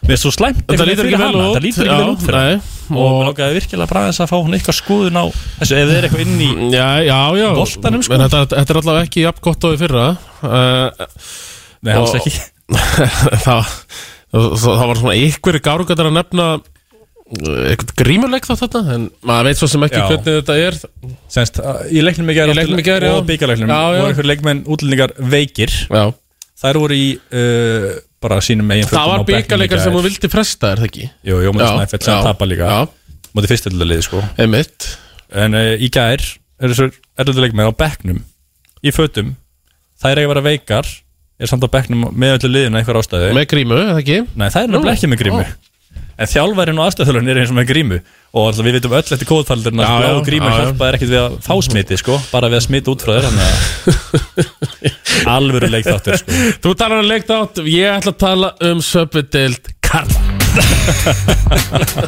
Speaker 4: við erum svo slæmt
Speaker 1: Þetta
Speaker 4: einhvern
Speaker 1: lítur
Speaker 4: veginn fyrir
Speaker 1: ekki vel
Speaker 4: hana,
Speaker 1: út
Speaker 4: þetta lítur ekki vel út fyrir hana.
Speaker 1: fyrir
Speaker 4: og mér ákveði virkilega bara aðeins að fá hún eitthvað skoðun á þessu, ef þið er eitthvað inn í
Speaker 1: Já, já, já
Speaker 4: Boltanum, sko.
Speaker 1: En þetta, þetta er allavega ekki jafn gott og í fyrra uh,
Speaker 4: Nei, alls
Speaker 1: Og-
Speaker 4: ekki
Speaker 1: það, það, það var svona ykkur gárugatar að nefna eh, eitthvað grímuleik þá þetta en maður veit svo sem ekki
Speaker 4: Já.
Speaker 1: hvernig þetta er
Speaker 4: Senst, uh, í leiknum í gæri
Speaker 1: Í leiknum í gær, já.
Speaker 4: og byggarleiknum
Speaker 1: Já, já.
Speaker 4: og einhver leikmenn útlendingar veikir
Speaker 1: Já,
Speaker 4: þær voru í uh, bara sínum eigin
Speaker 1: það var
Speaker 4: fötum á bekknum í
Speaker 1: byggarleikar
Speaker 4: gær.
Speaker 1: sem hún vildi fresta, er það ekki?
Speaker 4: Jú, jú, maður snæfell sem tapa líka
Speaker 1: Já,
Speaker 4: mótið fyrstöldaliði sko
Speaker 1: einmitt
Speaker 4: en uh, í gær er þessu erlölduleikmenn á bekknum í fötum þær eiga að vera veikar er samt á bekknum með öllu liðinu einhver ástæðu
Speaker 1: Með grímu, er það ekki?
Speaker 4: Nei, það er nefnilega ekki með grímu
Speaker 1: Ó.
Speaker 4: En þjálfærin og aðstöðhölun er eins og með grímu Og alltaf, við veitum öll eftir kóðfaldurinn
Speaker 1: Já,
Speaker 4: að blá
Speaker 1: já,
Speaker 4: grímu
Speaker 1: já, já.
Speaker 4: hjálpaðir ekkit við að fá smiti sko, bara við að smita út frá þér þannig að alvöru leik þáttur sko.
Speaker 1: Þú talar um leikt átt, ég ætla að tala um söpudeld Karla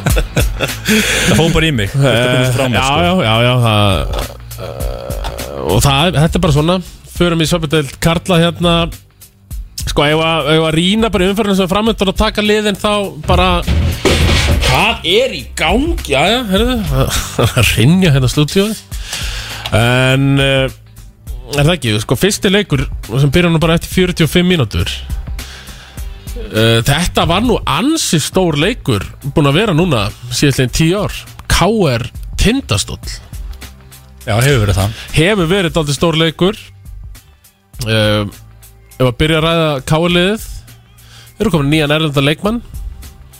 Speaker 4: Það fór bara í mig Þetta komið frá mér
Speaker 1: Eh, já,
Speaker 4: sko.
Speaker 1: já, já, já það, uh, Og það, þetta er bara svona Förum í söpudeld Karla hérna Sko, ef að, ef að rýna bara umfyrirna sem framöndan að taka liðin þá bara Hvað er í gang? Já, já, herðu Það er að rinja hérna stúdíóð En uh, Er það ekki, sko, fyrsti leikur sem byrja nú bara eftir 45 mínútur uh, Þetta var nú ansi stór leikur búin að vera núna síðastlegin 10 ár K.R. Tindastóll
Speaker 4: já, hefur verið það
Speaker 1: hefur verið daldið stór leikur uh, Ef að byrja að ræða K.R. liðið eru komin nýjan erlenda leikmann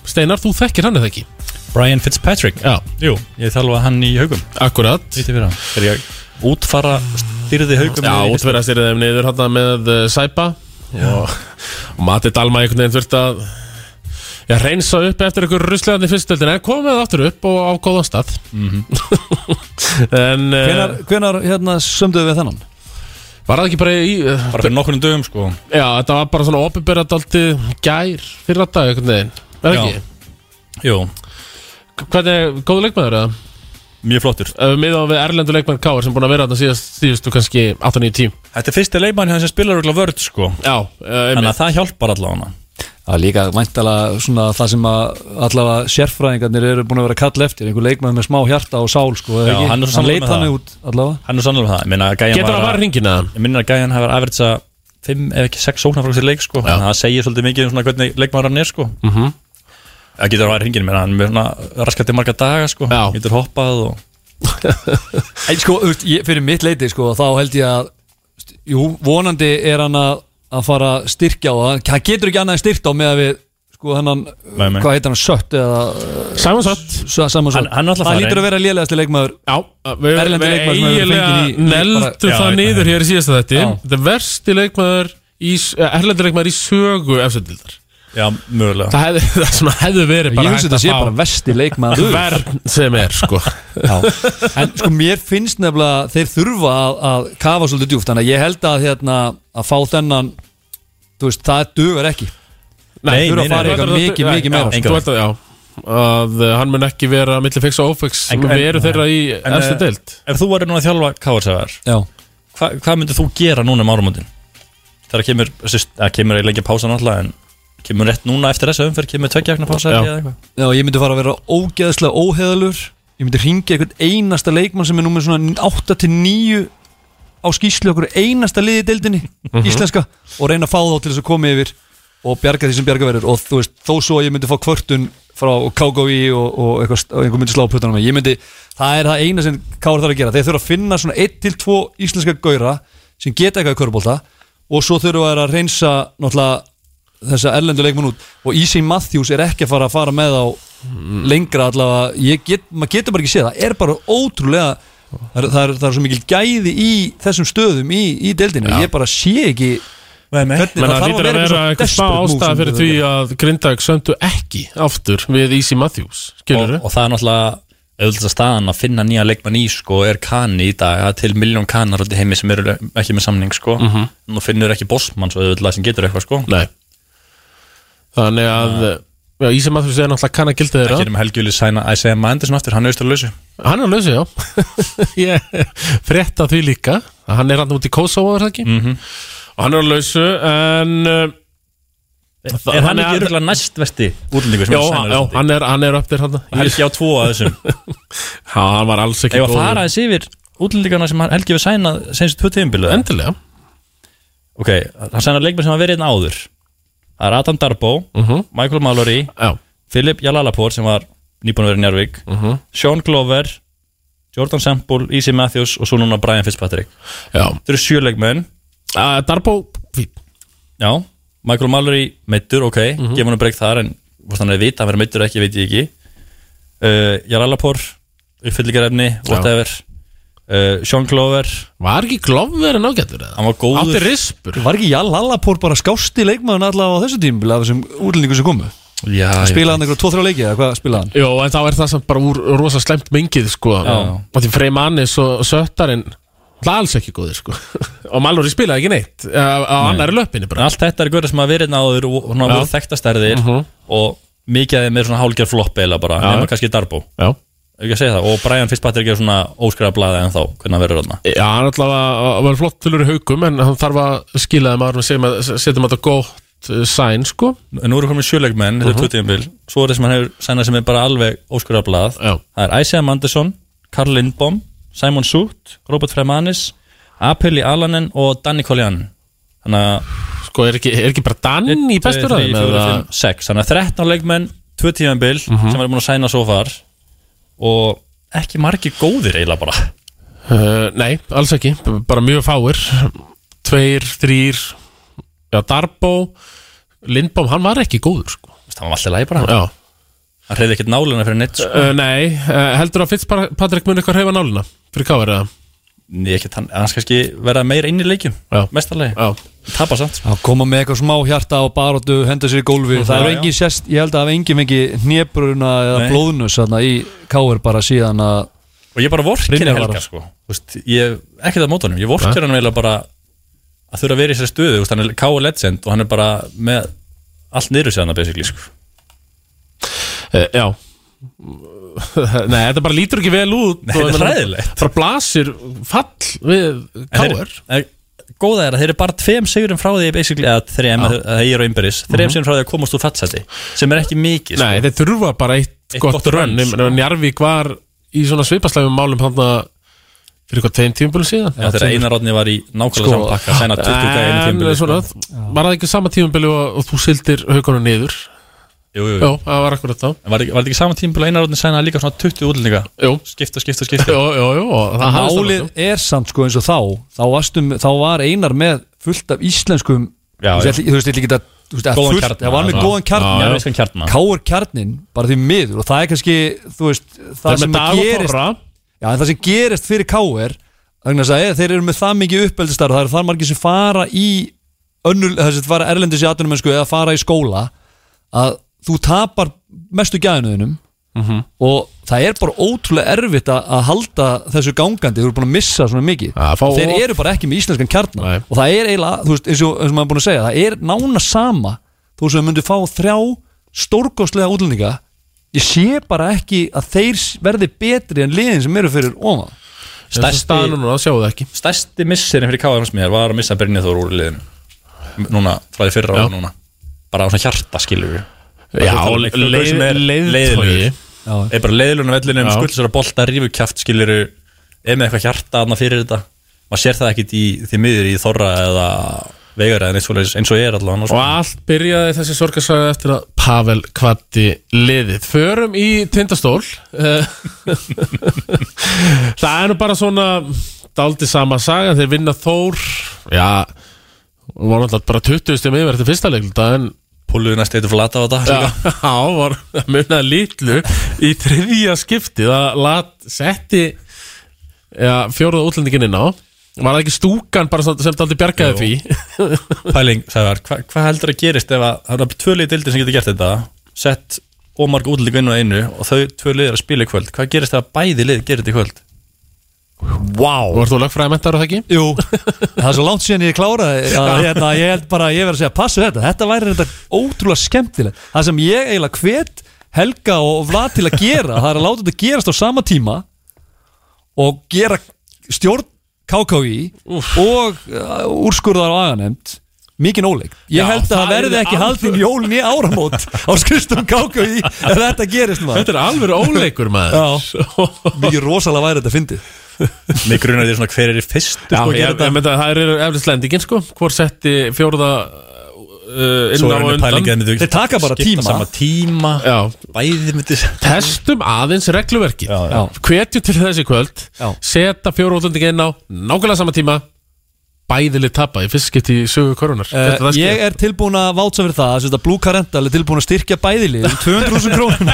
Speaker 1: Steinar, þú þekkir hann eða ekki?
Speaker 4: Brian Fitzpatrick
Speaker 1: Já.
Speaker 4: Jú, ég þalvaði hann í haugum
Speaker 1: Akkurat
Speaker 4: Lítið fyrir hann Þegar ég útfara styrði haugum
Speaker 1: Já,
Speaker 4: í-
Speaker 1: útverðast er þeim niður hérna með uh, Sæpa og, og Mati Dalma einhvern veginn þurft að já, reynsa upp eftir einhver ruslegaðni fyrstöldin en komið það aftur upp og á góðan stað En
Speaker 3: Hvenar,
Speaker 1: uh,
Speaker 3: hvenar hérna, sömduðu við þennan?
Speaker 1: var það ekki bara í uh,
Speaker 4: Bara fyrir nokkurnu dögum sko
Speaker 1: Já, þetta var bara svona opinberadaldi gær fyrir að dag einhvern veginn Er það
Speaker 4: Já.
Speaker 1: ekki?
Speaker 4: Jú,
Speaker 1: Hvernig, góðu leikmaður eða?
Speaker 4: mjög flottur
Speaker 1: Ef við miðan við erlendu leikmann Káar sem búin að vera þarna síðast síðustu kannski 8-9 tím
Speaker 4: Þetta er fyrsti leikmann hérna sem spilar örugglega vörð sko
Speaker 1: Já, uh,
Speaker 4: Þannig að það hjálpar allavega hana
Speaker 3: Það er líka væntalega svona það sem að allavega sérfræðingarnir eru búin að vera að kalla eftir einhver leikmaður með smá hjarta og sál sko, eða
Speaker 4: Já,
Speaker 3: ekki?
Speaker 4: hann er svo sammála
Speaker 3: leit
Speaker 4: með
Speaker 3: þannig
Speaker 4: það.
Speaker 3: út allavega
Speaker 4: Hann er sannlega með það Ég meina að gæjan
Speaker 1: getur það að
Speaker 4: var
Speaker 1: vara
Speaker 4: að-
Speaker 1: hringina
Speaker 4: Ég minna að gæjan hefur aðverðsa 5 ef ekki 6 sóknar frá sér leik sko Þannig að það segir svolítið mikið um svona hvernig leikmaður hann er sko Það
Speaker 1: Mhm.
Speaker 4: getur að væri hringin Mér hann er með svona raskandi marga daga sko
Speaker 1: Já.
Speaker 4: Getur hoppað og
Speaker 3: en, sko, þú veist, ég, Fyrir mitt leiti sko, þá held ég að jú, vonandi er hann að, að fara að styrkja á það hann getur ekki annað en styrkja á með að við sko, hennan,
Speaker 4: Nei, nei.
Speaker 3: hvað heitir hann, sött eða
Speaker 1: Sæman satt
Speaker 3: saman
Speaker 4: Hann- hann er alltaf
Speaker 3: það
Speaker 4: farinn.
Speaker 3: lítur að vera lélegasti leikmaður
Speaker 1: Já, eh, við
Speaker 3: Erlendur
Speaker 1: við
Speaker 3: leikmaður sem hefur fengið
Speaker 1: eiginlega
Speaker 3: í- í
Speaker 1: neldum
Speaker 4: bara- Já,
Speaker 1: það
Speaker 4: ég-
Speaker 1: niður hér í síðasta þetta
Speaker 3: Já.
Speaker 1: Þetta er versti leikmaður í, eh, erlendur leikmaður í sögu efsöldildar
Speaker 4: Já, mögulega
Speaker 1: Það hefði, það sem hefði verið
Speaker 3: ég
Speaker 1: bara
Speaker 3: hugsa þetta sé bara vesti leikmaður
Speaker 1: verð sem er sko
Speaker 3: en sko mér finnst nefnilega þeir þurfa að, að kafa svolítið djúft þannig að ég held að hérna að fá þennan þú veist það dugur ekki
Speaker 4: Nei,
Speaker 3: þurfa
Speaker 4: nei,
Speaker 3: að fara
Speaker 4: nei.
Speaker 3: eitthvað mikið, mikið meira,
Speaker 1: Já,
Speaker 4: sko.
Speaker 1: þú ætlar- já að uh, hann mun ekki vera milli fix og ófix
Speaker 4: En-
Speaker 1: við
Speaker 4: en-
Speaker 1: erum þeirra í
Speaker 4: En,
Speaker 1: efstu
Speaker 4: eh,
Speaker 1: deild
Speaker 4: Ef þú væri núna að þjálfa KSR
Speaker 3: já
Speaker 4: hva, Hvað myndir þú gera núna um árumundin? Þegar kemur, þessi- það kemur eiginlega ekki pása náttúrulega En kemur rétt núna eftir þessu umferð Kemur tveggjakna pása
Speaker 1: Já.
Speaker 4: eða eitthvað
Speaker 3: Já, ég myndi fara að vera ógeðslega óheðalur Ég myndi ringja einhvern einasta leikmann sem er númer svona 8-9 á skýslu okkur einasta liði í deildinni íslenska og reyna að fá þá til þess að koma yfir og bjarga því sem bjarga verður og þú veist, þó svo að ég myndi fá kvörtun frá KGI og, og, eitthvað, og einhver myndi slá puttana með ég myndi, það er það eina sem Kári þarf að gera þeir þurfa að finna svona 1-2 íslenska gaura sem geta eitthvað í körbólta og svo þurfa þeir að reynsa náttúrulega þessa erlendu leikmann út og Easy Matthews er ekki að fara að fara með á lengra allavega, ég get, maður getur bara ekki séð það er bara ótrúlega það er, það er, það er svo mikil gæði í þessum stöðum í, í deildinu, ég bara sé ekki
Speaker 4: Nei, nei.
Speaker 3: hvernig
Speaker 1: menn það
Speaker 3: þarf
Speaker 1: lítur að
Speaker 3: eitthvað
Speaker 1: vera
Speaker 3: svo
Speaker 1: eitthvað smá
Speaker 3: desperate move
Speaker 1: ástæða
Speaker 3: sem
Speaker 1: fyrir
Speaker 3: þau
Speaker 1: því
Speaker 3: gera.
Speaker 1: að Grindag söndu ekki aftur við Easy Matthews skilur
Speaker 4: og, og það er náttúrulega auðvitað staðan að finna nýja leikmann í sko er kanni í dag, það er til miljón kannar alltaf heimi sem eru ekki með samning sko nú finnur ekki bossmann svo auðvitað sem getur eitthvað sko
Speaker 1: Nei Þannig að já, Ísi Mathús er náttúrulega kann að gildi þeirra
Speaker 4: Ah. ekki erum helgjúli sæna að segja maður endur sem aftur, hann er austur lausu
Speaker 1: Hann er að lausi, já Ég frétta því líka að Hann er hann út í Kosovo, er það ekki?
Speaker 4: Mhm.
Speaker 1: Og hann er að lausu En uh, það-
Speaker 4: er hann
Speaker 1: er-
Speaker 4: ekki auðvitað næst vesti útlendingu sem
Speaker 1: Já,
Speaker 4: er
Speaker 1: já,
Speaker 4: sæna
Speaker 1: hann er, hann er upp til hann
Speaker 4: Helgi á tvo að þessum
Speaker 1: Já, hann var alls ekki
Speaker 4: Ef að fara þessi yfir útlendingana sem hann- Helgi við sæna senst tvö tíðumbilu
Speaker 1: Endilega
Speaker 4: Ok, hann sæna leikmenn sem hafa verið einn áður Það er Adam Darbo,
Speaker 1: Mhm.
Speaker 4: Michael Mallory
Speaker 1: Já,
Speaker 4: Philip Jalalapur sem var nýbúin að vera í Njárvík Sean Glover Jordan Sample, Easy Matthews og svo núna Brian Fitzpatrick
Speaker 1: já
Speaker 4: Þetta eru sjöleikmenn
Speaker 1: uh, Darbo, fín
Speaker 4: Já, Michael Mallory meittur, ok mm -hmm. gefa hann að breyk þar en hvort hann er vita hann verið meittur eða ekki, veit ég ekki uh, Jalalapur, uppfyllingarefni whatever uh, Sean Glover,
Speaker 1: Var ekki glofverðin ágættur eða?
Speaker 4: hann var góður
Speaker 1: Átti rispur
Speaker 3: var ekki Jal Allapór bara skásti leikmann allavega á þessu tímbil af þessum útlendingu sem komu
Speaker 4: Já, já.
Speaker 3: spilaði hann eitthvað 2-3 leiki eða hvað spilaði hann
Speaker 1: Jó, en þá er það samt bara úr rosa slemt mengið sko
Speaker 4: Já.
Speaker 1: og því Freymanis og Söttarinn það er alls ekki góðir sko og Mallory spilaði ekki neitt eh, á annari löppinni
Speaker 4: En
Speaker 1: bara
Speaker 4: allt þetta er góður sem hafa verið einn áður og
Speaker 1: Já.
Speaker 4: hann voru þekktastarðir mm -hmm. og mikið af þeim er svona hálgjör flopp eða bara,
Speaker 1: Já.
Speaker 4: nema kannski Darbo
Speaker 1: Já,
Speaker 4: Ef ekki að segja það, og Brian Fitzpatrick er svona óskræða blaði en þá, hvernig hann verður þarna
Speaker 1: Já hann allavega var flott tölur í haugum en hann þarf að skila þeim árum sem að setjum að þetta gott eh, sæn sko
Speaker 4: En nú eru komin sjöleikmenn, þetta er
Speaker 1: Mhm.
Speaker 4: tuttíðanbíl Svo er það sem hann hefur sænað sem er bara alveg óskræða blað
Speaker 1: Já.
Speaker 4: Það er Isaiah Manderson, Karl Lindbom Simon Soot, Robert Fremanis Apeli Alanen og Danny Collian Þannig að
Speaker 1: sko er ekki, er ekki bara Dan Mm, í bestur
Speaker 4: 2, 3,
Speaker 1: aðeim
Speaker 4: 4, 5, 6 Þannig að 13 leikmenn, tuttíðanbíl
Speaker 1: Mhm.
Speaker 4: mm -hmm. sem hann er búin að sæna svo far og ekki margir góðir eiginlega bara
Speaker 1: Uh, nei, alls ekki, B- bara mjög fáir Tveir, þrýr Já, Darbo Lindbom, hann var ekki góður sko.
Speaker 4: Það var alltaf læg bara
Speaker 1: Já,
Speaker 4: Hann reyði ekkert nálina fyrir neitt sko.
Speaker 1: Uh, nei, uh, heldur að Fitzpatrick mun eitthvað hreyfa nálina fyrir káverið það?
Speaker 4: Nei, ekkert hann Hann skal ekki vera meira inn í leikjum
Speaker 1: Já.
Speaker 4: Mestarlegi
Speaker 1: Já,
Speaker 4: Tapa samt sko.
Speaker 3: að koma með eitthvað smá hjarta og baróttu henda sér í gólfi, það
Speaker 4: Mhm. já,
Speaker 3: er engin sérst ég held að það er engin fengi hnebruna eða
Speaker 4: Nei.
Speaker 3: blóðnus þarna í káir bara síðan að
Speaker 4: Og ég bara vorkir
Speaker 3: Brynjar var
Speaker 4: Helga
Speaker 3: að-
Speaker 4: sko. Þú veist, ég, Ekki það mót honum Ég vorkir hann eiginlega bara Að þurfa að vera í sér stöðu Þú veist, Hann er K.O. legend Og hann er bara með Allt niður sér hann basically sko. Eh,
Speaker 1: uh, já. Nei, þetta bara lítur ekki vel út og
Speaker 4: Nei, þetta
Speaker 1: ég
Speaker 4: er
Speaker 1: meina,
Speaker 4: hræðilegt.
Speaker 1: Bara blasir fall við
Speaker 4: En þeir-
Speaker 1: káver
Speaker 4: en Góða er að þeir eru bara tveim sigurum frá því basically að þreim, að að þeir eru einberis þreim sigurum frá því að komast úr fallseti sem er ekki mikið
Speaker 1: Mhm.
Speaker 4: sko.
Speaker 1: Nei, þeir þurfa bara eitt,
Speaker 4: Eitt
Speaker 1: gott,
Speaker 4: gott run,
Speaker 1: rönn
Speaker 4: sko.
Speaker 1: Njarvík var í svona svipaslæfum málum þarna fyrir hvað tveim tímabölu síðan
Speaker 4: Já, þegar Einar Rodni var í nákvæmlega
Speaker 3: Sko,
Speaker 4: saman pakka sena 20 gæði einu
Speaker 1: En
Speaker 4: tímbili
Speaker 1: svona,
Speaker 4: sko.
Speaker 1: var það ekki sama tímabölu og, og þú sildir haugunum niður
Speaker 4: Jú, jú, jú.
Speaker 1: Jó, það var akkurat þá
Speaker 4: En Var, ekki- var þetta ekki saman tímbili Einar Rodni sena líka svona 20 útlendinga
Speaker 1: Jú,
Speaker 4: skipta, skipta, skipta
Speaker 1: jú, jú, jú og það hafðist
Speaker 3: álið
Speaker 1: þarna,
Speaker 3: er samt sko eins og þá þá, vastum, þá var einar með fullt af íslenskum
Speaker 4: Já,
Speaker 3: þú veist, ég ætla- þú veist, ég ætla ekki að þú veist, að
Speaker 4: Góðan
Speaker 3: fullt-
Speaker 4: kjarna,
Speaker 3: það var með
Speaker 4: já.
Speaker 3: góðan
Speaker 4: Já,
Speaker 3: kjarn
Speaker 4: já. Kjarna.
Speaker 3: káir kjarnin, bara því miður og það er kannski, þú veist það,
Speaker 1: Það er
Speaker 3: sem
Speaker 1: með
Speaker 3: að
Speaker 1: dag og
Speaker 3: gerist
Speaker 1: þorra
Speaker 3: Já, en það sem gerist fyrir KR vegna þess að ef þeir eru með það mikið uppeldistar það eru það margir sem fara í önnul, þess að fara erlendis í atvinnumennsku eða fara í skóla að þú tapar mestu gæðinuðinum og það er bara ótrúlega erfitt að, að halda þessu gangandi þú eru búin að missa svona mikið
Speaker 1: Ja, fá-
Speaker 3: og þeir eru bara ekki með íslenskan kjarnar
Speaker 1: Nei.
Speaker 3: og það er eiginlega, þú veist, eins og, eins og maður er búin að segja það er nána sama þú veist, þau myndu fá þrjá stórkostlega útlendinga ég sé bara ekki að þeir verði betri en liðin sem eru fyrir ofan
Speaker 1: Stærsti
Speaker 4: Stærsti-
Speaker 1: staðan núna, það sjáu það ekki
Speaker 4: Stærsti missirinn fyrir Káðar hans mér var að missa Brynja Þór úr liðin Núna, frá því fyrra
Speaker 1: Já.
Speaker 4: á núna Bara á svona hjarta skilur við
Speaker 1: Já,
Speaker 4: Það er leikflögur sem er
Speaker 1: leið- leiðtogi
Speaker 4: leiðinlegur.
Speaker 3: Já.
Speaker 4: er bara leiðilun á vellinum,
Speaker 1: Já.
Speaker 4: skuldsar að bolta, rífu kjaft skilur er með eitthvað hjarta aðna fyrir þetta maður sér það ekkit í því miður í þorra eða vegar eða neitt svoleiðis eins og ég er allan
Speaker 1: Og allt byrjaði þessi sorgarsaga eftir að Pavel kvatti liðið. Förum í tindastól. Eh, Það er nú bara svona daldi sama saga. Þeir vinna Þór, já, hún var náttúrulega bara 20 stjum yfir eftir fyrsta leikluta en
Speaker 4: púluðu næst eitthvað flata á þetta
Speaker 1: já,
Speaker 4: líka.
Speaker 1: já, var að muna litlu í þriðja skipti. Það lat, setti já, fjóruða útlendingin inn á. Var það ekki stúkan bara sem sem daldi bjargaði því?
Speaker 4: pæling, sagðar, hva, hvað heldur að gerist ef að það eru tvö lið dildin sem getur gert þetta sett ómarg útlík inn á einu og þau tvö lið er að spila í kvöld hvað gerist ef að bæði lið gerir þetta í kvöld
Speaker 1: Vá! Varst þú lögfræði mentar á það ekki?
Speaker 3: Jú, það er svo langt síðan ég kláraði að hérna, ég held bara, ég verð að segja passu þetta, þetta væri þetta ótrúlega skemmtilegt það sem ég eiginlega hvet Helga og Vlad til að gera það er að láta þetta gerast á sama tíma og gera stjórn KKI og uh, úrskurðar og aganemt mikið óleik, ég
Speaker 1: Já,
Speaker 3: held að
Speaker 1: það
Speaker 3: það verði
Speaker 1: yrði
Speaker 3: ekki
Speaker 1: alveg-
Speaker 3: haldin jólin í áramót á skristum KKI ef þetta gerist maður
Speaker 1: Þetta er alveg óleikur maður
Speaker 3: mikið rosalega væri þetta fyndið
Speaker 4: mig grunar því svona hver er í fyrstu
Speaker 1: Já,
Speaker 4: sko,
Speaker 1: ég,
Speaker 4: að gera
Speaker 1: ég,
Speaker 4: þetta
Speaker 1: myndi að það er eflins lendingin sko Hvor setti fjórða uh, inn
Speaker 4: svo
Speaker 1: á og
Speaker 4: er henni
Speaker 1: undan
Speaker 4: pæling að myndu
Speaker 3: Þeir taka bara
Speaker 4: skipta
Speaker 3: tíma.
Speaker 4: sama tíma
Speaker 1: Já,
Speaker 4: bæði myndi
Speaker 1: testum aðeins regluverki
Speaker 4: Já,
Speaker 3: já.
Speaker 1: Hvetju til þessi kvöld
Speaker 3: Já.
Speaker 1: Seta fjóra útlendingin inn á Nákvæmlega sama tíma Bæðili tapa í fyrst skipti í sögu korunar
Speaker 4: Eh,
Speaker 3: Uh, ég er tilbúin að vátsa fyrir það að Blue Carental er tilbúin að styrkja bæðilið um 200.000 krónum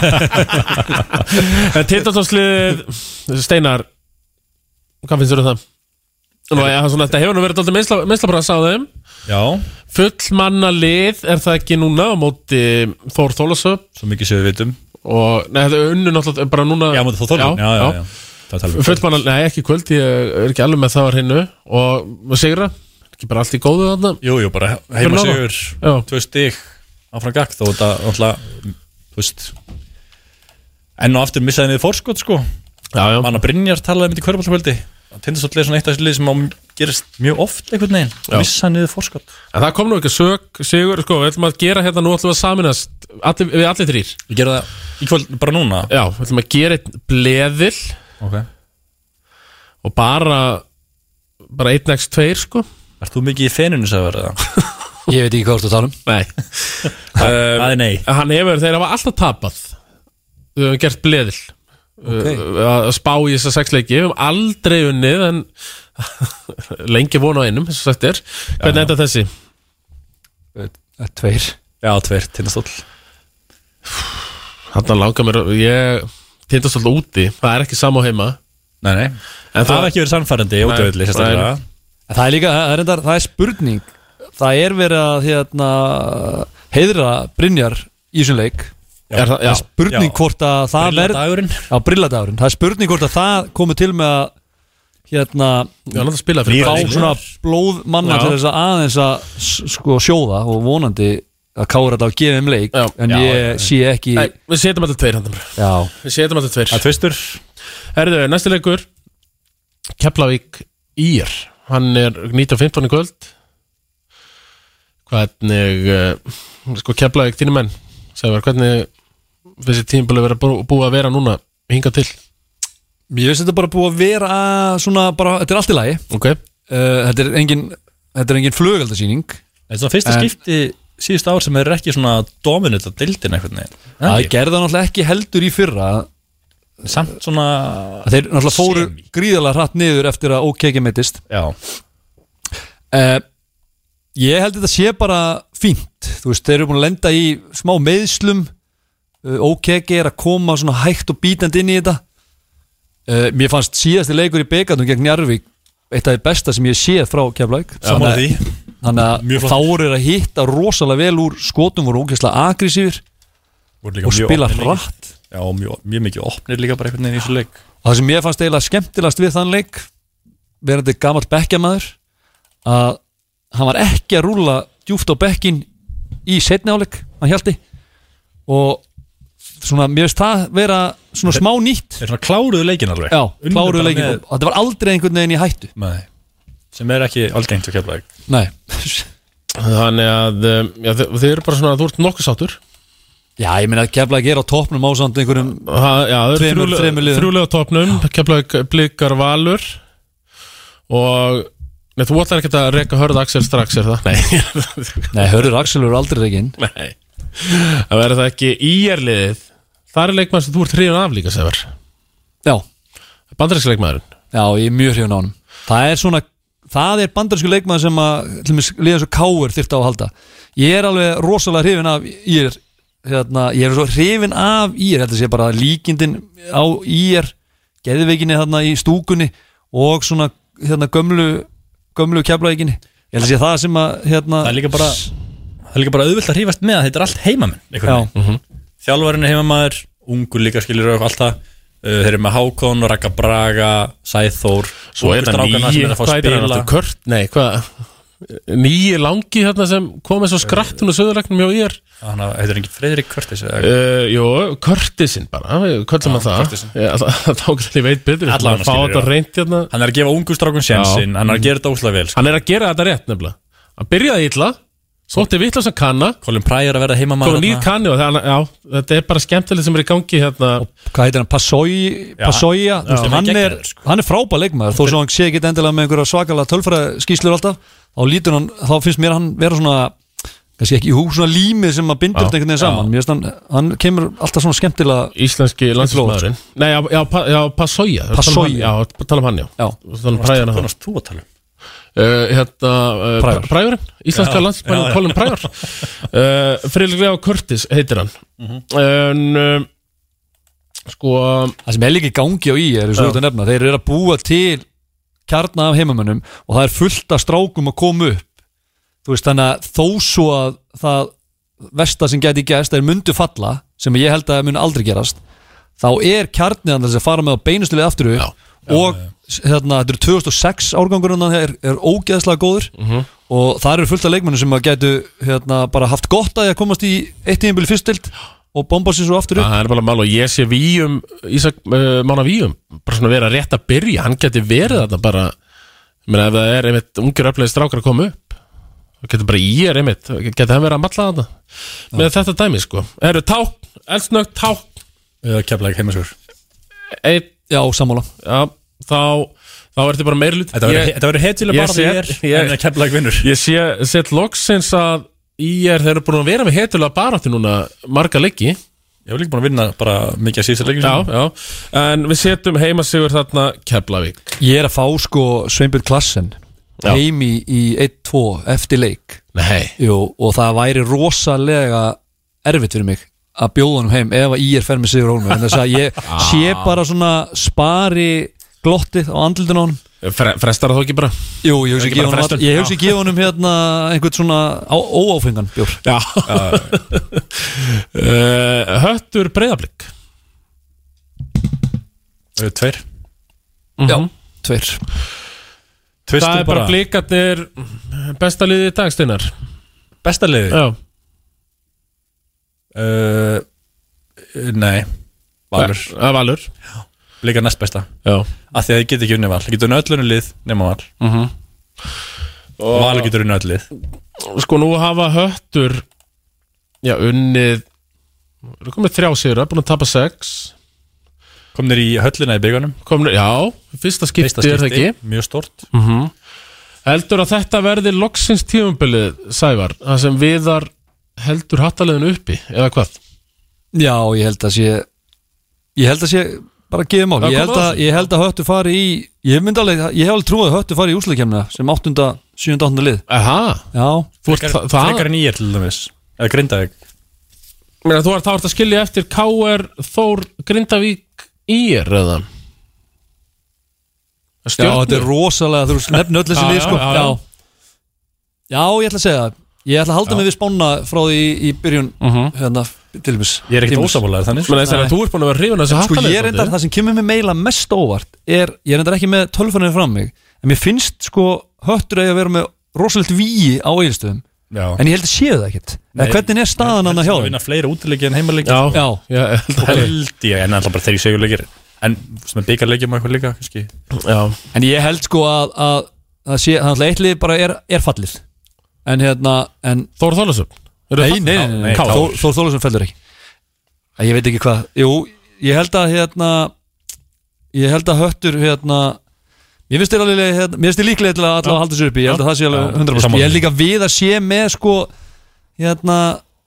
Speaker 1: Tindatónslið Steinar Hvað finnst þér um það? Nú, já, svona, þetta hefur nú verið alltaf minnsla, minnslabrans á þeim
Speaker 4: já,
Speaker 1: Full manna lið er það ekki núna á móti Þór Þólasöp
Speaker 4: svo mikið sem við vitum
Speaker 1: og nei, þetta er unnu náttúrulega bara núna
Speaker 4: já, mútið þó þorðum já, já, já, Það tala við.
Speaker 1: Fullmanna, nei ekki í kvöld, ég er ekki alveg með það var hinnu og og sigra, ekki bara allt í góðu þarna
Speaker 4: Jú, jú, bara heima
Speaker 1: Fyrir norðan.
Speaker 4: sigur
Speaker 1: Já.
Speaker 4: Tvö stig áfram gagd og þetta náttúrulega, þú veist enn og aftur missaði niður fórskot sko
Speaker 1: Já, já,
Speaker 4: Anna Brynjar talaði um þetta í kvörbáltakvöldi Tindastóll er svona eitt af þessu lið sem á gerist mjög oft einhvern veginn,
Speaker 1: Já.
Speaker 4: missaði niður fórskot
Speaker 1: en það kom nú ekki sög, sigur, sko, við ætlum að gera hérna nú ætlum við að saminast allir, við allir þrýr
Speaker 4: Ég gera það í kvöld, bara núna
Speaker 1: Já, við ætlum að gera einn bleðil
Speaker 4: okay.
Speaker 1: og bara bara einn x 2 sko
Speaker 4: Ert þú mikið í feninu sem verið það?
Speaker 3: Ég veit ekki hvað þú tala um
Speaker 1: Nei,
Speaker 4: Það er nei
Speaker 1: hann hefur, þeir hafa alltaf tapað við höfum gert bleðil okay. að spá í þessa sexleiki við höfum aldrei unnið en lengi vona á einum eins og sagt er hvernig enda þessi?
Speaker 3: Tveir
Speaker 4: Já, tveir, Tindastóll
Speaker 1: Þarna langar mér, að- ég tindast alltaf úti, það er ekki sama og heima
Speaker 4: Nei, nei
Speaker 1: En
Speaker 4: Það hafa ekki verið sannfærandi
Speaker 1: Nei,
Speaker 4: útöðli sérstaklega
Speaker 1: nei.
Speaker 3: En Það er líka, það er, endar, það er spurning Það er verið að hérna, heiðra Brynjar í þessum leik
Speaker 1: er það, já,
Speaker 3: Spurning
Speaker 4: Já.
Speaker 3: hvort að það
Speaker 4: Brilla
Speaker 3: verð
Speaker 4: dagurinn
Speaker 3: á brilladagurinn, það er spurning hvort að það komi til með að hérna,
Speaker 1: já, láta spila fyrir
Speaker 3: fá
Speaker 1: bæði lið.
Speaker 3: svona blóð manna
Speaker 1: Já.
Speaker 3: til þess að aðeins að s- sko, sjóða og vonandi að kára þetta á gefum leik
Speaker 1: Já.
Speaker 3: en
Speaker 4: Já,
Speaker 3: ég sé ekki
Speaker 1: Nei, við setjum alltaf tveir handum
Speaker 3: Já,
Speaker 1: Við setjum alltaf tveir
Speaker 4: Það er tvistur
Speaker 1: Herðu, næsti leikur Keflavík Ír Hann er 19.15 í kvöld Hvernig uh, Sko Keflavík þínu menn Sævar, hvernig þessi tímabili vera bú- búið að vera núna hinga til
Speaker 3: ég veist þetta bara búið að vera að svona bara, þetta er allt í lagi uh,
Speaker 1: Ok,
Speaker 3: þetta er engin, þetta er engin flugaldasýning
Speaker 4: Þetta er svona fyrsta
Speaker 3: En-
Speaker 4: skipti síðust ár sem er ekki svona dominant að dildin einhvern veginn
Speaker 3: það
Speaker 4: Ekki.
Speaker 3: gerði það náttúrulega ekki heldur í fyrra
Speaker 4: Samt svona
Speaker 3: að þeir náttúrulega fóru
Speaker 4: Semi.
Speaker 3: gríðalega hratt niður eftir að OKG mittist
Speaker 4: Já
Speaker 3: uh, ég held þetta sé bara fínt, þú veist, þeir eru búin að lenda í smá meðslum uh, OKG er að koma svona hægt og bítandi inn í þetta uh, mér fannst síðasti leikur í Begatum gegn Njarvík eitt af því besta sem ég séð frá Keflæk
Speaker 4: Sammála því Mjög
Speaker 3: þannig að
Speaker 4: flott.
Speaker 3: þá eru að hitta rosalega vel úr skotum voru ógeðslega agressífir
Speaker 4: Voru líka
Speaker 3: og
Speaker 4: mjög
Speaker 3: spila
Speaker 4: opnir líka.
Speaker 3: hratt
Speaker 4: Já, mjög, mjög mikið opnir líka bara einhvern veginn í þessu leik
Speaker 3: og það sem ég fannst eiginlega skemmtilegast við þann leik verandi gamall bekkjamaður að hann var ekki að rúla djúft á bekkin í setni áleik, hann hjaldi og svona, mér veist það vera svona smá nýtt
Speaker 4: Þeir svona kláruðu leikin alveg
Speaker 3: já,
Speaker 4: Unnu
Speaker 3: kláruðu
Speaker 4: bara
Speaker 3: leikin
Speaker 4: með-
Speaker 3: og þetta var aldrei einhvern veginn í hættu
Speaker 4: Nei Sem er ekki algengt að kemla
Speaker 3: nei,
Speaker 1: þannig að um, já, þið, þið eru bara svona að þú ert nokkuð sáttur
Speaker 3: já, ég meina að kefla ekki er á topnum ásand einhverjum
Speaker 1: Ha- Já, það
Speaker 3: Tveimur- þremur
Speaker 1: eru
Speaker 3: liðum.
Speaker 1: þrjúlega á topnum Keflavík blikar Valur og Nei, þú ætlar ekki að reka hörð Axel strax, er það? Nei,
Speaker 3: nei, hörður Axel eru aldrei reikinn
Speaker 1: Nei Það verður það ekki íjarliðið Það er leikmaður sem þú ert hrifin af líka, Sefar
Speaker 3: já,
Speaker 1: Bandaríska leikmaðurinn
Speaker 3: já, ég er mjög hrifun á hann það er svona Það er bandarsku leikmaður sem að til dæmis, liða svo káur þyrft á að halda Ég er alveg rosalega hrifin af ír hérna, Ég er svo hrifin af ír Þetta sé bara líkindin á ír Geðveikinni þarna í stúkunni Og svona hérna, gömlu Gömlu keflaðikinni Ég held að sé það sem að hérna,
Speaker 4: Það er líka bara Það er líka bara auðvöld að hrífast með að þetta er allt heimamenn einhvern veginn.
Speaker 3: Já,
Speaker 4: Þjálfarinn er heimamaður, ungur líka skilur og allt það Uh, Þeir eru með Hákon, Raka Braga, Sæþór
Speaker 1: Svo er það nýji, hvað heitir hann aftur? Kört, nei, hvað Nýji langi þarna sem kom eins og skrattun og söðurlegnum hjá íjar
Speaker 4: Þannig að heitir engin Freyðrik Körtis eða-
Speaker 1: uh, Jó, Körtisinn bara Körtum að það
Speaker 4: Curtisinn.
Speaker 1: Já, Það það tók allir veit betur
Speaker 4: Alla
Speaker 1: Fá
Speaker 4: hana skilur,
Speaker 1: þetta
Speaker 4: já.
Speaker 1: reynt hérna
Speaker 4: Hann er að gefa ungu strákum sjensin, hann er að gera þetta óslega vel sko.
Speaker 1: Hann er að gera þetta rétt nefnilega Hann byrjaði illa, sótti vitla sem kanna
Speaker 4: Colin Pryor er að verða heimamaður
Speaker 1: Komið nýr
Speaker 4: þarna.
Speaker 1: kanni og það, já, þetta er bara skemmtileg sem er í gangi hérna
Speaker 3: hvað heitir hann? Passoia, Passoia þú
Speaker 4: Já.
Speaker 3: veist, hann, er,
Speaker 4: Geggjaður, sko.
Speaker 3: hann er frábæð leikmaður þó svo hann sé ekki endilega með einhverja svakalega tölfræðskíslur alltaf þá, lítur hann, þá finnst mér hann vera svona kannski ekki í hú, svona límið sem að bindur
Speaker 1: Já.
Speaker 3: þetta einhvern veginn saman Mér finnst hann, hann kemur alltaf svona skemmtilega
Speaker 1: Íslenski landslæðurinn Nei, já, já, pa- já Passoia
Speaker 3: Passoia.
Speaker 1: Já, tala um hann, já
Speaker 3: já,
Speaker 1: Tala um præðina
Speaker 4: Hvað
Speaker 1: þá uh,
Speaker 4: varst þú að tala um?
Speaker 1: Hérna, uh,
Speaker 3: Præjar.
Speaker 1: præjurinn Íslenska
Speaker 4: Já, já,
Speaker 1: landslæðurinn,
Speaker 4: já.
Speaker 1: Colin Præjar uh, Friðrik Leó Curtis heitir hann
Speaker 4: Mhm.
Speaker 1: En, uh, sko
Speaker 3: það sem er líka í gangi á í er, svo
Speaker 1: Já.
Speaker 3: þetta nefna, þeir eru að búa til kjarna af heimamönnum og það er fullt af strákum að koma upp þú veist þannig að þó svo að það versta sem geti gæst er mundu falla sem ég held að mun aldrei gerast þá er kjarniðan þess að fara með á beinustulega aftur upp og Hérna, þetta eru 2006 árgangurinn það er, er ógeðslega góður og það eru fullt af leikmennum sem að gætu hérna, bara haft gott að því að komast í eitt tíðinbili fyrstild og bomba sér svo aftur upp
Speaker 1: Það er bara mál og ég sé Víum Ísak uh, Mána Víum bara svona vera rétt að byrja, hann geti verið þarna bara, ég meina ef það er einmitt ungir öflegið strákar að koma upp þá getur bara ég er einmitt, getur hann verið að matla þarna með þetta dæmi sko Eru tákn, eldsnögt tákn
Speaker 4: Eða Keflæk heimaskur
Speaker 1: einn,
Speaker 3: Já, sammála
Speaker 1: já, þá þá ertu bara meiri hlut
Speaker 4: Þetta verður- þetta verður
Speaker 1: ég
Speaker 4: heitilega bara
Speaker 1: sé-
Speaker 4: því
Speaker 1: ég-
Speaker 4: er en Keflæk vinnur
Speaker 1: Ég sé, set loksins að ég er, þeir eru búin að vera með heitulega baráttu núna marga leiki
Speaker 4: Ég var líka búin að vinna bara mikið að síðustu leikin
Speaker 1: Já, já, en við setjum heimasigur þarna Keflavík
Speaker 3: Ég er að fá sko Sveinbjörn Klassen
Speaker 1: Já.
Speaker 3: heim í, í 1-2 eftir leik
Speaker 1: Nei
Speaker 3: Jú, og það væri rosalega erfitt fyrir mig að bjóða honum heim ef að ég er fer með sigur hólmur en þess að ég
Speaker 1: Ah.
Speaker 3: sé bara svona spari glottið á andlutinu honum
Speaker 1: Fre Frestar það þó ekki bara
Speaker 3: Jú, ég
Speaker 1: Ekki
Speaker 3: hugsi ekki
Speaker 1: bara
Speaker 3: honum,
Speaker 1: frestun.
Speaker 3: all- ég hugsa ekki honum hérna einhvern svona á, óáfengan bjór
Speaker 2: Já,
Speaker 1: uh, Höttur breyðablík
Speaker 4: eru tveir
Speaker 3: Já, tveir
Speaker 1: Mhm. Það
Speaker 4: Tvistum
Speaker 1: er bara blíkarnir besta liðið í dag, Steinar
Speaker 4: Besta liði
Speaker 1: Já,
Speaker 4: uh, Eh, Nei Valur
Speaker 1: Ja, Eh, Valur
Speaker 4: Blíkar næst besta
Speaker 1: Já
Speaker 4: Af því að þið getur ekki unni val Þið getur unni öllunni lið nema val
Speaker 1: Mhm. Og-
Speaker 4: Val getur unni öll lið
Speaker 1: Sko nú hafa höttur Já, unnið Það er komið þrjá sigra, búin að tapa sex
Speaker 4: Komnir í höllina í byggunum
Speaker 1: komin, Já, fyrsta skipti,
Speaker 4: Fyrsta skipti
Speaker 1: er það ekki Mm.
Speaker 4: Mjög stort
Speaker 1: Heldur að þetta verði loksins tímumbilið Sævar, það sem viðar heldur hattaliðin uppi, eða hvað?
Speaker 3: Já, ég held að sé ég held að sé bara gefum á
Speaker 1: Já,
Speaker 3: ég held,
Speaker 1: komdu að
Speaker 3: að,
Speaker 1: þessu.
Speaker 3: ég held að höttu fari í ég myndi alveg, ég hef alveg trúið að höttu fari í úsleikemna sem 8. 7. 8. lið
Speaker 1: Aha,
Speaker 3: Já,
Speaker 1: þú ert það, það
Speaker 4: Frekar en ég til dæmis Eða Grindavík
Speaker 1: meina, Þú ert þá ert að skilja eftir KR Þór Grindavík ír eða
Speaker 3: Já, þetta er rosalega, þú veist, nefn öll þessi
Speaker 1: Já,
Speaker 3: lið sko.
Speaker 1: já, já, já.
Speaker 3: Já, ég ætla að segja það Ég ætla að halda mig við spána frá því í byrjun hérna, til þess
Speaker 4: Ég er ekkert ósamálaður þannig
Speaker 1: Meina, þess að þú um ert búin að vera hrifin að þessu
Speaker 3: Sko,
Speaker 1: hattaliðin
Speaker 3: ég reyndar, það sem kemur mér meila mest óvart er, ég reyndar ekki með tölfunni fram mig en mér finnst, sko, höttur eigi að vera með rosalegt víi á eigilstöðum
Speaker 4: Já
Speaker 3: en ég held að sé það ekkert Eða hvernig er staðan hann að hjá
Speaker 4: Það
Speaker 3: þeim?
Speaker 4: vinna fleiri útileiki en heimaleiki
Speaker 1: Já,
Speaker 3: Já,
Speaker 1: já, ég held að-
Speaker 4: Held ég, en alltaf bara þegar ég segjur leikir En sem er byggarleikjum og eitthvað líka kannski.
Speaker 1: já
Speaker 3: En ég held sko að, að, að sé, þannig að eitthvað bara er, er fallið en hérna, en
Speaker 1: Þór Þólasum
Speaker 3: Nei, nei, nei, nei,
Speaker 1: Káur.
Speaker 3: Þór Þór Þólasson fellur ekki Æ, Ég veit ekki hvað Jú, ég held að hérna Ég held að höttur hérna Ég finnst þér alveg hérna, Mér finnst þér líklega til að allavega halda sér uppi Ég held að það sé alveg 100%
Speaker 4: sammála.
Speaker 3: Ég held líka við að sé með sko Hérna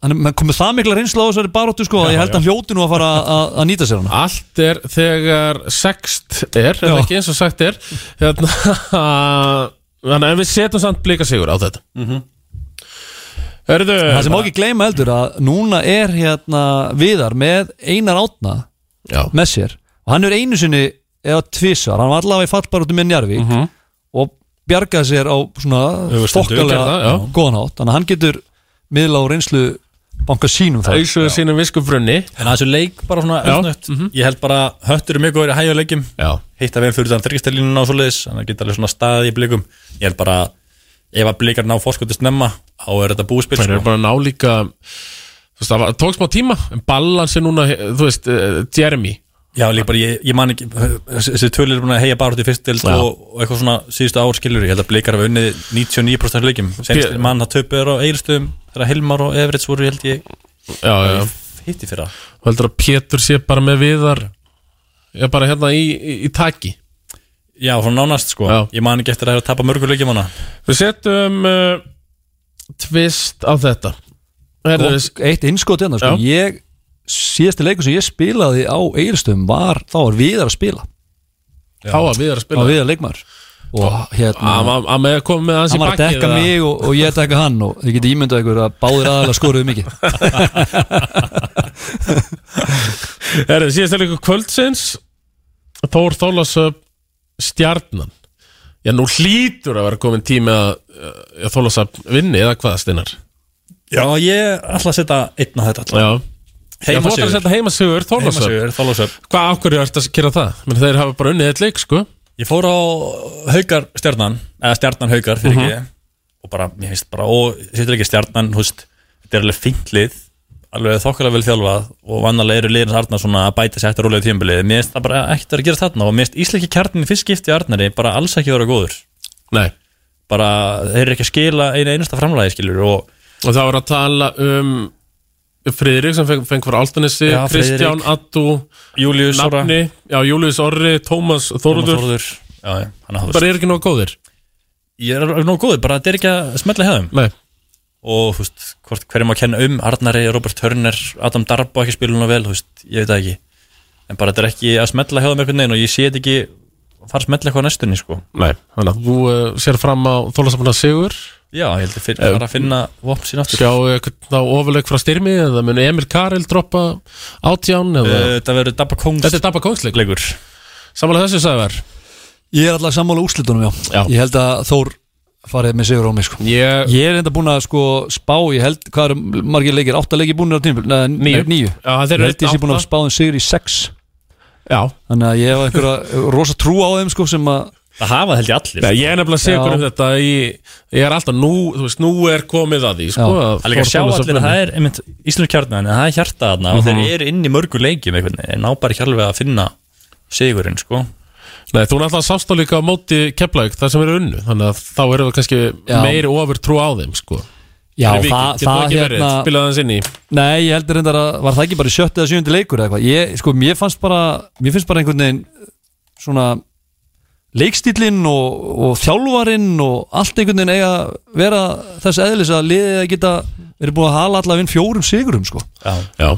Speaker 3: Hann er komið það mikla reynsla á þessari baróttu sko að Ég held að hann hljóti nú að fara að- að að nýta sér hana
Speaker 1: Allt er þegar sext er, er það
Speaker 3: Já.
Speaker 1: ekki eins og sagt er hérna, Þannig að við setjum samt blika sigur á þetta mm -hmm. Hörðu
Speaker 3: Mhm. Það sem má ekki gleyma heldur að núna er hérna Viðar með Einar Átna
Speaker 1: Já.
Speaker 3: með sér og hann er einu sinni eða tvisar, hann var allavega í fallbaróttu með Njarvík
Speaker 1: Mhm.
Speaker 3: og bjargaði sér á svona
Speaker 4: Hefur stundu
Speaker 1: gerði það,
Speaker 3: fokkalega
Speaker 1: já.
Speaker 3: góðan hátt, þannig að hann getur miðla á reynslu banka sínum það
Speaker 1: Æsuðu sínum viskufrunni
Speaker 4: En að þessu leik bara svona öfnött Mhm. Ég held bara höttur eru mjög góður í hægja leikjum
Speaker 1: Já
Speaker 4: Hitta við fyrir þann þryggstælínuna og svoleiðis Þannig að geta alveg svona staðið í blikum Ég held bara Ef að blikar ná fórskotist snemma Þá er þetta búspil
Speaker 1: Það
Speaker 4: sko.
Speaker 1: er bara að ná líka Þú veist, það var- tók smá tíma En balans er núna, þú veist, eh, Jeremy
Speaker 4: Já, líka bara, ég, ég man ekki Þessi þessi tölir er búin að heia bara út í fyrst deild
Speaker 1: Já.
Speaker 4: og, og eitthvað svona síðustu ár skilur Ég held að blikar hafa unnið 99% af leikjum Senst
Speaker 1: Pé-
Speaker 4: mann að töpu er á eigilstöðum Þegar Hilmar og Everett voru, held ég
Speaker 1: Já, já, já
Speaker 4: Hitti fyrir það
Speaker 1: Þú heldur að Pétur sé bara með viðar Já, bara hérna í, í, í taki
Speaker 4: Já, svona nánast sko
Speaker 1: Já.
Speaker 4: Ég man ekki eftir að það er að tapa mörgur leikjum hana
Speaker 1: Við setjum uh, Tvist á þetta Herðu,
Speaker 3: og eitt innskot hérna, sko,
Speaker 1: Já.
Speaker 3: ég síðasti leikur sem ég spilaði á Egilstum var, þá var Viðar að spila
Speaker 1: þá að viðar að
Speaker 3: þá
Speaker 1: spila
Speaker 3: var Viðar leikmaður og hérna
Speaker 1: Að að- að með að koma með hans í
Speaker 3: hann var að
Speaker 1: bakið
Speaker 3: dekka mig og, og ég að dekka hann og þið getið ímyndað ykkur að báðir aðalega skoruðu mikið
Speaker 1: Er það síðast leikur kvöldsins Þór Þólasöf Stjarnan Já nú hlýtur að vera komin tími að, eh, að Þólasöf vinni eða hvað Steinar
Speaker 4: Já, ég ætla að setja einn á þetta alltaf
Speaker 1: Já Já, þú ætlar að
Speaker 4: Heimasigur
Speaker 1: setja heimasigur Þólasöf
Speaker 4: Heimasigur, Þólasöf
Speaker 1: Hvað ákvörðu ert að gera það? Men þeir hafa bara unnið eitt leik sko
Speaker 4: Ég fór á Haukar stjarnan eða stjarnan Haukar fyrir
Speaker 1: Mhm.
Speaker 4: ekki og bara, mér finnst bara, og sýttur ekki stjarnan húst, þetta er alveg fínt lið alveg þokkalega vel þjálfað og vannalega eru liðins Arnar svona að bæta sér eftir rólega tímabilið mér finnst það bara ekkert að gera þarna og mér finnst íslenski kjarnin fyrst skipti í Arnari bara alls ekki vera góður
Speaker 1: Nei
Speaker 4: bara, þeir eru ekki að skila einu einasta framlæði skilur og
Speaker 1: Og það var að tala um Friðrik sem feng, feng frá Altanesi
Speaker 4: Já, Friðrik.
Speaker 1: Kristján Attu
Speaker 4: Július Sora
Speaker 1: Nafni Já, Július Orri Tómas Þórður
Speaker 4: Þorður Já, já, hann að þú
Speaker 1: Bara
Speaker 4: veist
Speaker 1: er ekki nóg góðir
Speaker 4: Ég er alveg nóg góður, bara þetta er ekki að smetla hefðum
Speaker 1: Nei
Speaker 4: og þú veist, hvort hverjum að kenna um Arnari, Robert Turner, Adam Darbo ekki spilun og vel, þú veist, ég veit það ekki en bara þetta er ekki að smetla hjá þeim einhvern veginn og ég sé þetta ekki að fara að smetla eitthvað á næstunni sko.
Speaker 1: eh, Nei, þannig að þú uh, sér fram á þólasafna sigur
Speaker 4: Já, ég held að finna, bara að finna vopn sín aftur
Speaker 1: Sjáu eitthvað þá ofurleik frá styrmi eða mun Emil Karel droppa átján eða
Speaker 4: Eh, Það verður Dabba Kongs
Speaker 1: Þetta er Dabba Kongsleik
Speaker 4: leikur
Speaker 1: Samanlega þessu sagðar
Speaker 3: Ég er alltaf sammála úrslitunum, já.
Speaker 1: Já.
Speaker 3: Ég held að Þór farið með sigur á mig, sko.
Speaker 1: Ég
Speaker 3: Ég er enda búin að sko spá, ég held, hvað eru margir leikir? Átta leikir búinir á tímpil? Nei,
Speaker 1: Níu.
Speaker 3: nei, níu.
Speaker 1: Já, þeir
Speaker 3: Ég
Speaker 1: eru
Speaker 3: held ég sé búin að spá þeim sigur í sex.
Speaker 1: Já
Speaker 3: Þannig að ég hef einhverja rosa trú á þeim, sko, sem að,
Speaker 4: Það hafa það held ég allir
Speaker 1: Nei, ég er nefnilega sigur
Speaker 3: Já.
Speaker 1: um þetta ég, ég er alltaf nú, þú veist, nú er komið að því sko,
Speaker 3: Já.
Speaker 1: að
Speaker 4: Það er líka að sjá
Speaker 1: Þór
Speaker 4: allir
Speaker 1: Þórðarson-
Speaker 4: að það er einmitt Íslandur kjarnan en það er hjarta þarna og
Speaker 1: Mhm.
Speaker 4: þeir eru inn í mörgu leikjum einhvern veginn, en ná bara ekki alveg að finna sigurinn sko
Speaker 1: Nei, þú náttúrulega sást þá líka á móti Keflavík, þar sem eru unnu Þannig að þá eru við kannski
Speaker 3: Já.
Speaker 1: meiri ofur trú á þeim sko.
Speaker 3: já,
Speaker 1: Fyrir vikið,
Speaker 3: það,
Speaker 1: getur
Speaker 3: það
Speaker 1: ekki verið,
Speaker 3: hérna,
Speaker 1: spilaði hans inn í
Speaker 3: Nei, ég heldur reyndar að var það ekki bara í sjötti eða sjöndi leikur eða eitthvað ég, sko, mér fannst bara, mér finnst bara einhvern veginn svona leikstýlinn og, og þjálfarinn og allt einhvern veginn eiga að vera þess eðlis að liðið að geta verið búið að hala allavega inn fjórum sigurum sko.
Speaker 4: Já,
Speaker 1: Já,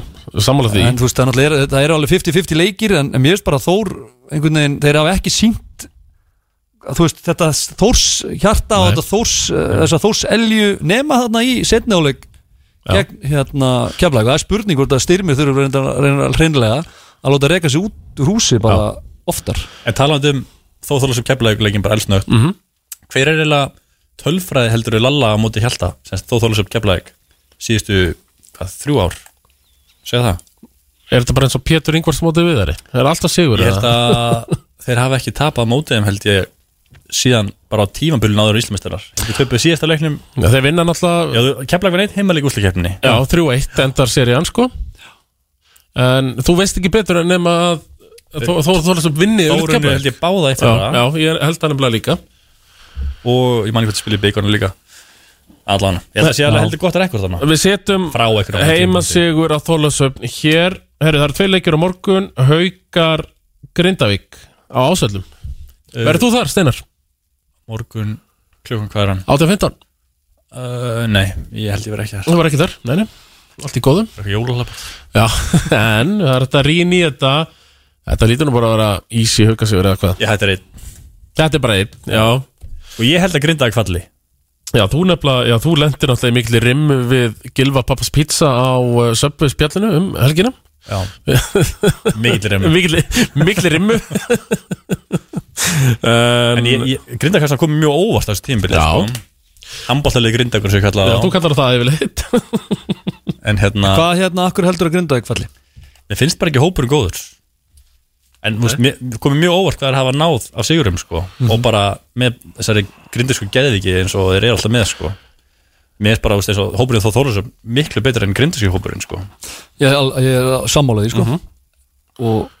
Speaker 1: sammála því
Speaker 3: en þú veist, það náttúrulega er, það eru alveg 50-50 leikir en, en mér finnst bara Þór einhvern veginn, þeir hafa ekki sínt þú veist, þetta Þórs hjarta
Speaker 1: Nei.
Speaker 3: og þetta Þórs, eh, þessa Þórs elju nema þarna í setnáleik gegn hérna keflæk og það er spurning hvort að styrmir þurfum reyndar, reyndar hreinlega að láta reka sig út úr húsi bara oftar
Speaker 4: En talandi um þó þóla sem keflaugleikin bara elsnögt
Speaker 1: Mhm.
Speaker 4: Hver er eiginlega tölfræði heldur við Lalla á móti Hjalta sem þó þóla sem keflaug síðustu hvað, þrjú ár Segðu það
Speaker 1: Er þetta bara eins og Pétur Ingvars móti viðari? Það er alltaf sigur
Speaker 4: Ég held
Speaker 1: eða?
Speaker 4: að þeir hafa ekki tapað mótið þeim held ég síðan bara á tímambilin áður Íslamistarar Þeir töpuðu síðasta leiknum
Speaker 1: Já, Þeir vinna náttúrulega
Speaker 4: Keflaug var neitt heimalik úsleikefninni
Speaker 1: Já, 3-1 endar serían sko En þú veist ekki betur en nema að Þó er það sem vinni
Speaker 4: Þórunni held ég báða eitt
Speaker 1: Já, já, ég held það nefnilega líka
Speaker 4: og ég man ekki hvað spilaði beikonum líka allan, ég held að sé alveg heldur gott rekord þarna
Speaker 1: Við setjum
Speaker 4: frá einhverjum á tímapunkti.
Speaker 1: heimasigur á Þólasöfn hér, herru það eru tvei leikir á morgun Haukar Grindavík á ásöldum,
Speaker 4: Uh,
Speaker 1: verður þú þar Steinar?
Speaker 4: morgun klukkan hvað er hann
Speaker 1: 8.15,
Speaker 4: uh, nei, ég held ég verið ekki
Speaker 1: þú var ekki þar, nei, nei allt í góðum,
Speaker 4: þar jólalapp
Speaker 1: já, en það er þetta rýn í þetta þetta lítur nú bara að vera easy haukasigur eða hvað,
Speaker 4: ég hætti reitt
Speaker 1: þetta er bara einn, já
Speaker 4: og ég held að grinda ekki falli
Speaker 1: já, þú nefnilega, já, þú lendir náttúrulega í mikli rimmu við Gilva Pappas Pizza á uh, söpbu spjallinu um helgina
Speaker 4: já, mikið reymur
Speaker 1: mikli, mikli rimmu Eh,
Speaker 4: en ég, ég, grinda kannski komið mjög óvart á þessu tímbili
Speaker 1: Já.
Speaker 4: sko. handbóltalið grinda sem ég kallaði
Speaker 1: já, þú
Speaker 4: það á.
Speaker 1: kallar það yfirleitt
Speaker 4: en hérna,
Speaker 3: Hvað hérna, akkur heldur að grinda ekki falli?
Speaker 4: mér finnst bara ekki hópurinn góður en þú veist, mér- mér komið mjög óvart hvað þeir hafa náð á sigurum sko.
Speaker 1: Mhm.
Speaker 4: og bara með þessari grindisku geðviki eins og þeir eru alltaf með sko. mér er bara þú veist, eins og hópurinn þó þóra sem miklu betur en grindisku hópurinn sko.
Speaker 3: Ég, er al- ég er sammálaði, sko
Speaker 1: Mhm.
Speaker 3: og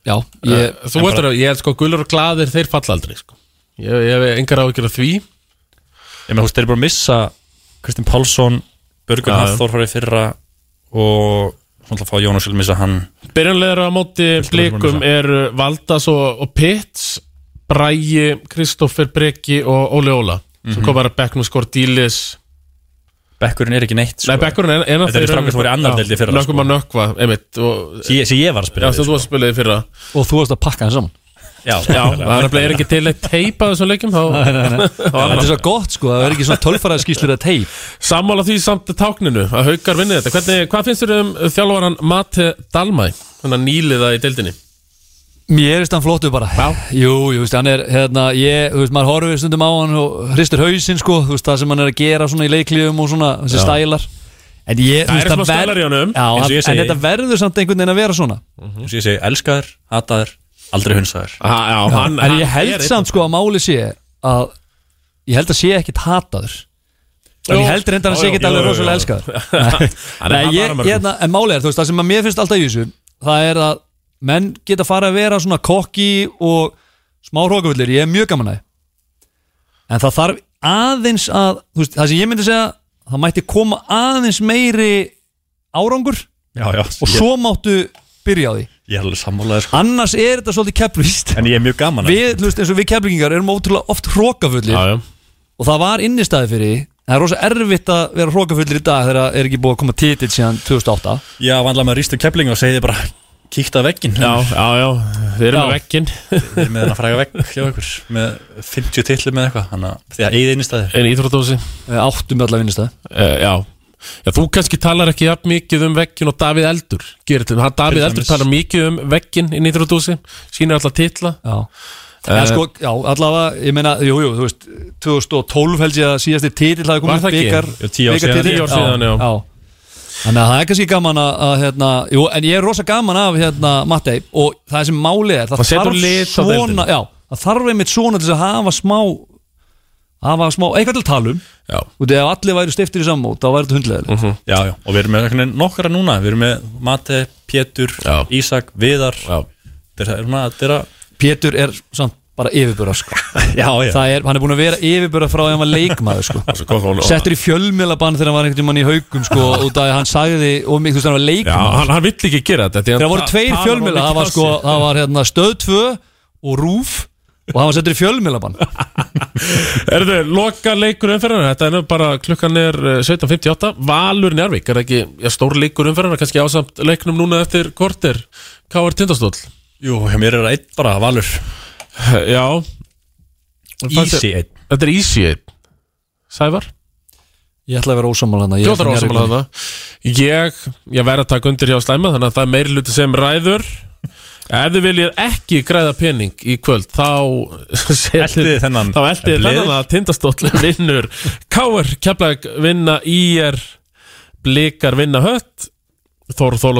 Speaker 3: já, ég,
Speaker 1: Þú veist það, ég held sko gulur og glaðir þeir falla aldrei sko. ég, ég hef engar áhyggjur af því
Speaker 4: ég með þú veist, þeir eru bara að missa Kristinn Pálsson, Börgun
Speaker 1: Já, já.
Speaker 4: Hafþór farið í fyrra og svona að fá Jónas vil missa hann
Speaker 1: Byrjanlegar á móti
Speaker 4: um
Speaker 1: blikum eru Valdas og, og Pits Bræi, Kristoffer Breki og Óli Óla
Speaker 4: Mhm.
Speaker 1: sem kom bara að bekknum skor dílis
Speaker 4: Bekkurinn er ekki neitt sko.
Speaker 1: Nei, bekkurinn er en af
Speaker 4: Þetta eru strákar sem voru í annar deild í fyrra,
Speaker 1: Nökkum
Speaker 4: sko.
Speaker 1: að nökkva, einmitt og,
Speaker 4: sem, ég, sem ég var að
Speaker 1: Já,
Speaker 4: spyrja
Speaker 1: sem þú
Speaker 4: þig, sko.
Speaker 1: varst að spilaði fyrra
Speaker 3: og þú varst að pakka hann saman
Speaker 4: já,
Speaker 1: Já, það er nefnilega er ekki til að teipa þessum leikjum þá,
Speaker 3: Þetta er svo gott sko, það er ekki svona tölfaraðskíslur að teip
Speaker 1: Sammála því samt tákninu að haukar vinni þetta Hvernig, Hvað finnst þér um þjálfaran Mate Dalmæ, þannig að nýliða í deildinni?
Speaker 3: Mér finnst hann flottu bara Já. Jú, jú, veist, hann er, hérna, ég, þú veist, maður horfir stundum á hann og hristir hausinn sko, þú veist, það sem hann er að gera svona í leikliðum og svona, þessi stælar En ég,
Speaker 1: Það eru smá stælar í honum,
Speaker 3: Já,
Speaker 4: eins og
Speaker 3: hann,
Speaker 4: ég segi.
Speaker 3: en þetta verður samt einhvern veginn að vera svona
Speaker 4: sem ég segi, elskaður, hataður aldrei hunsaður
Speaker 1: Ha, já, hann,
Speaker 3: En ég
Speaker 1: er
Speaker 3: held
Speaker 1: einn-
Speaker 3: samt sko að máli sé að ég held að sé ekkit hataður En
Speaker 1: Jú.
Speaker 3: ég held reyndar
Speaker 1: Já,
Speaker 3: að hann sé
Speaker 1: já,
Speaker 3: ekkit
Speaker 1: já, já,
Speaker 3: alveg rosalega
Speaker 1: já.
Speaker 3: elskaður
Speaker 1: Hann er
Speaker 3: Nei, ég,
Speaker 1: hamar-
Speaker 3: hérna, en málið er, þú veist, það sem að mér finnst alltaf í þessu Það er að menn geta fara að vera svona kokki og smá hrókavullir Ég er mjög gaman að því En það þarf aðeins að, þú veist, það sem ég myndi segja Það mætti koma aðeins meiri árangur
Speaker 4: já, já,
Speaker 3: Og svo máttu byrja á því
Speaker 4: ég, ég er alveg sammálaður sko.
Speaker 3: Annars er þetta svolítið keflvist
Speaker 4: en ég er mjög gaman að-
Speaker 3: Við, þú veist, eins og við keflingingar erum ótrúlega oft hrókavullir
Speaker 1: já, já.
Speaker 3: Og það var innistæði fyrir því Það er rosa erfitt að vera hrókavullir í dag þegar er ekki búið að koma titill síðan 2008
Speaker 4: Já, vandla með rýstu kepling og segiði bara kíkt að veggin
Speaker 1: Já, já, já, við erum
Speaker 3: Já.
Speaker 1: með vekkinn
Speaker 4: við erum með þennan fræga vegg hjá ykkur með 50 tillum með eitthvað þannig að því að eigið einnistæði
Speaker 1: En íþróttdósi
Speaker 3: Eh, Áttum allar vinnistæð
Speaker 1: uh, Já Já, þú kannski talar ekki jafn mikið um vekkinn og Davíð Eldur gerir þetta, hann Davíð
Speaker 4: Til
Speaker 1: Eldur
Speaker 4: dæmis.
Speaker 1: talar mikið um vekkinn inn í Íþróttdósi, sínir alltaf titla
Speaker 3: Já
Speaker 1: Eh,
Speaker 3: En sko, já, allavega, ég meina, jú, jú, þú veist 2012 held ég að síðasti titill hafi
Speaker 1: Var
Speaker 3: komið
Speaker 1: það ekki?
Speaker 3: bikar-
Speaker 4: Jú, tíu ár
Speaker 3: bikar
Speaker 4: síðan.
Speaker 3: titill.
Speaker 1: Tíu ár síðan, já.
Speaker 3: Þannig að það er kannski gaman að, að hérna, jú, en ég er rosa gaman af hérna Mattei og það sem máli er, það
Speaker 1: Það setur lit á
Speaker 3: svona,
Speaker 1: deildina.
Speaker 3: já, það þarf einmitt svona til þess að hafa smá, hafa smá, eitthvað til um. talum,
Speaker 1: Já,
Speaker 3: og þegar allir væri stiftir í sammót, þá væri þetta hundlega
Speaker 1: Mhm.
Speaker 4: já, já, og við erum með einhvern veginn nokkara núna við erum með Mate, Pétur,
Speaker 1: Já.
Speaker 4: Ísak, Viðar
Speaker 1: já,
Speaker 4: þetta er svona, þetta er að
Speaker 3: Pétur er samt bara yfirbúra, sko.
Speaker 4: já, já,
Speaker 3: það er, hann er búin að vera yfirbúra frá því hann var leikmaður, sko.
Speaker 1: svo gott og
Speaker 3: settur í fjölmiðlabann þegar hann var einhvern tímann í haugum sko, út af að hann sagði og mikið þú veist hann var
Speaker 1: Já,
Speaker 3: leikmann
Speaker 1: hann, hann vill ekki gera þetta því hann
Speaker 3: þegar voru
Speaker 1: ta-
Speaker 3: tveir
Speaker 1: talar of
Speaker 3: fjölmiðla,
Speaker 1: mikið
Speaker 3: það var
Speaker 1: á
Speaker 3: sko
Speaker 1: sig.
Speaker 3: það var hérna stöð 2 og rúf og hann var settur í fjölmiðlabann
Speaker 1: Er þetta loka leikur umferðina? Þetta er nú bara klukkan er eh, 17.58 Valur Njárvík, er það ekki já, stór leikur umferðina, kannski ásamt leiknum núna eftir kortir, K.R. Tindastóll
Speaker 4: jú, hjá mér er það einn bara, Valur
Speaker 1: Já
Speaker 4: Easy einn
Speaker 1: Þetta er Easy einn. Sævar,
Speaker 3: ég ætla að vera ósammála hann
Speaker 1: Jóðar ásamal að það Ég, ég verð að taka undir hjá slæma þannig að það er meiri hluti sem ræður Ef þið viljið ekki græða pening í kvöld, þá
Speaker 4: Eltið þið þennan
Speaker 1: Þá elti
Speaker 4: blið.
Speaker 1: þennan að tindastóll vinnur Káur, Keflag vinna IR Blikar vinna hött Þór Þóla